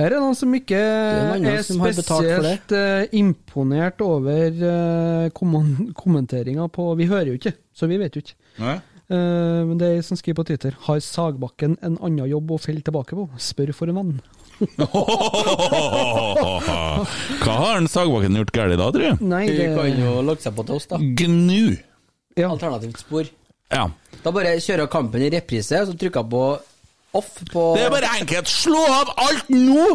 [SPEAKER 5] Her er noen som ikke
[SPEAKER 6] er noen
[SPEAKER 5] er
[SPEAKER 6] som har betalt for det.
[SPEAKER 5] spesielt eh, imponert over uh, kommenteringa på Vi hører jo ikke, så vi vet jo ikke. Eh, Men det er ei som skriver på Twitter Har Sagbakken en annen jobb å felle tilbake på? Spør for en venn.
[SPEAKER 4] Hva har han Sagbakken gjort galt da, tror du?
[SPEAKER 5] Nei,
[SPEAKER 6] Du
[SPEAKER 5] det
[SPEAKER 6] kan jo logge seg på til oss, da.
[SPEAKER 4] Gnu.
[SPEAKER 5] ja.
[SPEAKER 6] Alternativt spor.
[SPEAKER 4] Ja.
[SPEAKER 6] Da bare kjører jeg kampen i reprise, og så trykker jeg på off på
[SPEAKER 4] Det er bare enkelt. Slå av alt nå!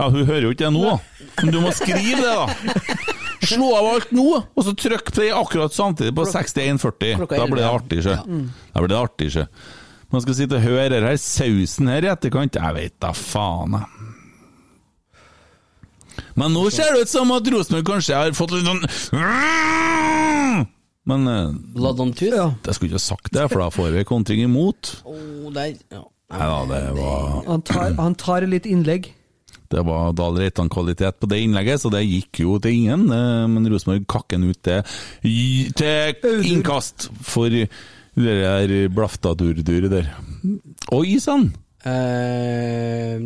[SPEAKER 4] Ja, hun hører jo ikke det nå, da. men du må skrive det, da. Slå av alt nå, og så trykk play akkurat samtidig på 6140.
[SPEAKER 6] klokka
[SPEAKER 4] Da blir det
[SPEAKER 6] 11,
[SPEAKER 4] artig, sjø. Da blir det artig, sjø. Man skal sitte og høre den her sausen her i etterkant. Jeg veit da faen, jeg. Men nå ser det ut som at Rosenborg kanskje har fått litt sånn Men eh,
[SPEAKER 6] Blood on tooth.
[SPEAKER 4] jeg skulle ikke ha sagt det, for da får vi kontring imot.
[SPEAKER 6] Å, der. Ja.
[SPEAKER 4] Nei da, det var
[SPEAKER 5] han, tar, han tar litt innlegg.
[SPEAKER 4] Det var Dahl Reitan-kvalitet på det innlegget, så det gikk jo til ingen. eh, Men Rosenborg kakken ut til, i- til innkast for det der blaftaturduret der. Oi sann!
[SPEAKER 6] Eh,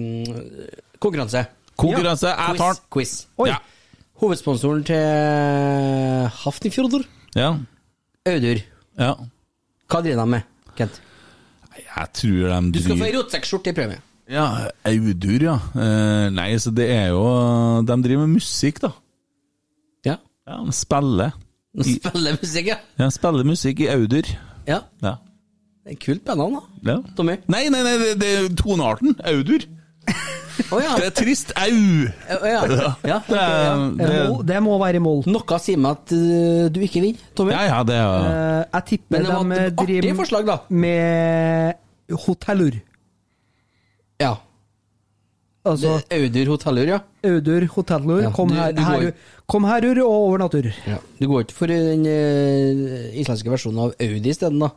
[SPEAKER 6] konkurranse.
[SPEAKER 4] Konkurranse, jeg tar
[SPEAKER 6] Quiz.
[SPEAKER 4] den!
[SPEAKER 6] quiz.
[SPEAKER 5] Oi.
[SPEAKER 4] Ja.
[SPEAKER 6] Hovedsponsoren til Hafnifjordur,
[SPEAKER 4] Ja.
[SPEAKER 6] Audur.
[SPEAKER 4] ja.
[SPEAKER 6] Hva driver de med, Kent?
[SPEAKER 4] Jeg tror de
[SPEAKER 6] Du skal få
[SPEAKER 4] driver
[SPEAKER 6] ei rotsekkskjorte i premie.
[SPEAKER 4] Ja, Audur, ja. Eh, Nei, så det er jo De driver med musikk, da.
[SPEAKER 6] Ja.
[SPEAKER 4] Ja, de spiller. I-
[SPEAKER 6] Spille musikk, ja.
[SPEAKER 4] Ja, spiller musikk i Audur.
[SPEAKER 6] ja.
[SPEAKER 4] Ja.
[SPEAKER 6] Det er kult med navn, da.
[SPEAKER 4] ja.
[SPEAKER 6] Tommy.
[SPEAKER 4] Nei, nei, nei, det, det er tonearten. Audur.
[SPEAKER 6] Å ja.
[SPEAKER 4] Det er trist. Au!
[SPEAKER 6] Å, ja. ja.
[SPEAKER 4] Det, er-
[SPEAKER 5] Det
[SPEAKER 4] det,
[SPEAKER 5] må, det må være i mål.
[SPEAKER 6] Noe sier meg at eh, du ikke vinner, Tommy.
[SPEAKER 4] ja, ja, det er eh,
[SPEAKER 5] Eh, Jeg tipper
[SPEAKER 6] Men det var
[SPEAKER 5] de
[SPEAKER 6] et artig
[SPEAKER 5] driver
[SPEAKER 6] forslag, da.
[SPEAKER 5] med hotellur.
[SPEAKER 6] Ja.
[SPEAKER 5] Altså
[SPEAKER 6] Audur hotellur, ja.
[SPEAKER 5] Audur hotellur.
[SPEAKER 6] Ja,
[SPEAKER 5] kom,
[SPEAKER 6] du-
[SPEAKER 5] her,
[SPEAKER 6] du går-
[SPEAKER 5] herur, kom herur og overnatur.
[SPEAKER 6] ja. Du går ikke for den eh, islandske versjonen av Audi isteden, da?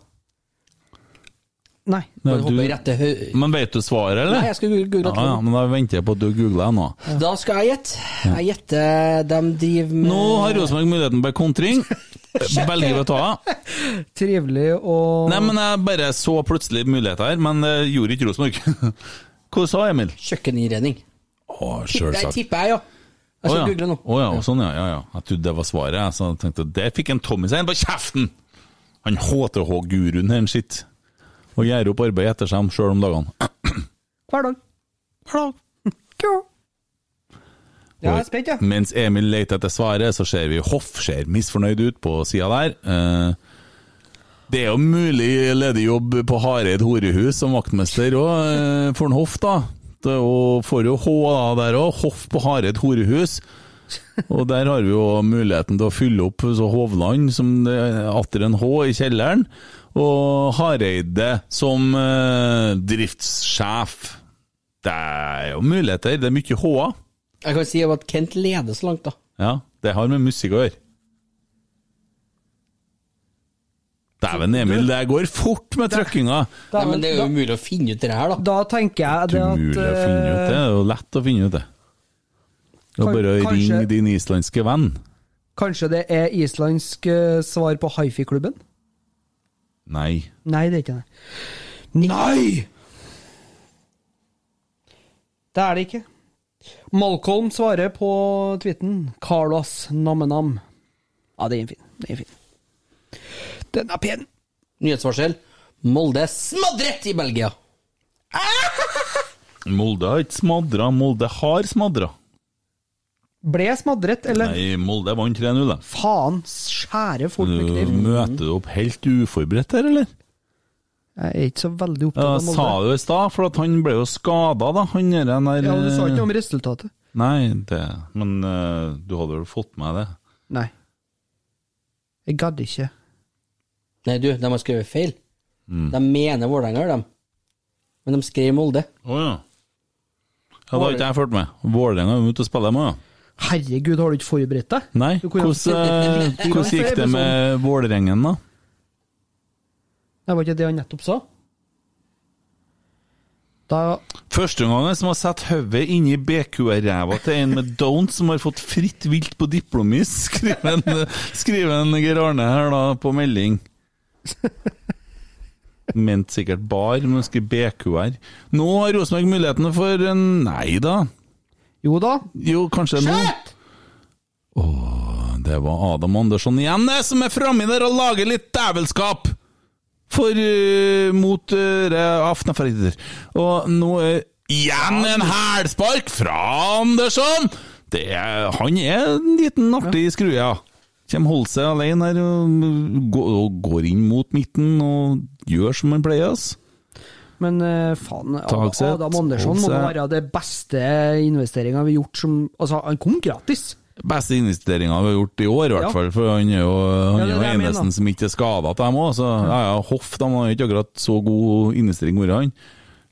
[SPEAKER 5] Nei.
[SPEAKER 4] Nei,
[SPEAKER 6] Bare hopper
[SPEAKER 4] du,
[SPEAKER 6] rett til hø-
[SPEAKER 4] Men vet du svaret, eller?
[SPEAKER 6] Nei, jeg skal google
[SPEAKER 4] ja,
[SPEAKER 6] google
[SPEAKER 4] ja, men da venter jeg på at du googler nå.
[SPEAKER 6] Da skal jeg gjette. Jeg gjetter de driver med
[SPEAKER 4] Nå har Rosenborg muligheten på kontring. Velger å ta av.
[SPEAKER 5] Trivelig og
[SPEAKER 4] Nei, men jeg bare så plutselig muligheter her, men det gjorde ikke Rosenborg. Hva sa Emil?
[SPEAKER 6] kjøkkeninnredning.
[SPEAKER 4] Å,
[SPEAKER 6] Det tipper jeg, ja. Jeg skal
[SPEAKER 4] ja.
[SPEAKER 6] google nå.
[SPEAKER 4] Å ja, og sånn, ja, ja, ja. Jeg trodde det var svaret, jeg, så jeg tenkte der fikk en Tommy seg en på kjeften! Han HTH-guruen her sitt og gjør opp arbeid etter seg sjøl om dagene.
[SPEAKER 5] Hver dag. Hver dag. Kjå. Ja, jeg er spent, jeg.
[SPEAKER 4] Mens Emil leter etter svaret, så ser vi Hoff ser misfornøyd ut på sida der. Eh, Det er jo mulig ledig jobb på Hareid horehus som vaktmester òg, for en Hoff, da. Det er jo- får jo H da, der òg. Hoff på Hareid horehus. Og der har vi jo muligheten til å fylle opp så Hovland som det er atter en H i kjelleren. Og Hareide som eh, driftssjef. Det er jo muligheter. Det er mye H-er.
[SPEAKER 6] Jeg kan si at Kent leder så langt, da.
[SPEAKER 4] Ja, det har med musikk å gjøre. Dæven, Emil, det går fort med trøkkinga!
[SPEAKER 5] Da,
[SPEAKER 6] Nei, men det er jo
[SPEAKER 5] da,
[SPEAKER 6] umulig å finne ut det her, da.
[SPEAKER 5] da tenker jeg det at eh,
[SPEAKER 4] Umulig å finne ut det. Det er jo lett å finne ut det. Det er
[SPEAKER 5] Kan-
[SPEAKER 4] bare å
[SPEAKER 5] kanskje-
[SPEAKER 4] ringe din islandske venn.
[SPEAKER 5] eh, Kanskje det er islandsk eh, svar på hifi-klubben?
[SPEAKER 4] Nei.
[SPEAKER 5] Nei, det er ikke det. Nei! Det er det ikke. Malcolm svarer på tweeten 'Carlos Namenam'. Ja, det er en fin. Det er en fin. Den er pen.
[SPEAKER 6] Nyhetsvarsel. Molde smadret i Belgia!
[SPEAKER 4] Molde har ikke smadra, Molde har smadra.
[SPEAKER 5] Ble smadret, eller?
[SPEAKER 4] Nei, Molde vant 3-0, da.
[SPEAKER 5] Faen, skjære folk med
[SPEAKER 4] Du
[SPEAKER 5] kniv.
[SPEAKER 4] møter du opp helt uforberedt der, eller?
[SPEAKER 5] Jeg er ikke så veldig opptatt
[SPEAKER 4] Ja,
[SPEAKER 5] av
[SPEAKER 4] jeg sa
[SPEAKER 5] Molde.
[SPEAKER 4] det jo i stad, for at han ble jo skada, da. Han der eh,
[SPEAKER 5] Ja, Du sa ikke noe om resultatet?
[SPEAKER 4] Nei, det Men eh, du hadde vel fått med det?
[SPEAKER 5] Nei. Jeg gadd ikke.
[SPEAKER 6] Nei, du, de har skrevet feil. De mener Vålerenga, de. Men de skrev Molde.
[SPEAKER 4] Å ja. Ja, Da har ikke jeg fulgt med. Vålerenga er jo ute og spiller, dem òg. ja.
[SPEAKER 5] Herregud, har du ikke forberedt deg?
[SPEAKER 4] Nei,
[SPEAKER 5] Du kunne-
[SPEAKER 4] hvordan eh, hvordan gikk det med Vålerengen, da?
[SPEAKER 5] Det var ikke det han nettopp sa? Da
[SPEAKER 4] Førsteomgangen som har satt hodet inni BQR-ræva til en med Downs som har fått fritt vilt på diplomis, skriver en, skriver en Geir Arne her da på melding. Ment sikkert bar, men skriver BQR. Nå har Rosenborg muligheten for en Nei da.
[SPEAKER 5] Jo da.
[SPEAKER 4] Jo, kanskje nå. Åh, det var Adam Andersson igjen det, som er framme der og lager litt dævelskap! For eh, mot uh, Aftenfrider. Og nå er igjen en hælspark fra Andersson! Det er, han er en liten artig skrue, ja. Kjem holder seg alene her og går, og går inn mot midten og gjør som han pleier. ass.
[SPEAKER 5] Men eh, faen,
[SPEAKER 4] Tagseth,
[SPEAKER 5] Adam Andersson må da
[SPEAKER 4] Olsen.
[SPEAKER 5] være det beste investeringa vi har gjort som Altså, han kom gratis!
[SPEAKER 4] Beste investeringa vi har gjort i år, i hvert
[SPEAKER 5] Ja.
[SPEAKER 4] fall. For han er jo han
[SPEAKER 5] Ja,
[SPEAKER 4] er
[SPEAKER 5] det er
[SPEAKER 4] jo
[SPEAKER 5] det jeg mener.
[SPEAKER 4] eneste som ikke er skada til dem òg. Så ja, ja, Hoff de har ikke akkurat så god investering vært, han.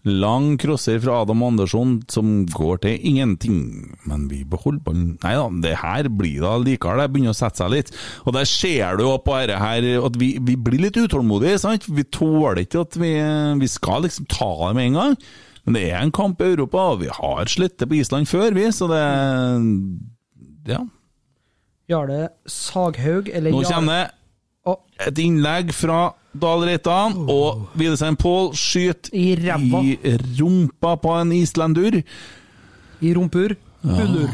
[SPEAKER 4] Lang crosser fra Adam Andersson som går til ingenting, men vi beholder ballen. Nei da, det her blir da likevel, det begynner å sette seg litt. Og der ser du jo på dette her at vi, vi blir litt utålmodige, sant? Vi tåler ikke at vi, vi skal liksom ta det med en gang. Men det er en kamp i Europa, og vi har slettet på Island før, vi, så det Ja,
[SPEAKER 5] Jarle Saghaug, eller
[SPEAKER 4] nå
[SPEAKER 5] Jarle-
[SPEAKER 4] kommer
[SPEAKER 5] Å,
[SPEAKER 4] det et innlegg fra Dahl Reitan, og Videsheim Pål skyter
[SPEAKER 5] I ræva.
[SPEAKER 4] i rumpa på en islendur.
[SPEAKER 5] I rumpur. Hullur.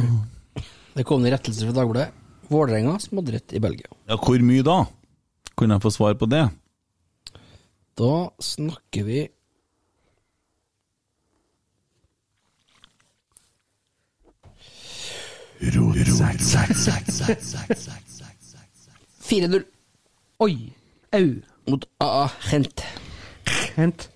[SPEAKER 6] Det kom en rettelse fra Dagbladet. Vålerenga smadret i Belgia.
[SPEAKER 4] Ja, hvor mye da? Kunne jeg få svar på det?
[SPEAKER 6] Da snakker vi Fire null
[SPEAKER 5] Oi! Au!
[SPEAKER 6] mot AA Hent.
[SPEAKER 5] Hent.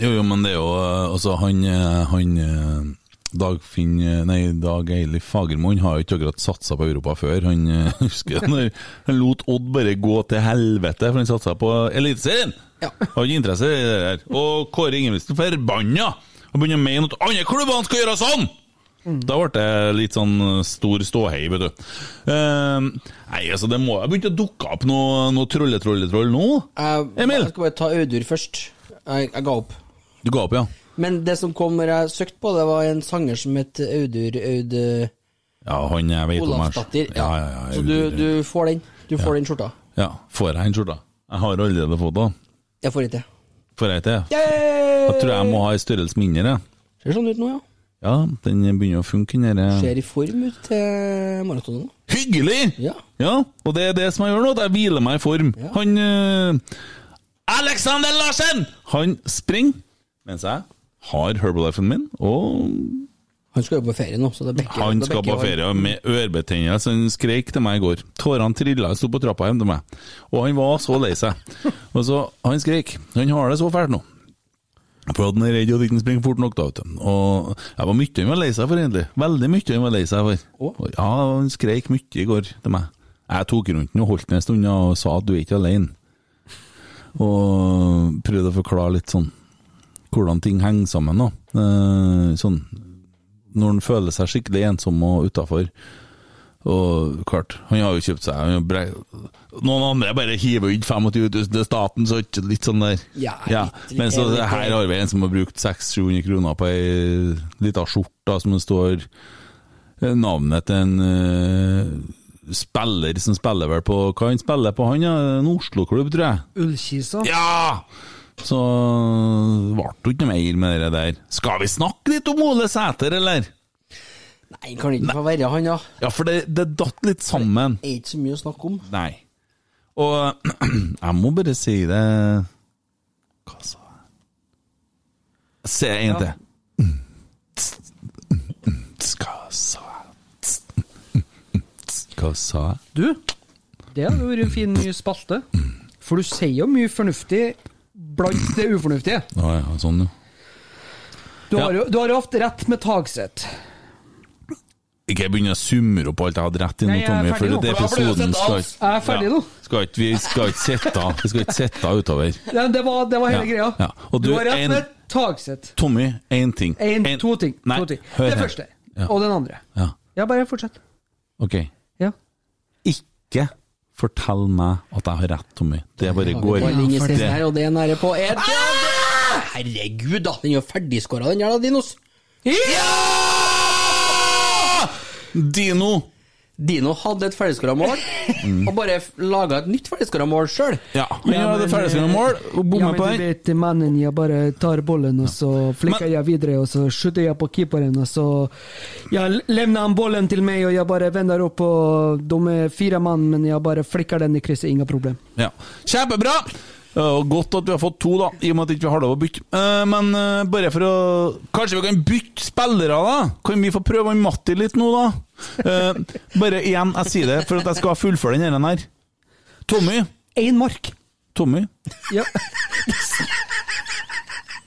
[SPEAKER 4] Jo, jo, men det er jo eh, Altså, han, eh, han eh, Dagfinn eh, Nei, Dag Eilif Fagermoen har jo ikke akkurat satsa på Europa før. Han eh, husker jeg når han lot Odd bare gå til helvete, for han satsa på Eliteserien!
[SPEAKER 6] Ja.
[SPEAKER 4] Har ikke interesse i det der. Og Kåre Ingebrigtsen forbanna! Og begynner å mene at andre klubbene skal gjøre sånn! Da ble det litt sånn stor ståhei, vet du. Eh, nei, altså, det må ha begynt å dukke opp noe, noe trolle-trolle-troll nå.
[SPEAKER 6] Jeg,
[SPEAKER 4] Emil!
[SPEAKER 6] jeg skal bare ta Audur først. Jeg, jeg ga opp.
[SPEAKER 4] Du ga opp, ja?
[SPEAKER 6] Men det som kom når jeg søkte på, det var en sanger som het Audur Aud
[SPEAKER 4] Ja, han jeg vet om her.
[SPEAKER 6] Olavsdatter.
[SPEAKER 4] Ja, ja, ja,
[SPEAKER 6] Så
[SPEAKER 4] jeg
[SPEAKER 6] du,
[SPEAKER 4] vet det.
[SPEAKER 6] du får den. Du får den skjorta.
[SPEAKER 4] Ja, får jeg en skjorte? Jeg har allerede fått den.
[SPEAKER 6] Jeg får ikke.
[SPEAKER 4] Får jeg ikke? Jeg tror jeg må ha en størrelse mindre. jeg.
[SPEAKER 6] Ser sånn ut nå, ja.
[SPEAKER 4] Ja, den begynner å funke, den der. eh.
[SPEAKER 6] Ser i form ut til maratonen nå.
[SPEAKER 4] Hyggelig!
[SPEAKER 6] Ja.
[SPEAKER 4] Og det er det som jeg gjør nå, at jeg hviler meg i form.
[SPEAKER 6] Ja.
[SPEAKER 4] Han eh, Alexander Larsen! Han springer, mens jeg har Herbalifen min, og
[SPEAKER 6] Han skal jo på ferie nå, så det bekker
[SPEAKER 4] han
[SPEAKER 6] det
[SPEAKER 4] skal
[SPEAKER 6] bekker
[SPEAKER 4] på ferie med ørebetennelse. Han skreik til meg i går. Tårene trilla, jeg sto på trappa hjem til meg. Og han var så lei seg. Og så, Han skreik. Han har det så fælt nå. For at han er redd og at han ikke springer fort nok. da, vet du. Og jeg var mye han var lei seg for, egentlig. Veldig mye han var lei seg for. Og Ja, Han skreik mye i går til meg. Jeg tok rundt han og holdt han en stund ja, og sa at du er ikke alene. Og prøvde å forklare litt sånn hvordan ting henger sammen. da. Eh, sånn når han føler seg skikkelig ensom og utafor. Og klart, han har jo kjøpt seg han har bre- Noen andre bare hiver ut 25 000 til staten, så ikke litt sånn der.
[SPEAKER 6] Ja, litt-
[SPEAKER 4] Men så
[SPEAKER 6] litt-
[SPEAKER 4] her har vi en som har brukt 600-700 kroner på ei lita skjorte som det står eh, navnet til en eh, spiller som spiller vel på Hva han spiller på, han? Ja? En Oslo-klubb, tror jeg.
[SPEAKER 5] Ullkisa.
[SPEAKER 4] Ja! Så ble det ikke noe mer med det der. Skal vi snakke litt om Ole Sæter, eller?
[SPEAKER 6] Nei, kan det ikke få være han, da?
[SPEAKER 4] Ja, for det, det datt litt sammen.
[SPEAKER 6] Er ikke så mye å snakke om.
[SPEAKER 4] Nei. Og jeg må bare si det Hva sa jeg? Se en til. Hva sa jeg? Hva sa jeg?
[SPEAKER 5] Du, det hadde jo vært en fin ny spalte. For du sier jo mye fornuftig blant det ufornuftige.
[SPEAKER 4] Å ja, sånn, jo.
[SPEAKER 5] Du har
[SPEAKER 4] Ja.
[SPEAKER 5] jo du har jo hatt rett med Tagseth.
[SPEAKER 4] Ikke begynn å summere opp alt jeg hadde rett i nå,
[SPEAKER 5] Nei, jeg er
[SPEAKER 4] Tommy,
[SPEAKER 5] ferdig
[SPEAKER 4] for
[SPEAKER 5] nå.
[SPEAKER 4] det episoden skal ikke
[SPEAKER 5] Jeg er ferdig nå.
[SPEAKER 4] skal ikke, vi skal ikke sitte Vi skal ikke sitte utover.
[SPEAKER 5] Det, det, var, det var hele
[SPEAKER 4] Ja,
[SPEAKER 5] greia.
[SPEAKER 4] ja. Og
[SPEAKER 5] Du
[SPEAKER 4] du,
[SPEAKER 5] har rett
[SPEAKER 4] en-
[SPEAKER 5] med Tagseth.
[SPEAKER 4] Tommy, én ting.
[SPEAKER 5] En,
[SPEAKER 4] En-
[SPEAKER 5] to ting.
[SPEAKER 4] Nei,
[SPEAKER 5] to ting.
[SPEAKER 4] hør
[SPEAKER 5] Det
[SPEAKER 4] her.
[SPEAKER 5] første.
[SPEAKER 4] Ja.
[SPEAKER 5] Og den andre.
[SPEAKER 4] Ja,
[SPEAKER 5] Ja, bare fortsett.
[SPEAKER 4] ok.
[SPEAKER 5] Ja.
[SPEAKER 4] Ikke fortell meg at jeg har rett, Tommy. Det bare går
[SPEAKER 6] Det er ingen stress
[SPEAKER 4] det-
[SPEAKER 6] her, og det er nære på en til. Herregud, da! Den er jo ferdigskåra, den der, da, Dinos.
[SPEAKER 4] Ja! Dino!
[SPEAKER 6] Dino hadde et ferdigskåra mål, og bare laga et nytt ferdigskåra mål sjøl.
[SPEAKER 4] Ja, han gjør det
[SPEAKER 5] eh,
[SPEAKER 4] ferdigskårende mål og bommer på den.
[SPEAKER 5] vet, mannen, jeg bare tar bollen, og så
[SPEAKER 4] Men-
[SPEAKER 5] jeg videre, og så skyter jeg på keeperen, og så Jeg levner han bollen til meg, og jeg bare vender opp, og de er fire mann, men jeg bare flikker den i krysset, ingen problem.
[SPEAKER 4] Ja. Kjempebra! Eh, Og godt at vi har fått to, da, i og med at vi ikke har lov å bytte. Eh, Men eh, bare for å Kanskje vi kan bytte spillere, da? Kan vi få prøve han Matti litt nå, da? Eh, Bare igjen, jeg sier det for at jeg skal fullføre den her. Tommy,
[SPEAKER 5] Én mark!
[SPEAKER 4] Tommy.
[SPEAKER 5] Ja.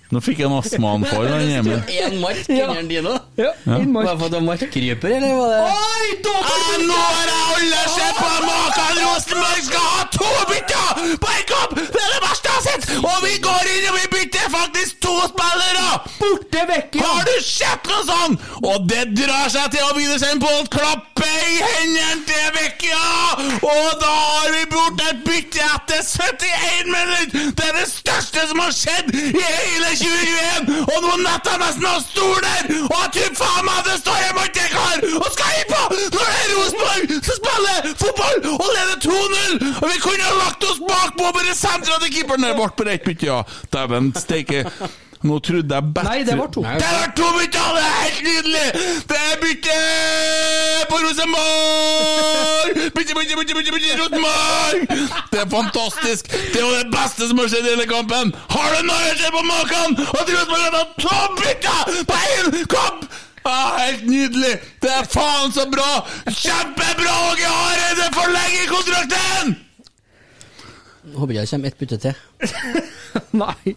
[SPEAKER 4] Nå fikk jeg en astmaanfall. han hjemme.
[SPEAKER 6] Én liksom mark, ja. Dino.
[SPEAKER 5] Ja, en
[SPEAKER 6] Var det
[SPEAKER 5] mark. Ah,
[SPEAKER 6] for at han markkryper, eller var det
[SPEAKER 4] Jeg Eh, nå har jeg alle sett på maken Rosenborg skal ha to bytter på en kamp! Det er det verste jeg har sett! Og vi går inn og vi bytter faktisk to spillere!
[SPEAKER 5] Borte vekk! Ja.
[SPEAKER 4] Har du sett noe sånn?! Og det drar seg til å begynne seg på å klappe i hendene til Vecchia! Og da har vi gjort et bytte etter 71 minutter! Det er det største som har skjedd i hele 2021! Og nå nettopp jeg nesten har stol der! Og jeg tror faen meg at det står en mantekar og skal innpå! Når det er Rosenborg som spiller fotball og leder 2-0! Og vi kunne ha lagt oss bakpå og bare sentra til keeperen! Det ble bare ett bytte, ja. Dæven steike. Nå trodde jeg best
[SPEAKER 5] Nei, det var to.
[SPEAKER 4] det var to bytter, det er helt nydelig! Det er bytte på Rosenborg! Bytte, bytte, bytte, bytte, bytte Rosenborg! Det er fantastisk! Det er jo det beste som har skjedd i hele kampen! Har du noe å se på maken? At Rosenborg har tatt to bytter på én kamp! Ah, helt nydelig! Det er faen så bra! Kjempebra, Åge Hareide forlenger kontrakten!
[SPEAKER 6] Håper ikke det kommer ett bytte til.
[SPEAKER 5] Ah, Nei.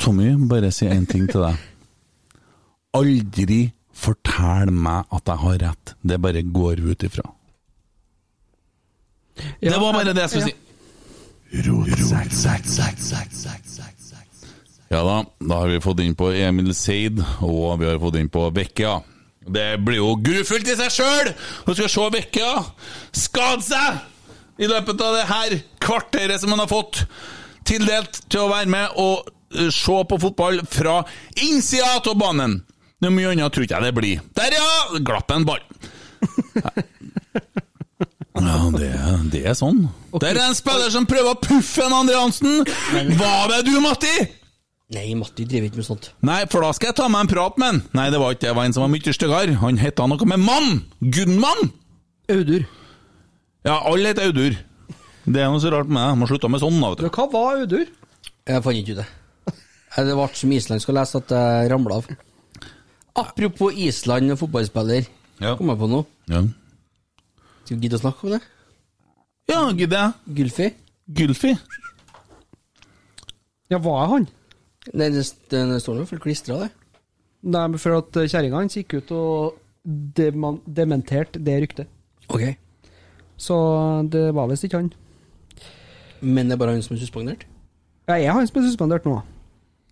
[SPEAKER 4] Tommy, bare si én ting til deg. Aldri fortell meg at jeg har rett. Det bare går vi ut ifra.
[SPEAKER 5] Ja.
[SPEAKER 4] Det var bare det jeg skulle
[SPEAKER 5] Ja.
[SPEAKER 4] si. Ja da, da har vi fått inn på Emil Seid, og vi har fått inn på Vecchia. Det blir jo grufullt i seg sjøl! Og skal se Vecchia skade seg i løpet av det her kvarteret som han har fått tildelt til å være med og eh, se på fotball fra innsida av banen. Noe mye annet tror ikke jeg det blir. Der, ja! Glapp en ball. Ja, det, er- det er sånn. Der er en spiller som prøver å puffe en Andre Hansen. Hva var det du, Matti?
[SPEAKER 6] Nei, Matti driver ikke med sånt.
[SPEAKER 4] Nei, for da skal jeg ta meg en prat med han. Nei, det var ikke det. Det var en som var mye styggere. Han heta noe med Mann! Gudmann!
[SPEAKER 5] Audur.
[SPEAKER 4] Ja, alle heter Audur. Det er noe så rart med det. Må slutte med sånn, da, vet du.
[SPEAKER 5] Hva var Audur?
[SPEAKER 6] Jeg fant ikke ut det. Eh, Det ble som islandsk å lese at jeg ramla av. Apropos Island og fotballspiller,
[SPEAKER 4] Ja.
[SPEAKER 6] kom jeg på noe.
[SPEAKER 4] Ja,
[SPEAKER 6] Skal vi gidde å snakke om det?
[SPEAKER 4] ja gidder jeg.
[SPEAKER 6] Gylfi?
[SPEAKER 4] Gylfi.
[SPEAKER 5] Ja, var jeg han?
[SPEAKER 6] Nei, det, det, det står nå fullt klistra, det.
[SPEAKER 5] Nei, men for at eh, kjerringa hans gikk ut og deman- dementerte det ryktet.
[SPEAKER 6] Ok.
[SPEAKER 5] Så eh, det var visst ikke han.
[SPEAKER 6] Men det er bare han som er suspendert?
[SPEAKER 5] Ja, jeg er han som er suspendert nå.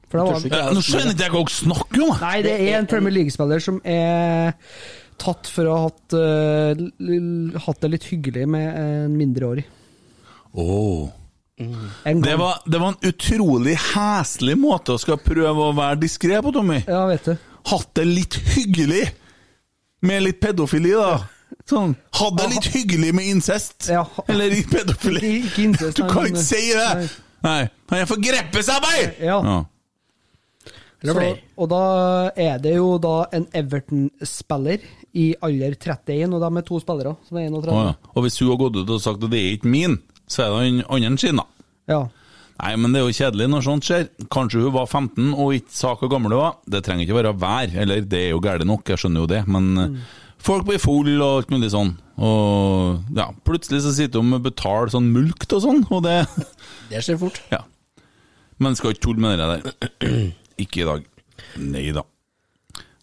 [SPEAKER 5] For det
[SPEAKER 6] Tørs
[SPEAKER 5] var
[SPEAKER 6] ikke.
[SPEAKER 4] Ja, nå skjønner ikke jeg hva dere snakker om. jeg.
[SPEAKER 5] Nei, det er en Premier League-spiller som er tatt for å ha hatt, eh, l- l- hatt det litt hyggelig med en mindreårig.
[SPEAKER 4] Åh.
[SPEAKER 5] En gang.
[SPEAKER 4] Det var, det var en utrolig heslig måte å skal prøve å være diskré på, Tommy.
[SPEAKER 5] Ja, vet du.
[SPEAKER 4] Hatt det litt hyggelig med litt pedofili, da. Sånn. Hatt det litt hyggelig med incest.
[SPEAKER 5] Ja.
[SPEAKER 4] Eller i pedofili.
[SPEAKER 5] Ikke- ikke incest,
[SPEAKER 4] Du
[SPEAKER 5] nei,
[SPEAKER 4] kan
[SPEAKER 5] men-
[SPEAKER 4] ikke si det!
[SPEAKER 5] nei.
[SPEAKER 4] Nei. Han er forgrepesarbeid!
[SPEAKER 5] Ja. Så, og da er det jo da en Everton-spiller i alder 31, og de er to spillere som er 31.
[SPEAKER 4] Å, ja. Og hvis hun har gått ut og sagt at det er ikke min, så er det han andre sin, da.
[SPEAKER 5] ja.
[SPEAKER 4] Nei, men det er jo kjedelig når sånt skjer. Kanskje hun var 15 og ikke sa hvor gammel hun var. Det trenger ikke være vær, eller det er jo gærent nok, jeg skjønner jo det, men eh,
[SPEAKER 5] Mm.
[SPEAKER 4] folk blir full og alt mulig sånn. Og ja, plutselig så sitter hun med betalt sånn mulkt og sånn, og det
[SPEAKER 6] Det skjer fort.
[SPEAKER 4] Ja. Men skal ikke tulle med det der. Ikke i dag. Nei da.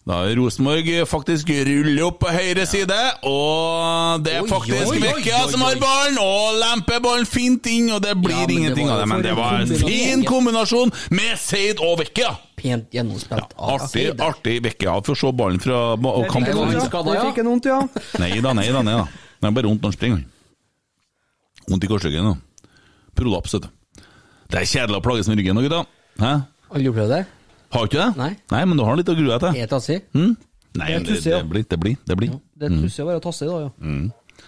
[SPEAKER 4] Da er Rosenborg faktisk ruller opp på høyre side, og det er
[SPEAKER 6] Oi,
[SPEAKER 4] faktisk
[SPEAKER 6] oi, oi,
[SPEAKER 4] Vekkia
[SPEAKER 6] oi,
[SPEAKER 4] som har
[SPEAKER 6] oi.
[SPEAKER 4] ballen, og lemper ballen fint inn, og det blir
[SPEAKER 6] Ja, men det
[SPEAKER 4] ingenting av
[SPEAKER 6] var
[SPEAKER 4] det.
[SPEAKER 6] jo
[SPEAKER 4] Men
[SPEAKER 6] for
[SPEAKER 4] det
[SPEAKER 6] en
[SPEAKER 4] var en
[SPEAKER 6] kombinasjon.
[SPEAKER 4] fin kombinasjon med Seid og Vekkia!
[SPEAKER 6] Pent gjennomspilt. av
[SPEAKER 4] Artig,
[SPEAKER 6] Seid.
[SPEAKER 4] artig Vekkia å se ballen fra og
[SPEAKER 5] Det
[SPEAKER 4] kampen.
[SPEAKER 5] fikk jeg
[SPEAKER 6] han
[SPEAKER 5] vondt, ja.
[SPEAKER 6] skadet,
[SPEAKER 5] Det
[SPEAKER 6] ja.
[SPEAKER 5] fikk jeg vondt, ja.
[SPEAKER 4] Nei da, nei da, nei da. Det er bare vondt når han springer. Vondt i korsryggen. da. Prolaps, vet du. Det er kjedelig å plages med ryggen nå, gutta. Hæ?
[SPEAKER 6] Aldri opplevd det?
[SPEAKER 4] Har ikke det?
[SPEAKER 6] Nei.
[SPEAKER 4] men du har litt å grue deg til.
[SPEAKER 6] Er tassi?
[SPEAKER 4] Nei, men
[SPEAKER 5] Jeg
[SPEAKER 4] det,
[SPEAKER 5] tusser, ja.
[SPEAKER 4] det blir. Det blir, det blir.
[SPEAKER 5] Det er tussig å være tasse i dag, ja.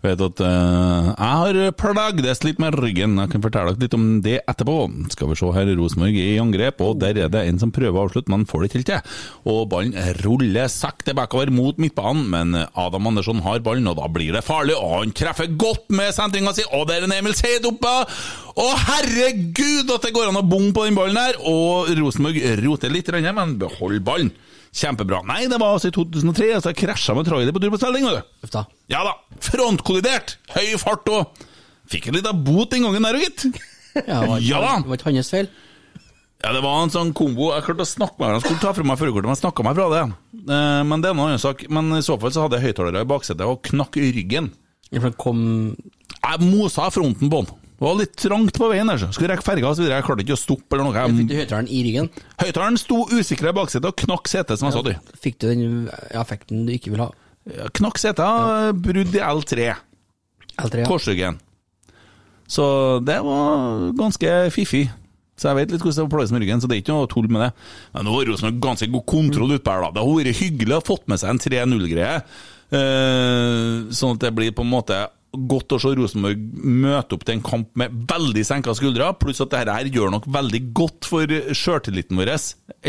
[SPEAKER 4] Vet at eh, Jeg har plagdes litt med ryggen. Jeg kan fortelle dere litt om det etterpå. Skal vi se her, Rosenborg er i angrep, og der er det en som prøver å avslutte, men får det ikke helt til. Og ballen ruller sakte bakover mot midtbanen, men Adam Andersson har ballen, og da blir det farlig. Og han treffer godt med sentringa si, og der er en Emil Seid oppe! Å herregud, at det går an å bomme på den ballen her! Og Rosenborg roter litt, grann, men beholder ballen. Kjempebra. Nei, det var altså i 2003, altså jeg krasja med trailer på tur på Stelling, vet du.
[SPEAKER 6] Uff da.
[SPEAKER 4] Ja da, frontkollidert! Høy fart og Fikk en liten bot den gangen der òg, gitt.
[SPEAKER 6] Ja, det var-
[SPEAKER 4] Ja da.
[SPEAKER 6] Det var ikke hans feil.
[SPEAKER 4] Ja, det var en sånn kombo. Jeg klarte å snakke med ham. Jeg skulle ta fra meg førerkortet, men jeg snakka meg fra det. Eh, Men det er en annen sak. Men i så fall så hadde jeg høyttalere i baksetet og knakk i ryggen.
[SPEAKER 6] For han kom
[SPEAKER 4] Jeg mosa fronten på den. Det var litt trangt på veien der, så skulle rekke ferga osv. Jeg klarte ikke å stoppe eller
[SPEAKER 6] Fikk
[SPEAKER 4] noe.
[SPEAKER 6] du
[SPEAKER 4] Jeg-
[SPEAKER 6] høyttaleren i ryggen?
[SPEAKER 4] Høyttaleren sto usikra i baksetet og knakk setet, som jeg sa, du.
[SPEAKER 6] Fikk du den effekten du ikke vil ha?
[SPEAKER 4] Knakk setet, eh, brudd i L3.
[SPEAKER 6] L3, ja.
[SPEAKER 4] korsryggen. Så det var ganske fiffig. Så jeg vet litt hvordan det var plages med ryggen, så det er ikke noe tull med det. Men nå har Rosenborg ganske god kontroll utpå her, da. Det har vært hyggelig å ha fått med seg en 3-0-greie. Eh, sånn at det blir på en måte godt å se Rosenborg møte opp til en kamp med veldig senka skuldre, pluss at dette her gjør nok veldig godt for sjøltilliten vår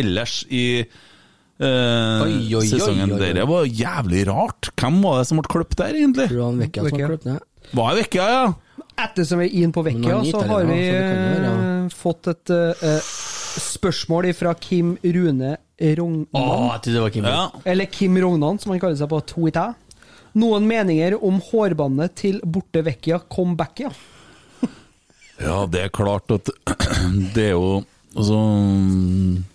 [SPEAKER 4] ellers i eh,
[SPEAKER 6] Oi, oi, oi,
[SPEAKER 4] sesongen.
[SPEAKER 6] oi, oi.
[SPEAKER 4] Det var jævlig rart. Hvem var det som ble kløpt der, egentlig?
[SPEAKER 6] Tror du han Vecchia som
[SPEAKER 5] Vecchia.
[SPEAKER 6] har kløpt ned?
[SPEAKER 4] Var jeg vekke, ja?
[SPEAKER 5] Ettersom vi er inn på
[SPEAKER 6] Men
[SPEAKER 5] Vekkia,
[SPEAKER 6] han er
[SPEAKER 5] så
[SPEAKER 6] italiener,
[SPEAKER 5] har
[SPEAKER 6] så
[SPEAKER 5] vi
[SPEAKER 6] det kan jo være,
[SPEAKER 5] eh, fått et eh, eh, spørsmål fra Kim Rune
[SPEAKER 6] Å,
[SPEAKER 5] Rognan.
[SPEAKER 6] jeg trodde det var Kim.
[SPEAKER 4] Ja.
[SPEAKER 5] Eller Kim Rognan, som han kaller seg på Twitter. Noen meninger om hårbåndet til borte Vekkia comebackia?
[SPEAKER 4] ja, det er klart at det er jo Altså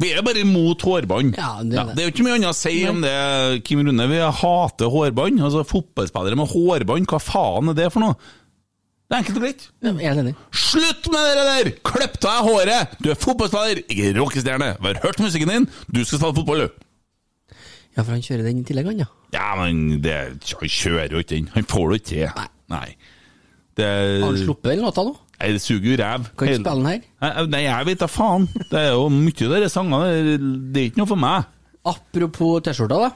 [SPEAKER 4] Vi er bare imot hårbånd.
[SPEAKER 6] Ja, det er det.
[SPEAKER 4] det er jo ikke mye annet å si om det, Kim Rune. Vi hater hårbånd. Altså, fotballspillere med hårbånd, hva faen er det for noe? Det er enkelt og greit.
[SPEAKER 6] Ja, Jeg er enig.
[SPEAKER 4] Slutt med det der! Klipp av deg håret! Du er fotballspiller, ikke rockestjerne. Vi har hørt musikken din, du skal spille fotball, du.
[SPEAKER 6] Ja, for han kjører den i tillegg, han, ja.
[SPEAKER 4] Ja, men det, han kjører jo ikke den. Han får det ikke til. Nei. Det,
[SPEAKER 6] Har han sluppet den låta nå?
[SPEAKER 4] Nei, det suger jo ræv.
[SPEAKER 6] Kan ikke
[SPEAKER 4] Hele-
[SPEAKER 6] spille den her.
[SPEAKER 4] Nei, Nei, jeg vet da faen. Det er jo mye av disse sangene. Det er ikke noe for meg.
[SPEAKER 6] Apropos T-skjorta, da.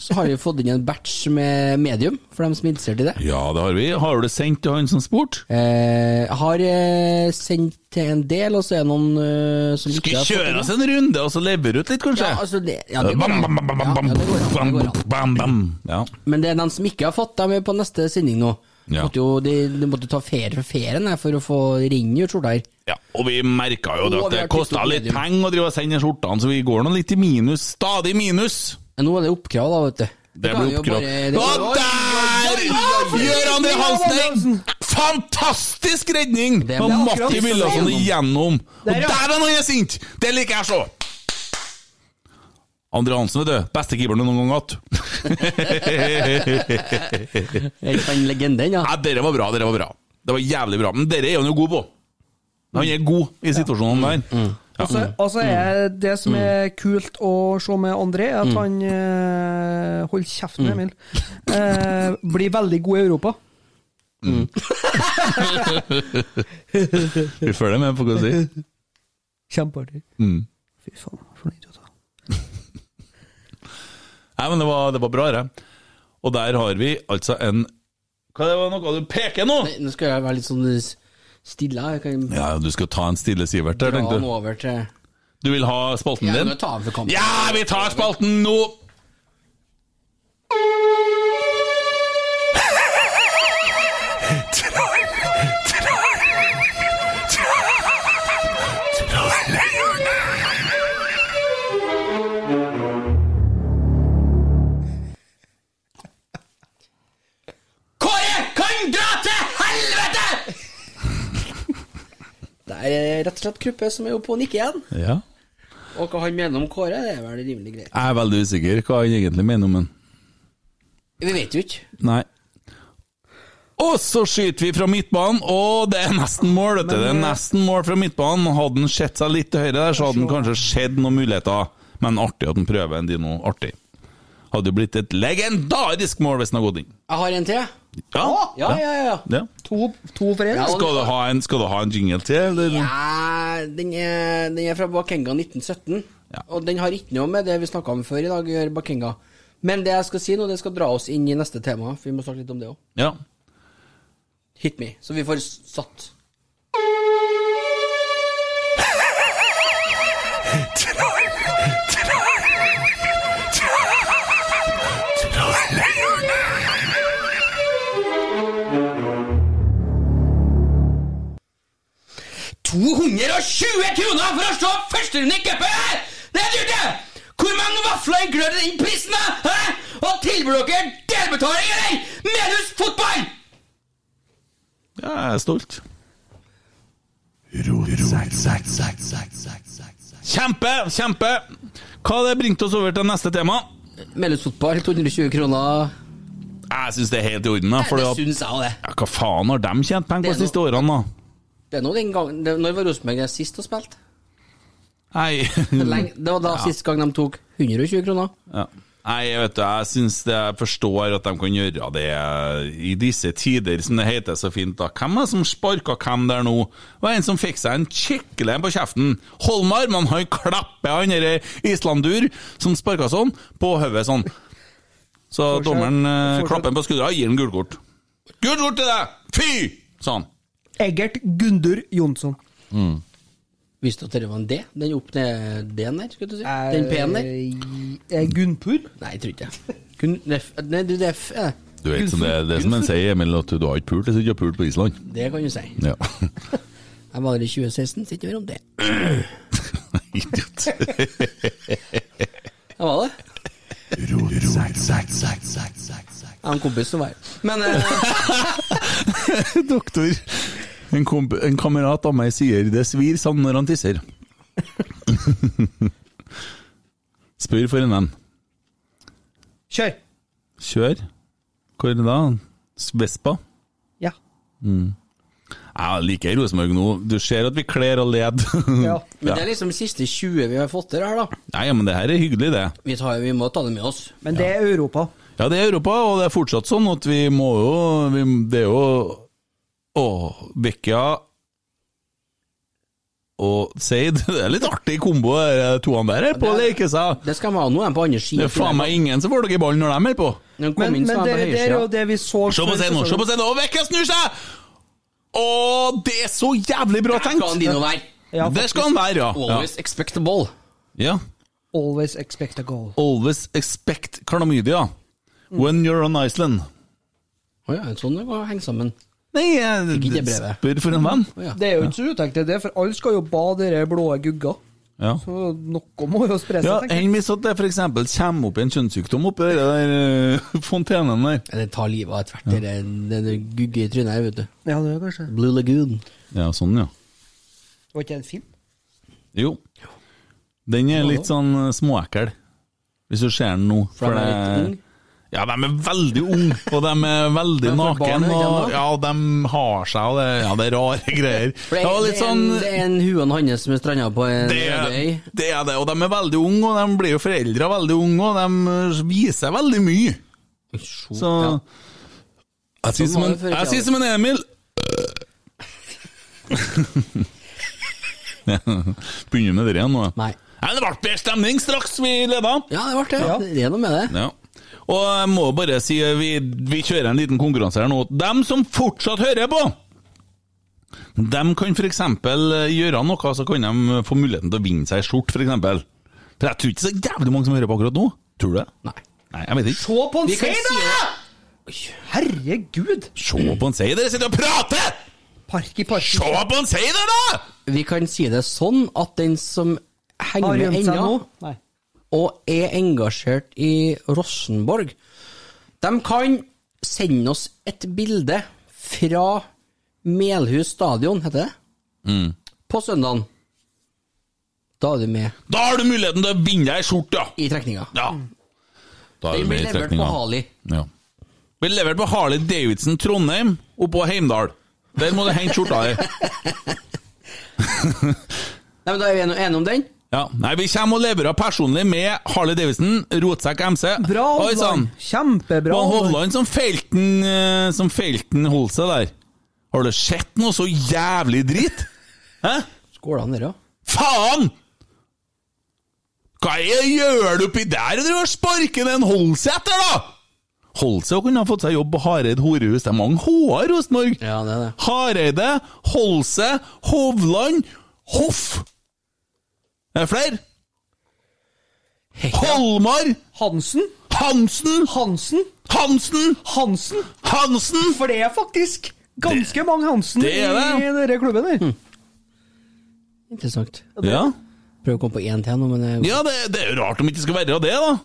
[SPEAKER 6] Så har vi fått inn en batch med medium, for dem som er interessert i det.
[SPEAKER 4] Ja, det har vi. Har du det sendt til han som spurte?
[SPEAKER 6] Eh, jeg har eh, sendt til en del, og så er det noen eh, som ikke
[SPEAKER 4] Skal vi
[SPEAKER 6] har fått
[SPEAKER 4] kjøre
[SPEAKER 6] det.
[SPEAKER 4] oss en runde, og så levere ut litt, kanskje?
[SPEAKER 6] Ja, altså det, ja, det
[SPEAKER 4] Bam, bam,
[SPEAKER 6] går
[SPEAKER 4] bam, bam,
[SPEAKER 6] an. Ja,
[SPEAKER 4] bam,
[SPEAKER 6] ja, det går an,
[SPEAKER 4] bam,
[SPEAKER 6] det går an.
[SPEAKER 4] bam, bam. Ja.
[SPEAKER 6] Men det er dem som ikke har fått, dem er på neste sending nå.
[SPEAKER 4] Ja.
[SPEAKER 6] Måtte jo, de, de måtte ta ferie fra ferien her for å få ringe ut skjorta her.
[SPEAKER 4] Ja, og vi merka jo det
[SPEAKER 6] Og
[SPEAKER 4] at
[SPEAKER 6] vi
[SPEAKER 4] det
[SPEAKER 6] har
[SPEAKER 4] kosta
[SPEAKER 6] kuttet
[SPEAKER 4] litt
[SPEAKER 6] medium.
[SPEAKER 4] penger å drive og sende skjortene, så vi går nå litt i minus. Stadig minus!
[SPEAKER 6] Men Nå er det oppkrav, da, vet du.
[SPEAKER 4] Det
[SPEAKER 6] Da kan vi
[SPEAKER 4] blir
[SPEAKER 6] jo
[SPEAKER 4] oppkrav.
[SPEAKER 6] bare- det-
[SPEAKER 4] Og der! Gjør André Hansen en fantastisk redning!
[SPEAKER 6] Det er
[SPEAKER 4] Og
[SPEAKER 6] bra.
[SPEAKER 4] Matti Wilhelmsen igjennom. Og
[SPEAKER 5] Der,
[SPEAKER 4] der
[SPEAKER 5] ja.
[SPEAKER 4] er han er sint! Det liker jeg å se! André Hansen, vet du. Beste keeperen du noen gang har hatt.
[SPEAKER 6] Jeg kan legenden, ja.
[SPEAKER 4] Nei, dere var bra, dere var bra. Det var jævlig bra. Men dere er han jo god på. Han er god i situasjonene der.
[SPEAKER 5] Altså,
[SPEAKER 6] Mm.
[SPEAKER 5] altså er det som er kult å se med André,
[SPEAKER 6] Mm.
[SPEAKER 5] er at han eh, Hold kjeften, Emil. Eh, blir veldig god i Europa.
[SPEAKER 4] Vi følger med på hva du sier.
[SPEAKER 5] Kjempeartig.
[SPEAKER 4] Mm.
[SPEAKER 5] Fy faen, for noen idioter.
[SPEAKER 4] Nei, men det var, det var bra, det. Og der har vi altså en Hva det var noe du peker nå?!
[SPEAKER 6] Nei, Nå skal jeg være litt sånn s- stille. her. Jeg kan
[SPEAKER 4] Ja, du skal ta en stille Sivert der,
[SPEAKER 6] dra
[SPEAKER 4] tenkte
[SPEAKER 6] den
[SPEAKER 4] du.
[SPEAKER 6] over til
[SPEAKER 4] Du vil ha spalten
[SPEAKER 6] Ja,
[SPEAKER 4] din?
[SPEAKER 6] nå tar vi for kampen.
[SPEAKER 4] Ja, vi tar spalten nå!
[SPEAKER 6] Kåre kan dra til helvete! Det er eh, rett og slett Kruppe som er oppe og nikker igjen.
[SPEAKER 4] Ja.
[SPEAKER 6] Og hva han mener om Kåre, det er vel rimelig greit.
[SPEAKER 4] Jeg er veldig usikker hva han egentlig mener om den.
[SPEAKER 6] Vi vet jo ikke.
[SPEAKER 4] Nei. Og så skyter vi fra midtbanen, og det er nesten mål, vet du. Det er nesten mål fra midtbanen. Hadde han sett seg litt til høyre der, så hadde han kanskje sett noen muligheter. Men artig at han prøver en dino. Artig. Hadde jo blitt et legendarisk mål hvis han hadde gått inn.
[SPEAKER 6] Jeg har en til, jeg.
[SPEAKER 4] Ja,
[SPEAKER 6] Ja, ja, ja.
[SPEAKER 4] Ja.
[SPEAKER 5] To, to for én?
[SPEAKER 6] Ja, og-
[SPEAKER 4] Skal, du ha en, skal du ha en jingle til, eller?
[SPEAKER 6] Ja, den er, den er fra Bakenga 1917.
[SPEAKER 4] Ja.
[SPEAKER 6] Og den har ikke noe med det vi snakka om før i dag, å gjøre, Bakenga. Men det jeg skal si nå, det skal dra oss inn i neste tema. For vi må snakke litt om det òg.
[SPEAKER 4] Ja.
[SPEAKER 6] Hit me. Så vi får s- satt. kroner for å se førsterunde i cupen her! Det er dyrt, det! Hvor mange vafler inkludert i den prisen, da? Hæ? Og tilbyr dere delbetaling, eller? Medus fotball!
[SPEAKER 4] ja, jeg er stolt. Kjempe, kjempe! Hva det bringte oss over til neste tema?
[SPEAKER 6] Medus fotball, 220 kroner.
[SPEAKER 4] Jeg syns det er helt i orden. da, fordi
[SPEAKER 6] det
[SPEAKER 4] at,
[SPEAKER 6] syns jeg òg, det.
[SPEAKER 4] ja, Hva faen har de tjent penger på
[SPEAKER 6] Det
[SPEAKER 4] de
[SPEAKER 6] er
[SPEAKER 4] siste årene, da?
[SPEAKER 6] Det er nå den gangen det, Når var Rosenborg der sist og spilte?
[SPEAKER 4] Nei,
[SPEAKER 6] Lenge- Det var da sist gang de tok 120 kroner.
[SPEAKER 4] ja. Nei jeg vet du, jeg syns det jeg forstår at de kan gjøre det i disse tider, som det heter så fint. da. Hvem er det som sparka hvem der nå? Det var en som fikk seg en kikkelig en på kjeften. Holmar, men han klapper han derre islandur som sparka sånn, på hodet sånn. Så
[SPEAKER 5] Fortsett.
[SPEAKER 4] dommeren eh,
[SPEAKER 5] Fortsett.
[SPEAKER 4] klapper han på skuldra og gir ham gult kort. Gult kort til deg! Fy! sa han.
[SPEAKER 5] Egert Gundur Jonsson.
[SPEAKER 6] Visste du at det var en D? Den opp ned D-en der, skulle du si? Den P-en der?
[SPEAKER 5] Eh, Gunnpur?
[SPEAKER 6] Nei, jeg tror ikke det. Kun F, nei, du, det er F, er det.
[SPEAKER 4] Du vet, som det, det er som en sier, Emil, at du har ikke pult hvis du ikke har pult på Island.
[SPEAKER 6] Det kan du si.
[SPEAKER 4] Ja.
[SPEAKER 6] Jeg var der i 2016, så ikke hør om det.
[SPEAKER 4] Idiot.
[SPEAKER 6] Jeg var det. Jeg har en kompis som var her. Men eh,
[SPEAKER 4] Doktor. En, komp en kamerat av meg sier det svir sånn når han tisser. Spør for en venn.
[SPEAKER 5] Kjør!
[SPEAKER 4] Kjør. Hvor da? S- Vespa?
[SPEAKER 5] Ja.
[SPEAKER 4] Jeg liker Rosenborg nå. Du ser at vi kler og led.
[SPEAKER 5] Mm. ja.
[SPEAKER 6] men det er liksom de siste 20 vi har fått til her, da.
[SPEAKER 4] Nei, men det her er hyggelig, det.
[SPEAKER 6] Vi, tar, vi må ta det med oss.
[SPEAKER 5] Men det er Europa.
[SPEAKER 4] Ja, det er Europa, og det er fortsatt sånn at vi må jo vi, Det er jo Å, Vecchia og Seid. Det er litt artig kombo, de toene der, er på å leke seg.
[SPEAKER 6] Det skal de ha nå, de er på andre
[SPEAKER 4] Det
[SPEAKER 6] sida.
[SPEAKER 4] er faen meg ingen som får dere i ballen når de er på.
[SPEAKER 6] De kom
[SPEAKER 5] Men,
[SPEAKER 6] inn,
[SPEAKER 5] men
[SPEAKER 6] så
[SPEAKER 5] det,
[SPEAKER 6] er de på
[SPEAKER 5] det er jo
[SPEAKER 6] høyresida.
[SPEAKER 5] det vi så
[SPEAKER 4] Se på scenen nå, se på scenen nå, Vekka snur seg! Å, det er så jævlig bra
[SPEAKER 6] Skal
[SPEAKER 4] tenkt!
[SPEAKER 6] Dino være
[SPEAKER 5] Ja,
[SPEAKER 4] Det skal han være, ja.
[SPEAKER 6] always expect the ball?
[SPEAKER 4] ja. ja.
[SPEAKER 5] Always expect a goal.
[SPEAKER 4] Always expect klamydia when you're on Iceland.
[SPEAKER 6] Å ja, sånn det var hengt sammen.
[SPEAKER 4] Nei, eh, jeg
[SPEAKER 6] Fikk ikke det brevet.
[SPEAKER 4] spør for en venn.
[SPEAKER 5] Det er jo ikke så utenkt, det, er det, for alle skal jo bade i de blå gugga.
[SPEAKER 4] Ja.
[SPEAKER 5] Så noe må jo spre seg.
[SPEAKER 4] Ja,
[SPEAKER 5] tenker jeg.
[SPEAKER 4] Enn hvis at det for eksempel kommer opp en kjønnssykdom oppi det der eh, fontenen der.
[SPEAKER 6] Det tar livet av ethvert ja. det, det gugge i trynet her, vet du.
[SPEAKER 5] ja, det er kanskje Det
[SPEAKER 6] Blue Lagoon.
[SPEAKER 4] Ja, sånn, ja.
[SPEAKER 5] var ikke en film?
[SPEAKER 4] Jo. Den er litt sånn eh, småekkel, hvis du ser den nå.
[SPEAKER 6] For
[SPEAKER 4] for
[SPEAKER 6] han er
[SPEAKER 4] det-
[SPEAKER 6] litt ung.
[SPEAKER 4] Ja, de er veldig unge, og de er veldig
[SPEAKER 6] Men for barn
[SPEAKER 4] naken, og
[SPEAKER 6] er ikke de naken.
[SPEAKER 4] ja, de har seg, og det, ja, det er rare greier.
[SPEAKER 6] For det,
[SPEAKER 4] ja,
[SPEAKER 6] er-
[SPEAKER 4] litt
[SPEAKER 6] det, er
[SPEAKER 4] sånn,
[SPEAKER 6] en, det er en huen hans som er stranda på en
[SPEAKER 4] det, er,
[SPEAKER 6] øde øy.
[SPEAKER 4] det er det, og de er veldig unge, og de blir jo foreldre veldig unge, og de eh, viser veldig mye. Så
[SPEAKER 6] Ja.
[SPEAKER 4] Jeg sier som
[SPEAKER 6] var
[SPEAKER 4] en,
[SPEAKER 6] det før i
[SPEAKER 4] jeg
[SPEAKER 6] tida.
[SPEAKER 4] sier som en Emil. Ja, Begynner med det igjen nå.
[SPEAKER 6] Nei.
[SPEAKER 4] Nei, det ble bedre stemning straks vi leda.
[SPEAKER 6] Ja, det ble det. Det er noe med det.
[SPEAKER 4] Ja. Og jeg må bare si, vi, vi kjører en liten konkurranse her nå. Dem som fortsatt hører på, dem kan f.eks. gjøre noe, så kan de få muligheten til å vinne seg ei skjorte, f.eks. For, eksempel. for jeg tror ikke så jævlig mange som hører på akkurat nå. Tror du det?
[SPEAKER 6] Nei.
[SPEAKER 4] Nei, jeg vet ikke.
[SPEAKER 5] Se på en
[SPEAKER 6] Vi kan
[SPEAKER 5] scene,
[SPEAKER 6] si
[SPEAKER 5] da!
[SPEAKER 6] det.
[SPEAKER 5] Herregud!
[SPEAKER 4] Se på en seier, dere sitter og prater!
[SPEAKER 5] Park i park.
[SPEAKER 4] Se på en seier, da!
[SPEAKER 6] Vi kan si det sånn at den som henger
[SPEAKER 5] Har
[SPEAKER 6] med
[SPEAKER 5] gjemt seg nå?
[SPEAKER 6] ennå,
[SPEAKER 5] Nei.
[SPEAKER 6] og er engasjert i Rosenborg, de kan sende oss et bilde fra Melhus stadion, heter det,
[SPEAKER 4] Mm.
[SPEAKER 6] på søndagen. Da er du med
[SPEAKER 4] Da har du muligheten til å vinne deg ei skjorte, ja.
[SPEAKER 6] i trekninga.
[SPEAKER 4] ja. Da er
[SPEAKER 6] Den
[SPEAKER 4] du med
[SPEAKER 6] blir
[SPEAKER 4] i
[SPEAKER 6] levert på
[SPEAKER 4] trekninga.
[SPEAKER 6] Hali.
[SPEAKER 4] Ja. Blir levert på Harley Davidson Trondheim oppå Heimdal. Der må du hente skjorta di.
[SPEAKER 6] Nei, men Da er vi eno- enige om den?
[SPEAKER 4] Ja. Nei, vi kommer og leverer personlig med Harley Davidson, rotsekk MC.
[SPEAKER 5] Bra,
[SPEAKER 4] Oi sann!
[SPEAKER 5] Hovland.
[SPEAKER 4] Det
[SPEAKER 5] Kjempebra.
[SPEAKER 4] var
[SPEAKER 5] Hovland.
[SPEAKER 4] Hovland som felten eh, Som felten holdt seg der. Har du sett noe så jævlig drit? Hæ?
[SPEAKER 6] Skålene der, ja.
[SPEAKER 4] Faen! Hva er det gjør du oppi der og driver og sparker den Holsæter, da?! Holsæter kunne ha fått seg jobb på Hareid horehus. Det er mange H-er i Rosenborg.
[SPEAKER 6] Ja, det er det.
[SPEAKER 4] Hareide, Holse, Hovland, Hoff. Er det flere? Holmar,
[SPEAKER 5] Hansen?
[SPEAKER 4] Hansen,
[SPEAKER 5] Hansen?
[SPEAKER 4] Hansen,
[SPEAKER 5] Hansen?
[SPEAKER 4] Hansen!
[SPEAKER 5] For det er faktisk ganske mange Hansen
[SPEAKER 4] det er det.
[SPEAKER 5] i denne klubben her.
[SPEAKER 6] Interessant.
[SPEAKER 4] Ja,
[SPEAKER 6] Prøver å komme på én til nå, men det-
[SPEAKER 4] ja det, det er jo rart om ikke skal være det, da.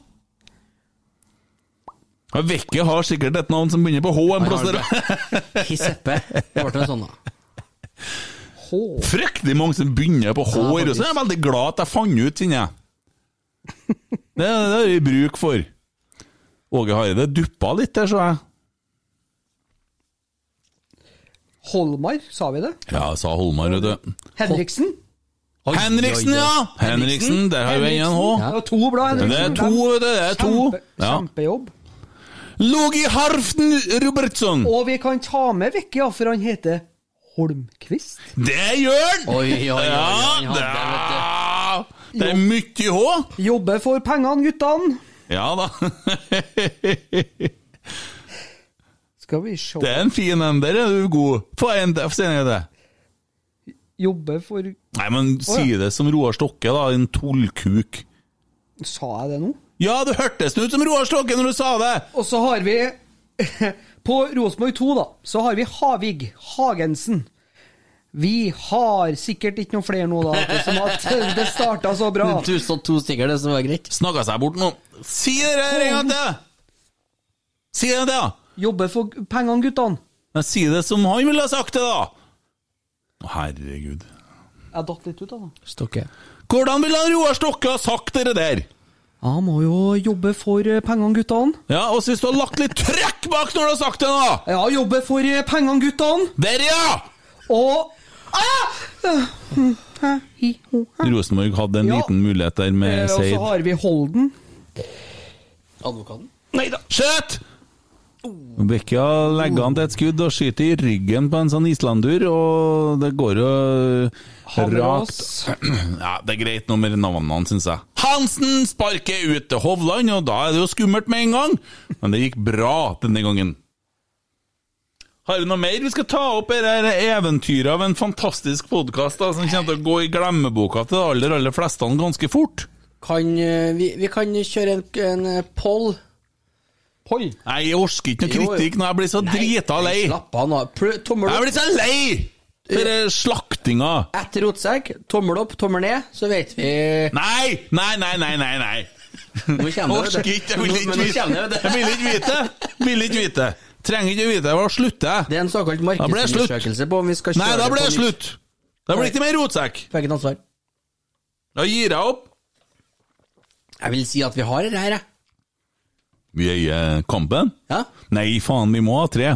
[SPEAKER 4] Ja, Vekke har sikkert et navn som begynner på H en
[SPEAKER 6] Han
[SPEAKER 4] plass
[SPEAKER 6] har
[SPEAKER 4] der.
[SPEAKER 6] Hiseppe. Ble det sånn, da?
[SPEAKER 4] Fryktelig mange som begynner på H i
[SPEAKER 6] faktisk.
[SPEAKER 4] Russland. Jeg er veldig glad at jeg fant ut den, jeg. Det, det har vi bruk for. Åge Hareide duppa litt der, så jeg.
[SPEAKER 5] Holmar, sa vi det?
[SPEAKER 4] Ja, sa Holmar, vet du.
[SPEAKER 5] Henriksen?
[SPEAKER 4] Henriksen, ja! Henriksen, der har vi en H.
[SPEAKER 5] Ja. Det var to blad, Henriksen.
[SPEAKER 4] Det er to, vet du. Det er to.
[SPEAKER 5] Kjempe,
[SPEAKER 4] Ja.
[SPEAKER 5] Kjempejobb.
[SPEAKER 4] Logi Harften Robertson!
[SPEAKER 5] Og vi kan ta med Vicky, ja, for han heter Holmquist.
[SPEAKER 4] Det gjør han!
[SPEAKER 6] Oi, oi, oi, oi, han
[SPEAKER 4] Ja,
[SPEAKER 6] hadde, vet du.
[SPEAKER 4] da. Det er mye H.
[SPEAKER 5] Jobber for pengene, guttene.
[SPEAKER 4] Ja da.
[SPEAKER 5] Skal vi se
[SPEAKER 4] Det er en fin en. Der er du god. Få en til, få se en til.
[SPEAKER 5] Jobber for
[SPEAKER 4] Nei, men si det som Roar Stokke, da. En tullkuk.
[SPEAKER 5] Sa jeg det nå?
[SPEAKER 4] Ja, det hørtes ut som Roar Stokke når du sa det!
[SPEAKER 5] Og så har vi På Rosenborg 2, da, så har vi Havig Hagensen. Vi har sikkert ikke noen flere nå, da, vet du, som at det starta så bra.
[SPEAKER 6] Du så to stykker, det som var greit.
[SPEAKER 4] Snakka seg bort nå. Si det der en gang til! Si det en gang til, da!
[SPEAKER 5] Jobber for pengene, guttene.
[SPEAKER 4] Men si det som han ville ha sagt det, da! Å, Herregud.
[SPEAKER 5] Jeg datt litt ut av det.
[SPEAKER 6] Stokke.
[SPEAKER 4] Hvordan ville han Roar Stokke ha sagt det der?
[SPEAKER 5] Jeg må jo jobbe for eh, pengene, guttene.
[SPEAKER 4] Ja, og så hvis du har lagt litt trøkk bak når du har sagt det, da!
[SPEAKER 5] Ja, jobbe for eh, pengene, guttene.
[SPEAKER 4] Der, ja!
[SPEAKER 5] Og ah! Hæ, hi, ho, hæ.
[SPEAKER 4] Rosenborg hadde en
[SPEAKER 5] Ja.
[SPEAKER 4] liten mulighet der
[SPEAKER 5] Eh,
[SPEAKER 4] med
[SPEAKER 5] Og så
[SPEAKER 4] Seid.
[SPEAKER 5] har vi Holden.
[SPEAKER 6] Advokaten.
[SPEAKER 4] Nei da! Skjøt! Bekkja legger han til et skudd og skyter i ryggen på en sånn islandur, og det går jo rakt
[SPEAKER 5] Haverås.
[SPEAKER 4] ja, Det er greit nå med navnene, syns jeg. Hansen sparker ut til Hovland, og da er det jo skummelt med en gang. Men det gikk bra denne gangen. Har vi noe mer? Vi skal ta opp det her eventyret av en fantastisk podkast som kommer til å gå i glemmeboka til de aller, aller fleste ganske fort.
[SPEAKER 6] Kan, eh, vi, vi kan kjøre en, en eh, poll. Poll?
[SPEAKER 4] Nei, jeg orker ikke noe
[SPEAKER 6] Jo, jo.
[SPEAKER 4] kritikk når jeg blir så drita lei.
[SPEAKER 6] Slapp av nå. Pl- Tommel
[SPEAKER 4] Jeg
[SPEAKER 6] opp.
[SPEAKER 4] blir så lei! For eh, slaktinga.
[SPEAKER 6] Etter rotsekk, tommel opp, tommel ned, så vet vi
[SPEAKER 4] Nei, nei, nei, nei, nei. nei.
[SPEAKER 6] Nå kjenner
[SPEAKER 4] Orker
[SPEAKER 6] vi
[SPEAKER 4] ikke, jeg
[SPEAKER 6] det.
[SPEAKER 4] vil ikke
[SPEAKER 6] Men nå
[SPEAKER 4] vite.
[SPEAKER 6] kjenner vi det.
[SPEAKER 4] Jeg vil ikke vite. Vil ikke vite. Trenger ikke vite. Da slutter
[SPEAKER 6] Det
[SPEAKER 4] jeg.
[SPEAKER 6] er en såkalt
[SPEAKER 4] Da ble det slutt.
[SPEAKER 6] markedsundersøkelse på om vi skal kjøre
[SPEAKER 4] Nei, da
[SPEAKER 6] på
[SPEAKER 4] blir det
[SPEAKER 6] nytt.
[SPEAKER 4] slutt. Da blir det ikke mer rotsekk.
[SPEAKER 6] Får jeg ikke noe svar.
[SPEAKER 4] Da gir jeg opp.
[SPEAKER 6] Jeg vil si at vi har det her, jeg.
[SPEAKER 4] Vi eier kampen.
[SPEAKER 6] Ja,
[SPEAKER 4] Nei, faen, vi må ha tre.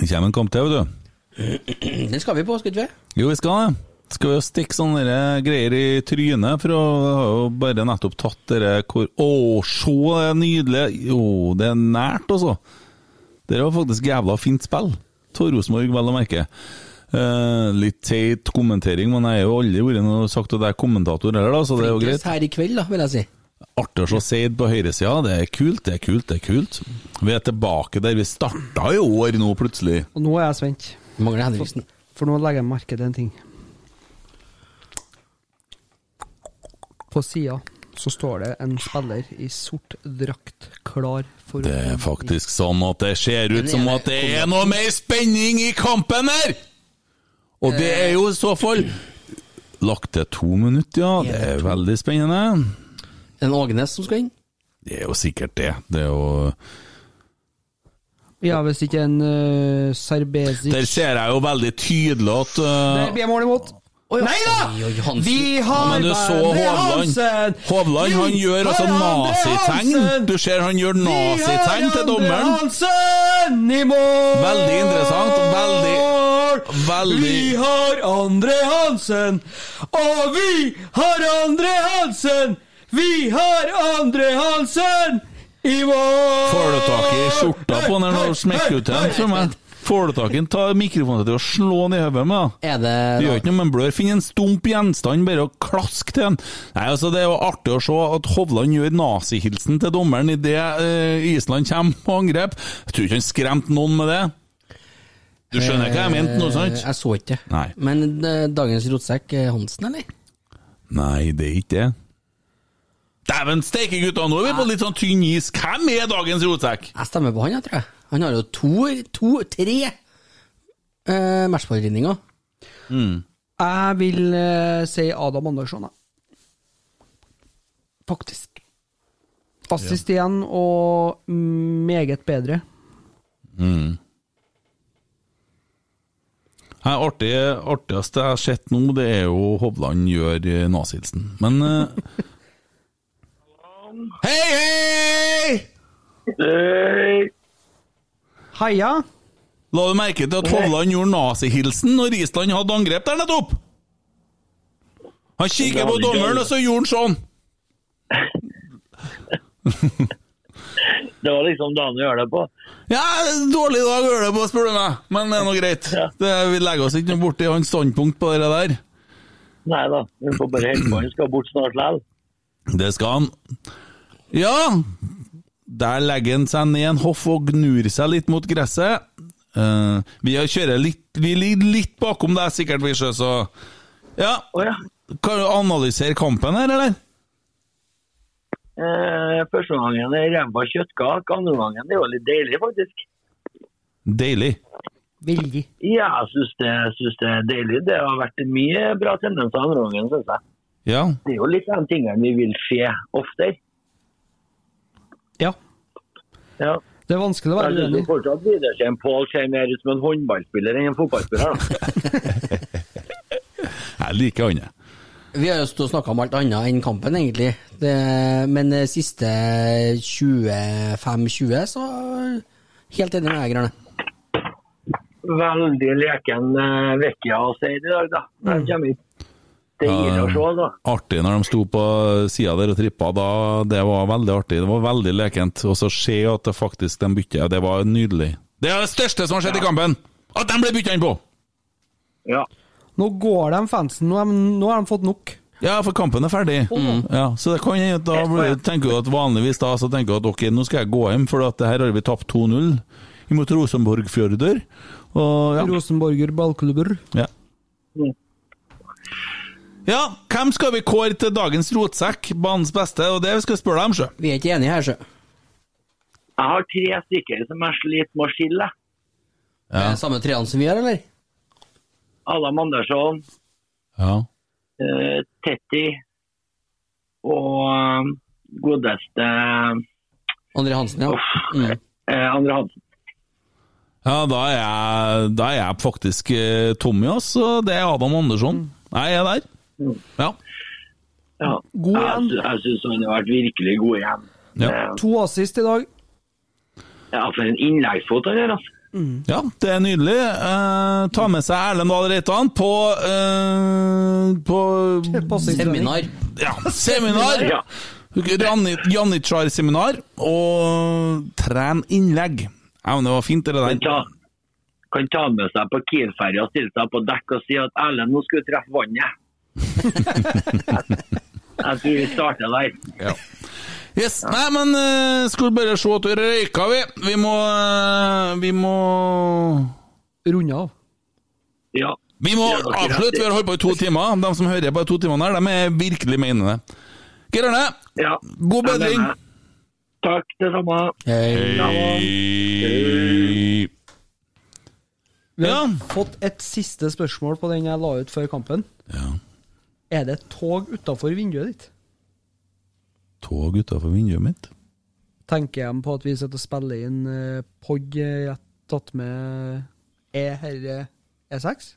[SPEAKER 4] Det kommer en kamp til, vet du.
[SPEAKER 6] den skal vi på, skal ikke vi?
[SPEAKER 4] Jo, vi skal det. Skal vi jo stikke sånne der eh, greier i trynet, for å har jo bare nettopp tatt dere hvor Å, se det nydelige Jo, det er nært, altså. Det var faktisk jævla fint spill. Av Rosenborg, vel å merke. Eh, litt teit kommentering, men jeg har jo aldri vært noe sagt at jeg er kommentator heller, da, så det er jo greit.
[SPEAKER 6] Flinkest her i kveld, da, vil jeg si.
[SPEAKER 4] Artig å se Seid på høyresida. Det er kult, det er kult, det er kult. Vi er tilbake der vi starta i år nå, plutselig.
[SPEAKER 5] Og nå er jeg spent,
[SPEAKER 6] Mangler Henriksen.
[SPEAKER 5] for nå legger jeg merke til en ting. På sida så står det en spiller i sort drakt klar for
[SPEAKER 4] Det er faktisk sånn at det ser ut
[SPEAKER 6] Men
[SPEAKER 4] som
[SPEAKER 6] er
[SPEAKER 4] at det
[SPEAKER 6] det-
[SPEAKER 4] er noe mer spenning i kampen her! Og det er jo i så fall Lagt til to minutter, ja. Det er veldig spennende.
[SPEAKER 6] En Ågnes som skal inn.
[SPEAKER 4] Det er jo sikkert det. Det er jo
[SPEAKER 5] Ja, hvis ikke en uh, Serbesic
[SPEAKER 4] Der ser jeg jo veldig tydelig at
[SPEAKER 5] Det
[SPEAKER 4] uh,
[SPEAKER 5] blir mål imot. Nei
[SPEAKER 6] Oi, oi,
[SPEAKER 5] da!
[SPEAKER 6] Hansen.
[SPEAKER 5] Vi har
[SPEAKER 4] Men du så
[SPEAKER 5] Andre
[SPEAKER 4] Hovland.
[SPEAKER 5] Hansen!
[SPEAKER 4] Hovland han
[SPEAKER 5] Vi
[SPEAKER 4] gjør altså
[SPEAKER 5] har Andre
[SPEAKER 4] nazitegn.
[SPEAKER 5] Hansen!
[SPEAKER 4] Du ser han gjør nazitegn til dommeren.
[SPEAKER 5] Vi har Andre Hansen i mål!
[SPEAKER 4] Veldig interessant, veldig- veldig-
[SPEAKER 5] Vi har Andre Hansen, og vi har Andre Hansen! Vi har Andre Hansen i mål!
[SPEAKER 4] Får du tak i skjorta på den der og smekker ut den for meg? Får du tak i den, ta mikrofonen til og slå den i hodet med den.
[SPEAKER 6] Er det
[SPEAKER 4] Det gjør ikke noe med en blør. Finn en stump gjenstand, bare og klask til den. Nei, altså Det er jo artig å se at Hovland gjør nazihilsen til dommeren idet eh, Island kommer på angrep. Jeg tror ikke han skremte noen med det. Du skjønner hva jeg mente nå,
[SPEAKER 6] Eh,
[SPEAKER 4] sant?
[SPEAKER 6] Jeg så ikke det.
[SPEAKER 4] Nei.
[SPEAKER 6] Men eh, dagens rotsekk er Hansen, eller?
[SPEAKER 4] Nei, det er ikke det. Dæven steike, gutta! Nå er vi på litt sånn tynn is. Hvem er dagens rotsekk?
[SPEAKER 6] Jeg stemmer på han, jeg tror jeg. Han har jo to, to tre eh, matchballridninger.
[SPEAKER 5] Jeg vil eh, si Adam Andersson, jeg. Faktisk. Assist igjen, og meget bedre.
[SPEAKER 4] Nei, artig, artigste jeg har sett nå, det er jo Hovland gjør eh, nazihilsen. Men eh, Hei, hei!
[SPEAKER 5] Heia!
[SPEAKER 4] La du merke til at Hovland gjorde nazihilsen når Island hadde angrep der nettopp? Han kikker på dommeren, og så gjorde han sånn.
[SPEAKER 2] Det var liksom dagen å gjøre det på.
[SPEAKER 4] Ja, dårlig dag gjør det på, spør du meg, men det er nå greit. Det, vi legger oss ikke noe borti hans standpunkt på det der.
[SPEAKER 2] Nei da, hun får bare helt på. Hun skal bort snart likevel.
[SPEAKER 4] Det skal han. Ja! Der legger han seg ned en hoff og gnur seg litt mot gresset. Eh, vi har- kjører litt Vi ligger litt bakom deg, sikkert, vi sjø, så Ja,
[SPEAKER 2] Å ja.
[SPEAKER 4] kan du analysere kampen her, eller?
[SPEAKER 2] Eh, første gangen er ræva kjøttkake, andre gangen er jo litt deilig, faktisk.
[SPEAKER 4] Deilig.
[SPEAKER 5] Veldig.
[SPEAKER 2] Ja, jeg syns det, jeg synes det er deilig. Det har vært mye bra tendenser andre gangen, syns jeg.
[SPEAKER 4] Ja.
[SPEAKER 2] Det er jo litt den tingene vi vil se oftere.
[SPEAKER 5] Ja.
[SPEAKER 2] Ja.
[SPEAKER 5] Det er vanskelig å
[SPEAKER 2] Jeg
[SPEAKER 5] være
[SPEAKER 2] syns
[SPEAKER 5] uenig.
[SPEAKER 2] fortsatt Widersen Pål ser mer ut som en håndballspiller enn en fotballspiller, da.
[SPEAKER 4] Jeg liker han, jeg.
[SPEAKER 6] Vi har jo stått og snakka om alt annet enn kampen, egentlig. Det, men eh, siste 25-20, så Helt enig med deg, Grønne.
[SPEAKER 2] eh, veldig leken uh, Vecchia å si det i dag, da. Når han kommer hit. Det gir å se, da.
[SPEAKER 4] Artig når de sto på sida der og trippa. Da, det var veldig artig. Det var veldig lekent. Og så se at det faktisk de bytter. Det var nydelig. Det er det største som har skjedd i kampen! At de ble bytta inn på!
[SPEAKER 2] Ja.
[SPEAKER 5] Nå går de fansen. Nå har de, nå har de fått nok.
[SPEAKER 4] Ja, for kampen er ferdig. Mm. Ja, så det kan hende at da blir- tenker du at vanligvis da så tenker du at ok, nå skal jeg gå hjem, for at det her har vi tapt 2-0 imot Rosenborg Fjordur. Og ja.
[SPEAKER 5] Rosenborger ballklubber.
[SPEAKER 4] Ja. ja, hvem skal vi kåre til dagens rotsekk? Banens beste, og det vi skal spørre dem, sjø.
[SPEAKER 6] Vi er ikke enige her, sjø.
[SPEAKER 2] Jeg har tre stykker som jeg sliter med å skille.
[SPEAKER 6] Er det Samme treene som vi har, eller?
[SPEAKER 2] Adam Andersson,
[SPEAKER 4] Ja.
[SPEAKER 2] eh, Tetti og eh, godeste
[SPEAKER 6] André Hansen, ja. Mm.
[SPEAKER 2] eh, Andre Hansen.
[SPEAKER 4] ja da, er jeg, da er jeg faktisk eh, Tommy, altså. Det er Adam Andersson. Nei, jeg er der. Ja.
[SPEAKER 2] Ja.
[SPEAKER 5] God
[SPEAKER 2] Jeg,
[SPEAKER 5] igjen.
[SPEAKER 2] sy- jeg syns han har vært virkelig god igjen.
[SPEAKER 4] Ja.
[SPEAKER 2] Eh,
[SPEAKER 5] To assist i dag.
[SPEAKER 2] ja, for en innleggsfot han gjør, altså.
[SPEAKER 4] ja, det er nydelig. Eh, ta med seg Erlend Dahl Reitan på eh, På
[SPEAKER 5] Passingstrening.
[SPEAKER 6] Seminar.
[SPEAKER 4] ja, seminar!
[SPEAKER 2] Ja.
[SPEAKER 4] Janni- Janitsjar-seminar. Og tren innlegg. Ja, men det var fint, det der.
[SPEAKER 2] Kan ta, kan ta med seg på Kiel-ferja og stille seg på dekk og si at Erlend, nå skal du treffe vannet. jeg, jeg tror vi starter der.
[SPEAKER 4] Yes, Nei, men eh, skulle bare se at du røyka, vi. Vi må eh, Vi må
[SPEAKER 5] Runde av.
[SPEAKER 2] Ja.
[SPEAKER 4] Vi må
[SPEAKER 2] Ja, dere er
[SPEAKER 4] avslutte. Vi har holdt på i to timer. De som hører på i to timer her, de er virkelig mener det. Geir Arne,
[SPEAKER 2] ja.
[SPEAKER 4] god
[SPEAKER 2] jeg
[SPEAKER 4] bedring.
[SPEAKER 2] mener. Takk, det samme.
[SPEAKER 4] Hei.
[SPEAKER 5] Vi har
[SPEAKER 4] Ja.
[SPEAKER 5] fått et siste spørsmål på den jeg la ut før kampen.
[SPEAKER 4] Ja.
[SPEAKER 5] Er det et tog utafor vinduet ditt?
[SPEAKER 4] Tog utafor vinduet mitt.
[SPEAKER 5] Tenker jeg på at vi sitter og spiller inn eh, POG eh, jeg tatt med Er herre E6?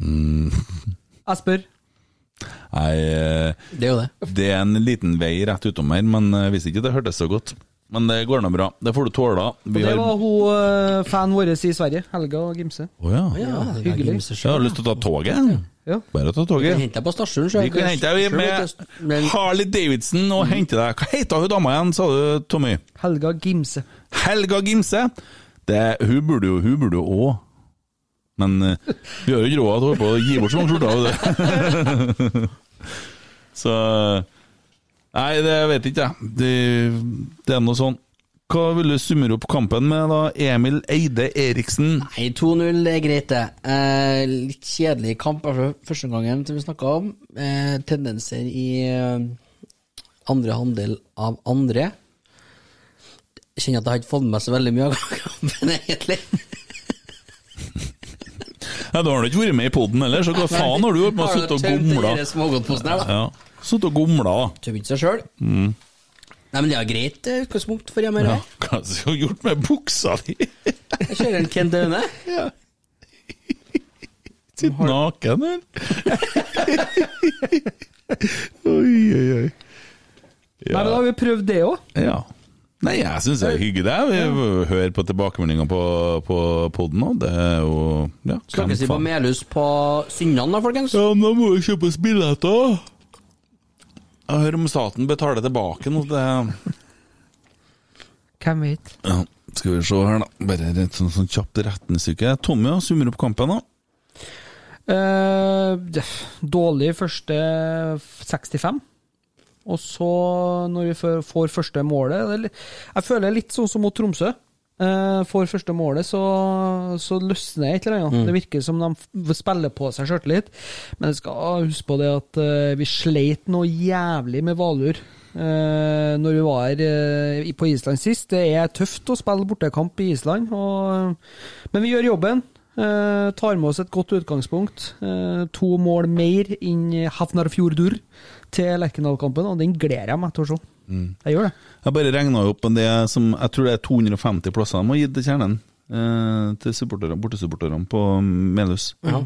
[SPEAKER 4] Mm.
[SPEAKER 5] Jeg spør.
[SPEAKER 4] Nei, eh,
[SPEAKER 6] Det er jo det.
[SPEAKER 4] det er en liten vei rett utom her, men eh, hvis ikke det hørtes så godt. Men det går nå bra. Det får du tåle.
[SPEAKER 5] Og
[SPEAKER 4] Vi
[SPEAKER 5] det
[SPEAKER 4] har
[SPEAKER 5] var hun eh, fan vår i Sverige, Helga Gimse.
[SPEAKER 4] Å Ah, ja.
[SPEAKER 5] hyggelig.
[SPEAKER 4] Jeg har lyst til å ta toget.
[SPEAKER 5] Ja.
[SPEAKER 4] Bare ta toget.
[SPEAKER 6] Hent deg på stasjonen, sjø.
[SPEAKER 4] Vi kan hente deg med
[SPEAKER 6] Men
[SPEAKER 4] Harley Davidson og hente deg Hva heter hun dama igjen, sa du, Tommy?
[SPEAKER 5] Helga Gimse.
[SPEAKER 4] Helga Gimse. Det, hun burde jo Hun burde jo òg Men eh, vi har jo ikke råd til å holde på å gi bort så mange skjorter. vet du. så Nei, det vet jeg ikke, jeg. Det, det er noe sånn. Hva vil du summere opp kampen med, da? Emil Eide Eriksen.
[SPEAKER 6] Nei, 2-0 er greit, det. Eh, litt kjedelig kamp altså, første gangen som vi snakka om. Eh, tendenser i eh, andre handel av andre. Jeg Kjenner at jeg har ikke fått med meg så veldig mye av kampen, egentlig.
[SPEAKER 4] Ja, Da har du ikke vært med i poden heller, så hva faen har du gjort med å sitte og gomle?
[SPEAKER 6] gomle?
[SPEAKER 4] Ja, sitte og gomle.
[SPEAKER 6] Tømt seg sjøl. Nei, men det er greit eh, utgangspunkt for hjemme.
[SPEAKER 4] Ja,
[SPEAKER 6] Ja.
[SPEAKER 4] hva har du gjort med buksa di?
[SPEAKER 6] Jeg kjører en Kent Aune.
[SPEAKER 4] Sitt naken her. oi, oi, oi.
[SPEAKER 5] Nei, men da har vi prøvd det òg.
[SPEAKER 4] Ja. Nei, jeg syns det er hyggelig. det. Vi hører på tilbakemeldinger på, på poden nå. Det er jo ja, hvem
[SPEAKER 6] Snakkes vi på
[SPEAKER 4] faen-
[SPEAKER 6] Melhus på Synnan, da, folkens?
[SPEAKER 4] Ja, men da må jo kjøpes billetter. Jeg hører om staten betaler tilbake noe. Det
[SPEAKER 5] Hvem vet?
[SPEAKER 4] ja, skal vi se her, da. Bare et sånn, sånn kjapt retnestykke. Tommy ja, summer opp kampen, da.
[SPEAKER 5] Eh, døff. dårlig første 65. Og så, når vi får- får første målet det er litt- Jeg føler litt sånn som mot Tromsø. Eh, får første målet, så, så løsner et eller annet. Det virker som de f- spiller på seg sjøltillit. Men jeg skal huske på det at eh, vi sleit noe jævlig med Valur eh, når vi var eh, i- på Island sist. Det er tøft å spille bortekamp i Island, og, men vi gjør jobben. Eh, tar med oss et godt utgangspunkt. Eh, to mål mer inn Hafnarfjordur til Lerkendal-kampen, og den gleder jeg meg til å se.
[SPEAKER 4] Mm.
[SPEAKER 5] Jeg gjør det.
[SPEAKER 4] Jeg bare regna opp det som Jeg tror det er 250 plasser de har gitt til kjernen. Eh, til supporterne, bortesupporterne på Melhus. Jeg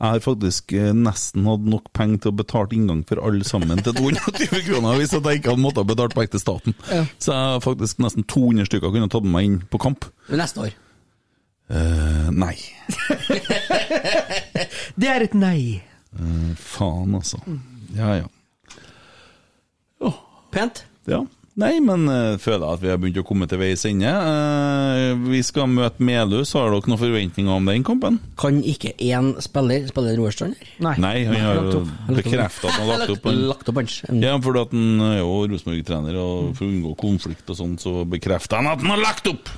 [SPEAKER 4] har faktisk eh, nesten hatt nok penger til å betale inngang for alle sammen til 220 kroner, hvis at jeg ikke hadde måttet ha betalt penger til staten. Så jeg har faktisk nesten 200 stykker kunne tatt med meg inn på kamp.
[SPEAKER 6] Neste år.
[SPEAKER 4] Eh, nei.
[SPEAKER 5] Det er et nei.
[SPEAKER 4] Eh, faen, altså. Ja, ja.
[SPEAKER 6] Pent.
[SPEAKER 4] Ja. Nei, men eh, føler jeg at vi har begynt å komme til veis ende. Eh, vi skal møte Melhus. Har dere noen forventninger om den kampen?
[SPEAKER 6] Kan ikke én spiller spille den Roarstrand her?
[SPEAKER 5] Nei.
[SPEAKER 4] Nei, han har
[SPEAKER 6] lagt
[SPEAKER 4] jo
[SPEAKER 6] opp. Lagt opp.
[SPEAKER 4] bekreftet at han har lagt opp. Han-
[SPEAKER 6] Lagt opp hans.
[SPEAKER 4] Ja, fordi at han er jo Rosenborg-trener, og for å unngå konflikt og sånn, så bekrefter han at han har lagt opp!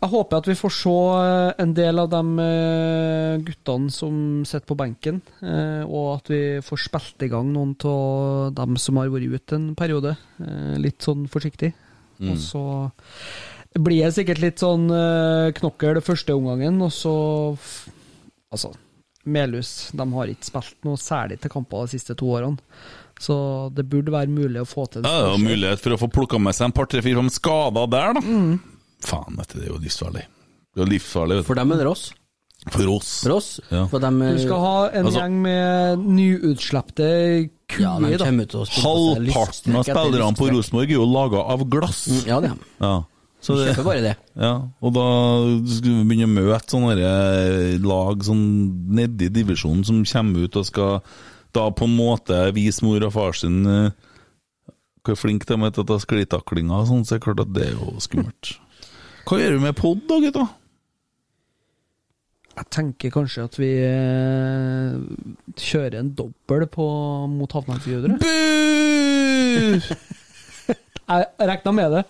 [SPEAKER 5] Jeg håper at vi får se eh, en del av de eh, guttene som sitter på benken, eh, og at vi får spilt i gang noen av dem som har vært ute en periode. eh, Litt sånn forsiktig.
[SPEAKER 4] Mm.
[SPEAKER 5] Og så blir det sikkert litt sånn eh, knokkel første omgangen, og så f- Altså, Melhus de har ikke spilt noe særlig til kamper de siste to årene, så det burde være mulig å få til
[SPEAKER 4] Ja, det er jo mulighet for å få plukka med seg en par, tre, fire, fem skader der, da. Faen, dette er jo livsfarlig. Det er jo livsfarlig, vet
[SPEAKER 6] For dem eller oss?
[SPEAKER 4] du. For oss.
[SPEAKER 6] For oss?
[SPEAKER 4] Ja.
[SPEAKER 6] For dem,
[SPEAKER 5] Du skal ha en
[SPEAKER 4] Altså-
[SPEAKER 5] gjeng med nyutslepte kuer,
[SPEAKER 6] ja, de
[SPEAKER 5] da.
[SPEAKER 6] kommer ut og spiller på seg
[SPEAKER 4] Halvparten av
[SPEAKER 6] lyststrekk etter
[SPEAKER 4] spillerne på
[SPEAKER 6] lyststrekk.
[SPEAKER 4] Rosenborg er jo laga av glass.
[SPEAKER 6] Ja, det er de.
[SPEAKER 4] Ja. Så det,
[SPEAKER 6] Kjøper bare det.
[SPEAKER 4] ja. Og da skulle vi begynne å møte sånne der lag sånn nedi divisjonen som kommer ut og skal da på en måte vise mor og far sin eh, hvor flink de er til å ta sklitaklinger og sånn, så er det klart at det er jo skummelt. Hva gjør du med pod da, gutta?
[SPEAKER 5] Jeg tenker kanskje at vi eh, kjører en dobbel på, mot Havnlandsjudere.
[SPEAKER 4] Bu!
[SPEAKER 5] Jeg regna med det,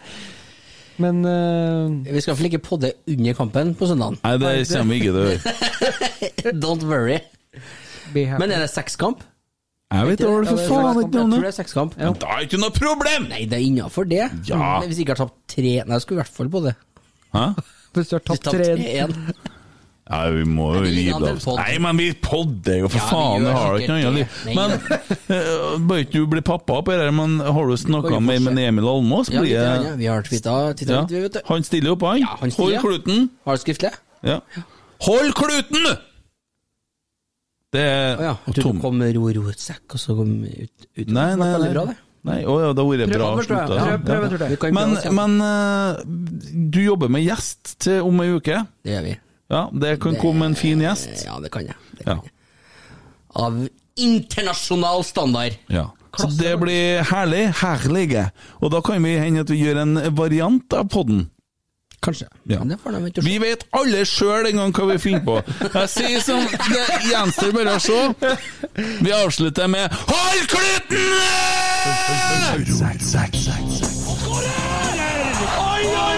[SPEAKER 5] men eh,
[SPEAKER 6] Vi skal i hvert fall ikke podde under kampen på søndagen.
[SPEAKER 4] Nei, det kommer vi ikke til å gjøre.
[SPEAKER 6] Don't worry.
[SPEAKER 5] be happy.
[SPEAKER 6] Men er det sekskamp?
[SPEAKER 4] Jeg vet det, for faen ikke
[SPEAKER 6] Jeg
[SPEAKER 4] noe om
[SPEAKER 6] tror
[SPEAKER 4] det.
[SPEAKER 6] det er sekskamp.
[SPEAKER 4] Men da er det ikke noe problem!
[SPEAKER 6] Nei, det er innafor det.
[SPEAKER 4] Ja.
[SPEAKER 6] Men Hvis jeg ikke har tapt tre Nei, jeg skulle i hvert fall på det.
[SPEAKER 4] Hæ?
[SPEAKER 5] Hvis du har tapt
[SPEAKER 6] Tapt
[SPEAKER 5] tre
[SPEAKER 6] én.
[SPEAKER 4] Ja, vi må jo
[SPEAKER 6] det ligger
[SPEAKER 4] rive
[SPEAKER 6] an
[SPEAKER 4] det
[SPEAKER 6] til
[SPEAKER 4] av.
[SPEAKER 6] podd.
[SPEAKER 4] Nei, men vi podder jo, for
[SPEAKER 6] Ja, vi
[SPEAKER 4] faen! Det
[SPEAKER 6] gjør
[SPEAKER 4] har jo ikke noe annet liv.
[SPEAKER 6] sikkert det. Nei,
[SPEAKER 4] Men eh, Bare ikke du blir pappa oppi her, men har du
[SPEAKER 6] Kan
[SPEAKER 4] snakka
[SPEAKER 6] jo
[SPEAKER 4] med,
[SPEAKER 6] fortsette.
[SPEAKER 4] med Emil Almås?
[SPEAKER 6] Ja,
[SPEAKER 4] Blir
[SPEAKER 6] litt, grann, ja.
[SPEAKER 4] jeg-
[SPEAKER 6] Vi har twitta titta
[SPEAKER 4] ja.
[SPEAKER 6] litt, vi, vet du.
[SPEAKER 4] Han stiller opp, han.
[SPEAKER 6] Ja, han
[SPEAKER 4] Hold
[SPEAKER 6] stiller.
[SPEAKER 4] kluten!
[SPEAKER 6] Har du skriftlig?
[SPEAKER 4] Ja. Hold kluten! Det
[SPEAKER 6] Å ja.
[SPEAKER 4] er
[SPEAKER 6] Jeg trodde det kom ro-ro-sekk, og så kom ut, ut.
[SPEAKER 4] Nei, nei,
[SPEAKER 6] Det var
[SPEAKER 4] nei.
[SPEAKER 6] veldig bra, det.
[SPEAKER 4] Nei, å ja, det har vært bra
[SPEAKER 6] Prøv,
[SPEAKER 4] slutta.
[SPEAKER 6] prøv,
[SPEAKER 4] Ja.
[SPEAKER 5] prøv, prøv.
[SPEAKER 6] Vi kan
[SPEAKER 4] Men,
[SPEAKER 6] prøve oss igjen.
[SPEAKER 4] men eh, du jobber med gjest til om ei uke.
[SPEAKER 6] Det gjør vi.
[SPEAKER 4] Ja, det kan komme en fin gjest.
[SPEAKER 6] Ja, det kan jeg. Det
[SPEAKER 4] Ja.
[SPEAKER 6] kan jeg. Av internasjonal standard.
[SPEAKER 4] Ja. Så det blir herlig. Herlige. Og da kan vi hende at vi gjør en variant av podden.
[SPEAKER 6] Kanskje.
[SPEAKER 4] Ja.
[SPEAKER 6] Men det får de ikke
[SPEAKER 4] Vi vet alle sjøl en gang hva vi finner på. Jeg sier som det gjenstår bare å se. Vi avslutter med Hold kluten!
[SPEAKER 3] Oi, oi,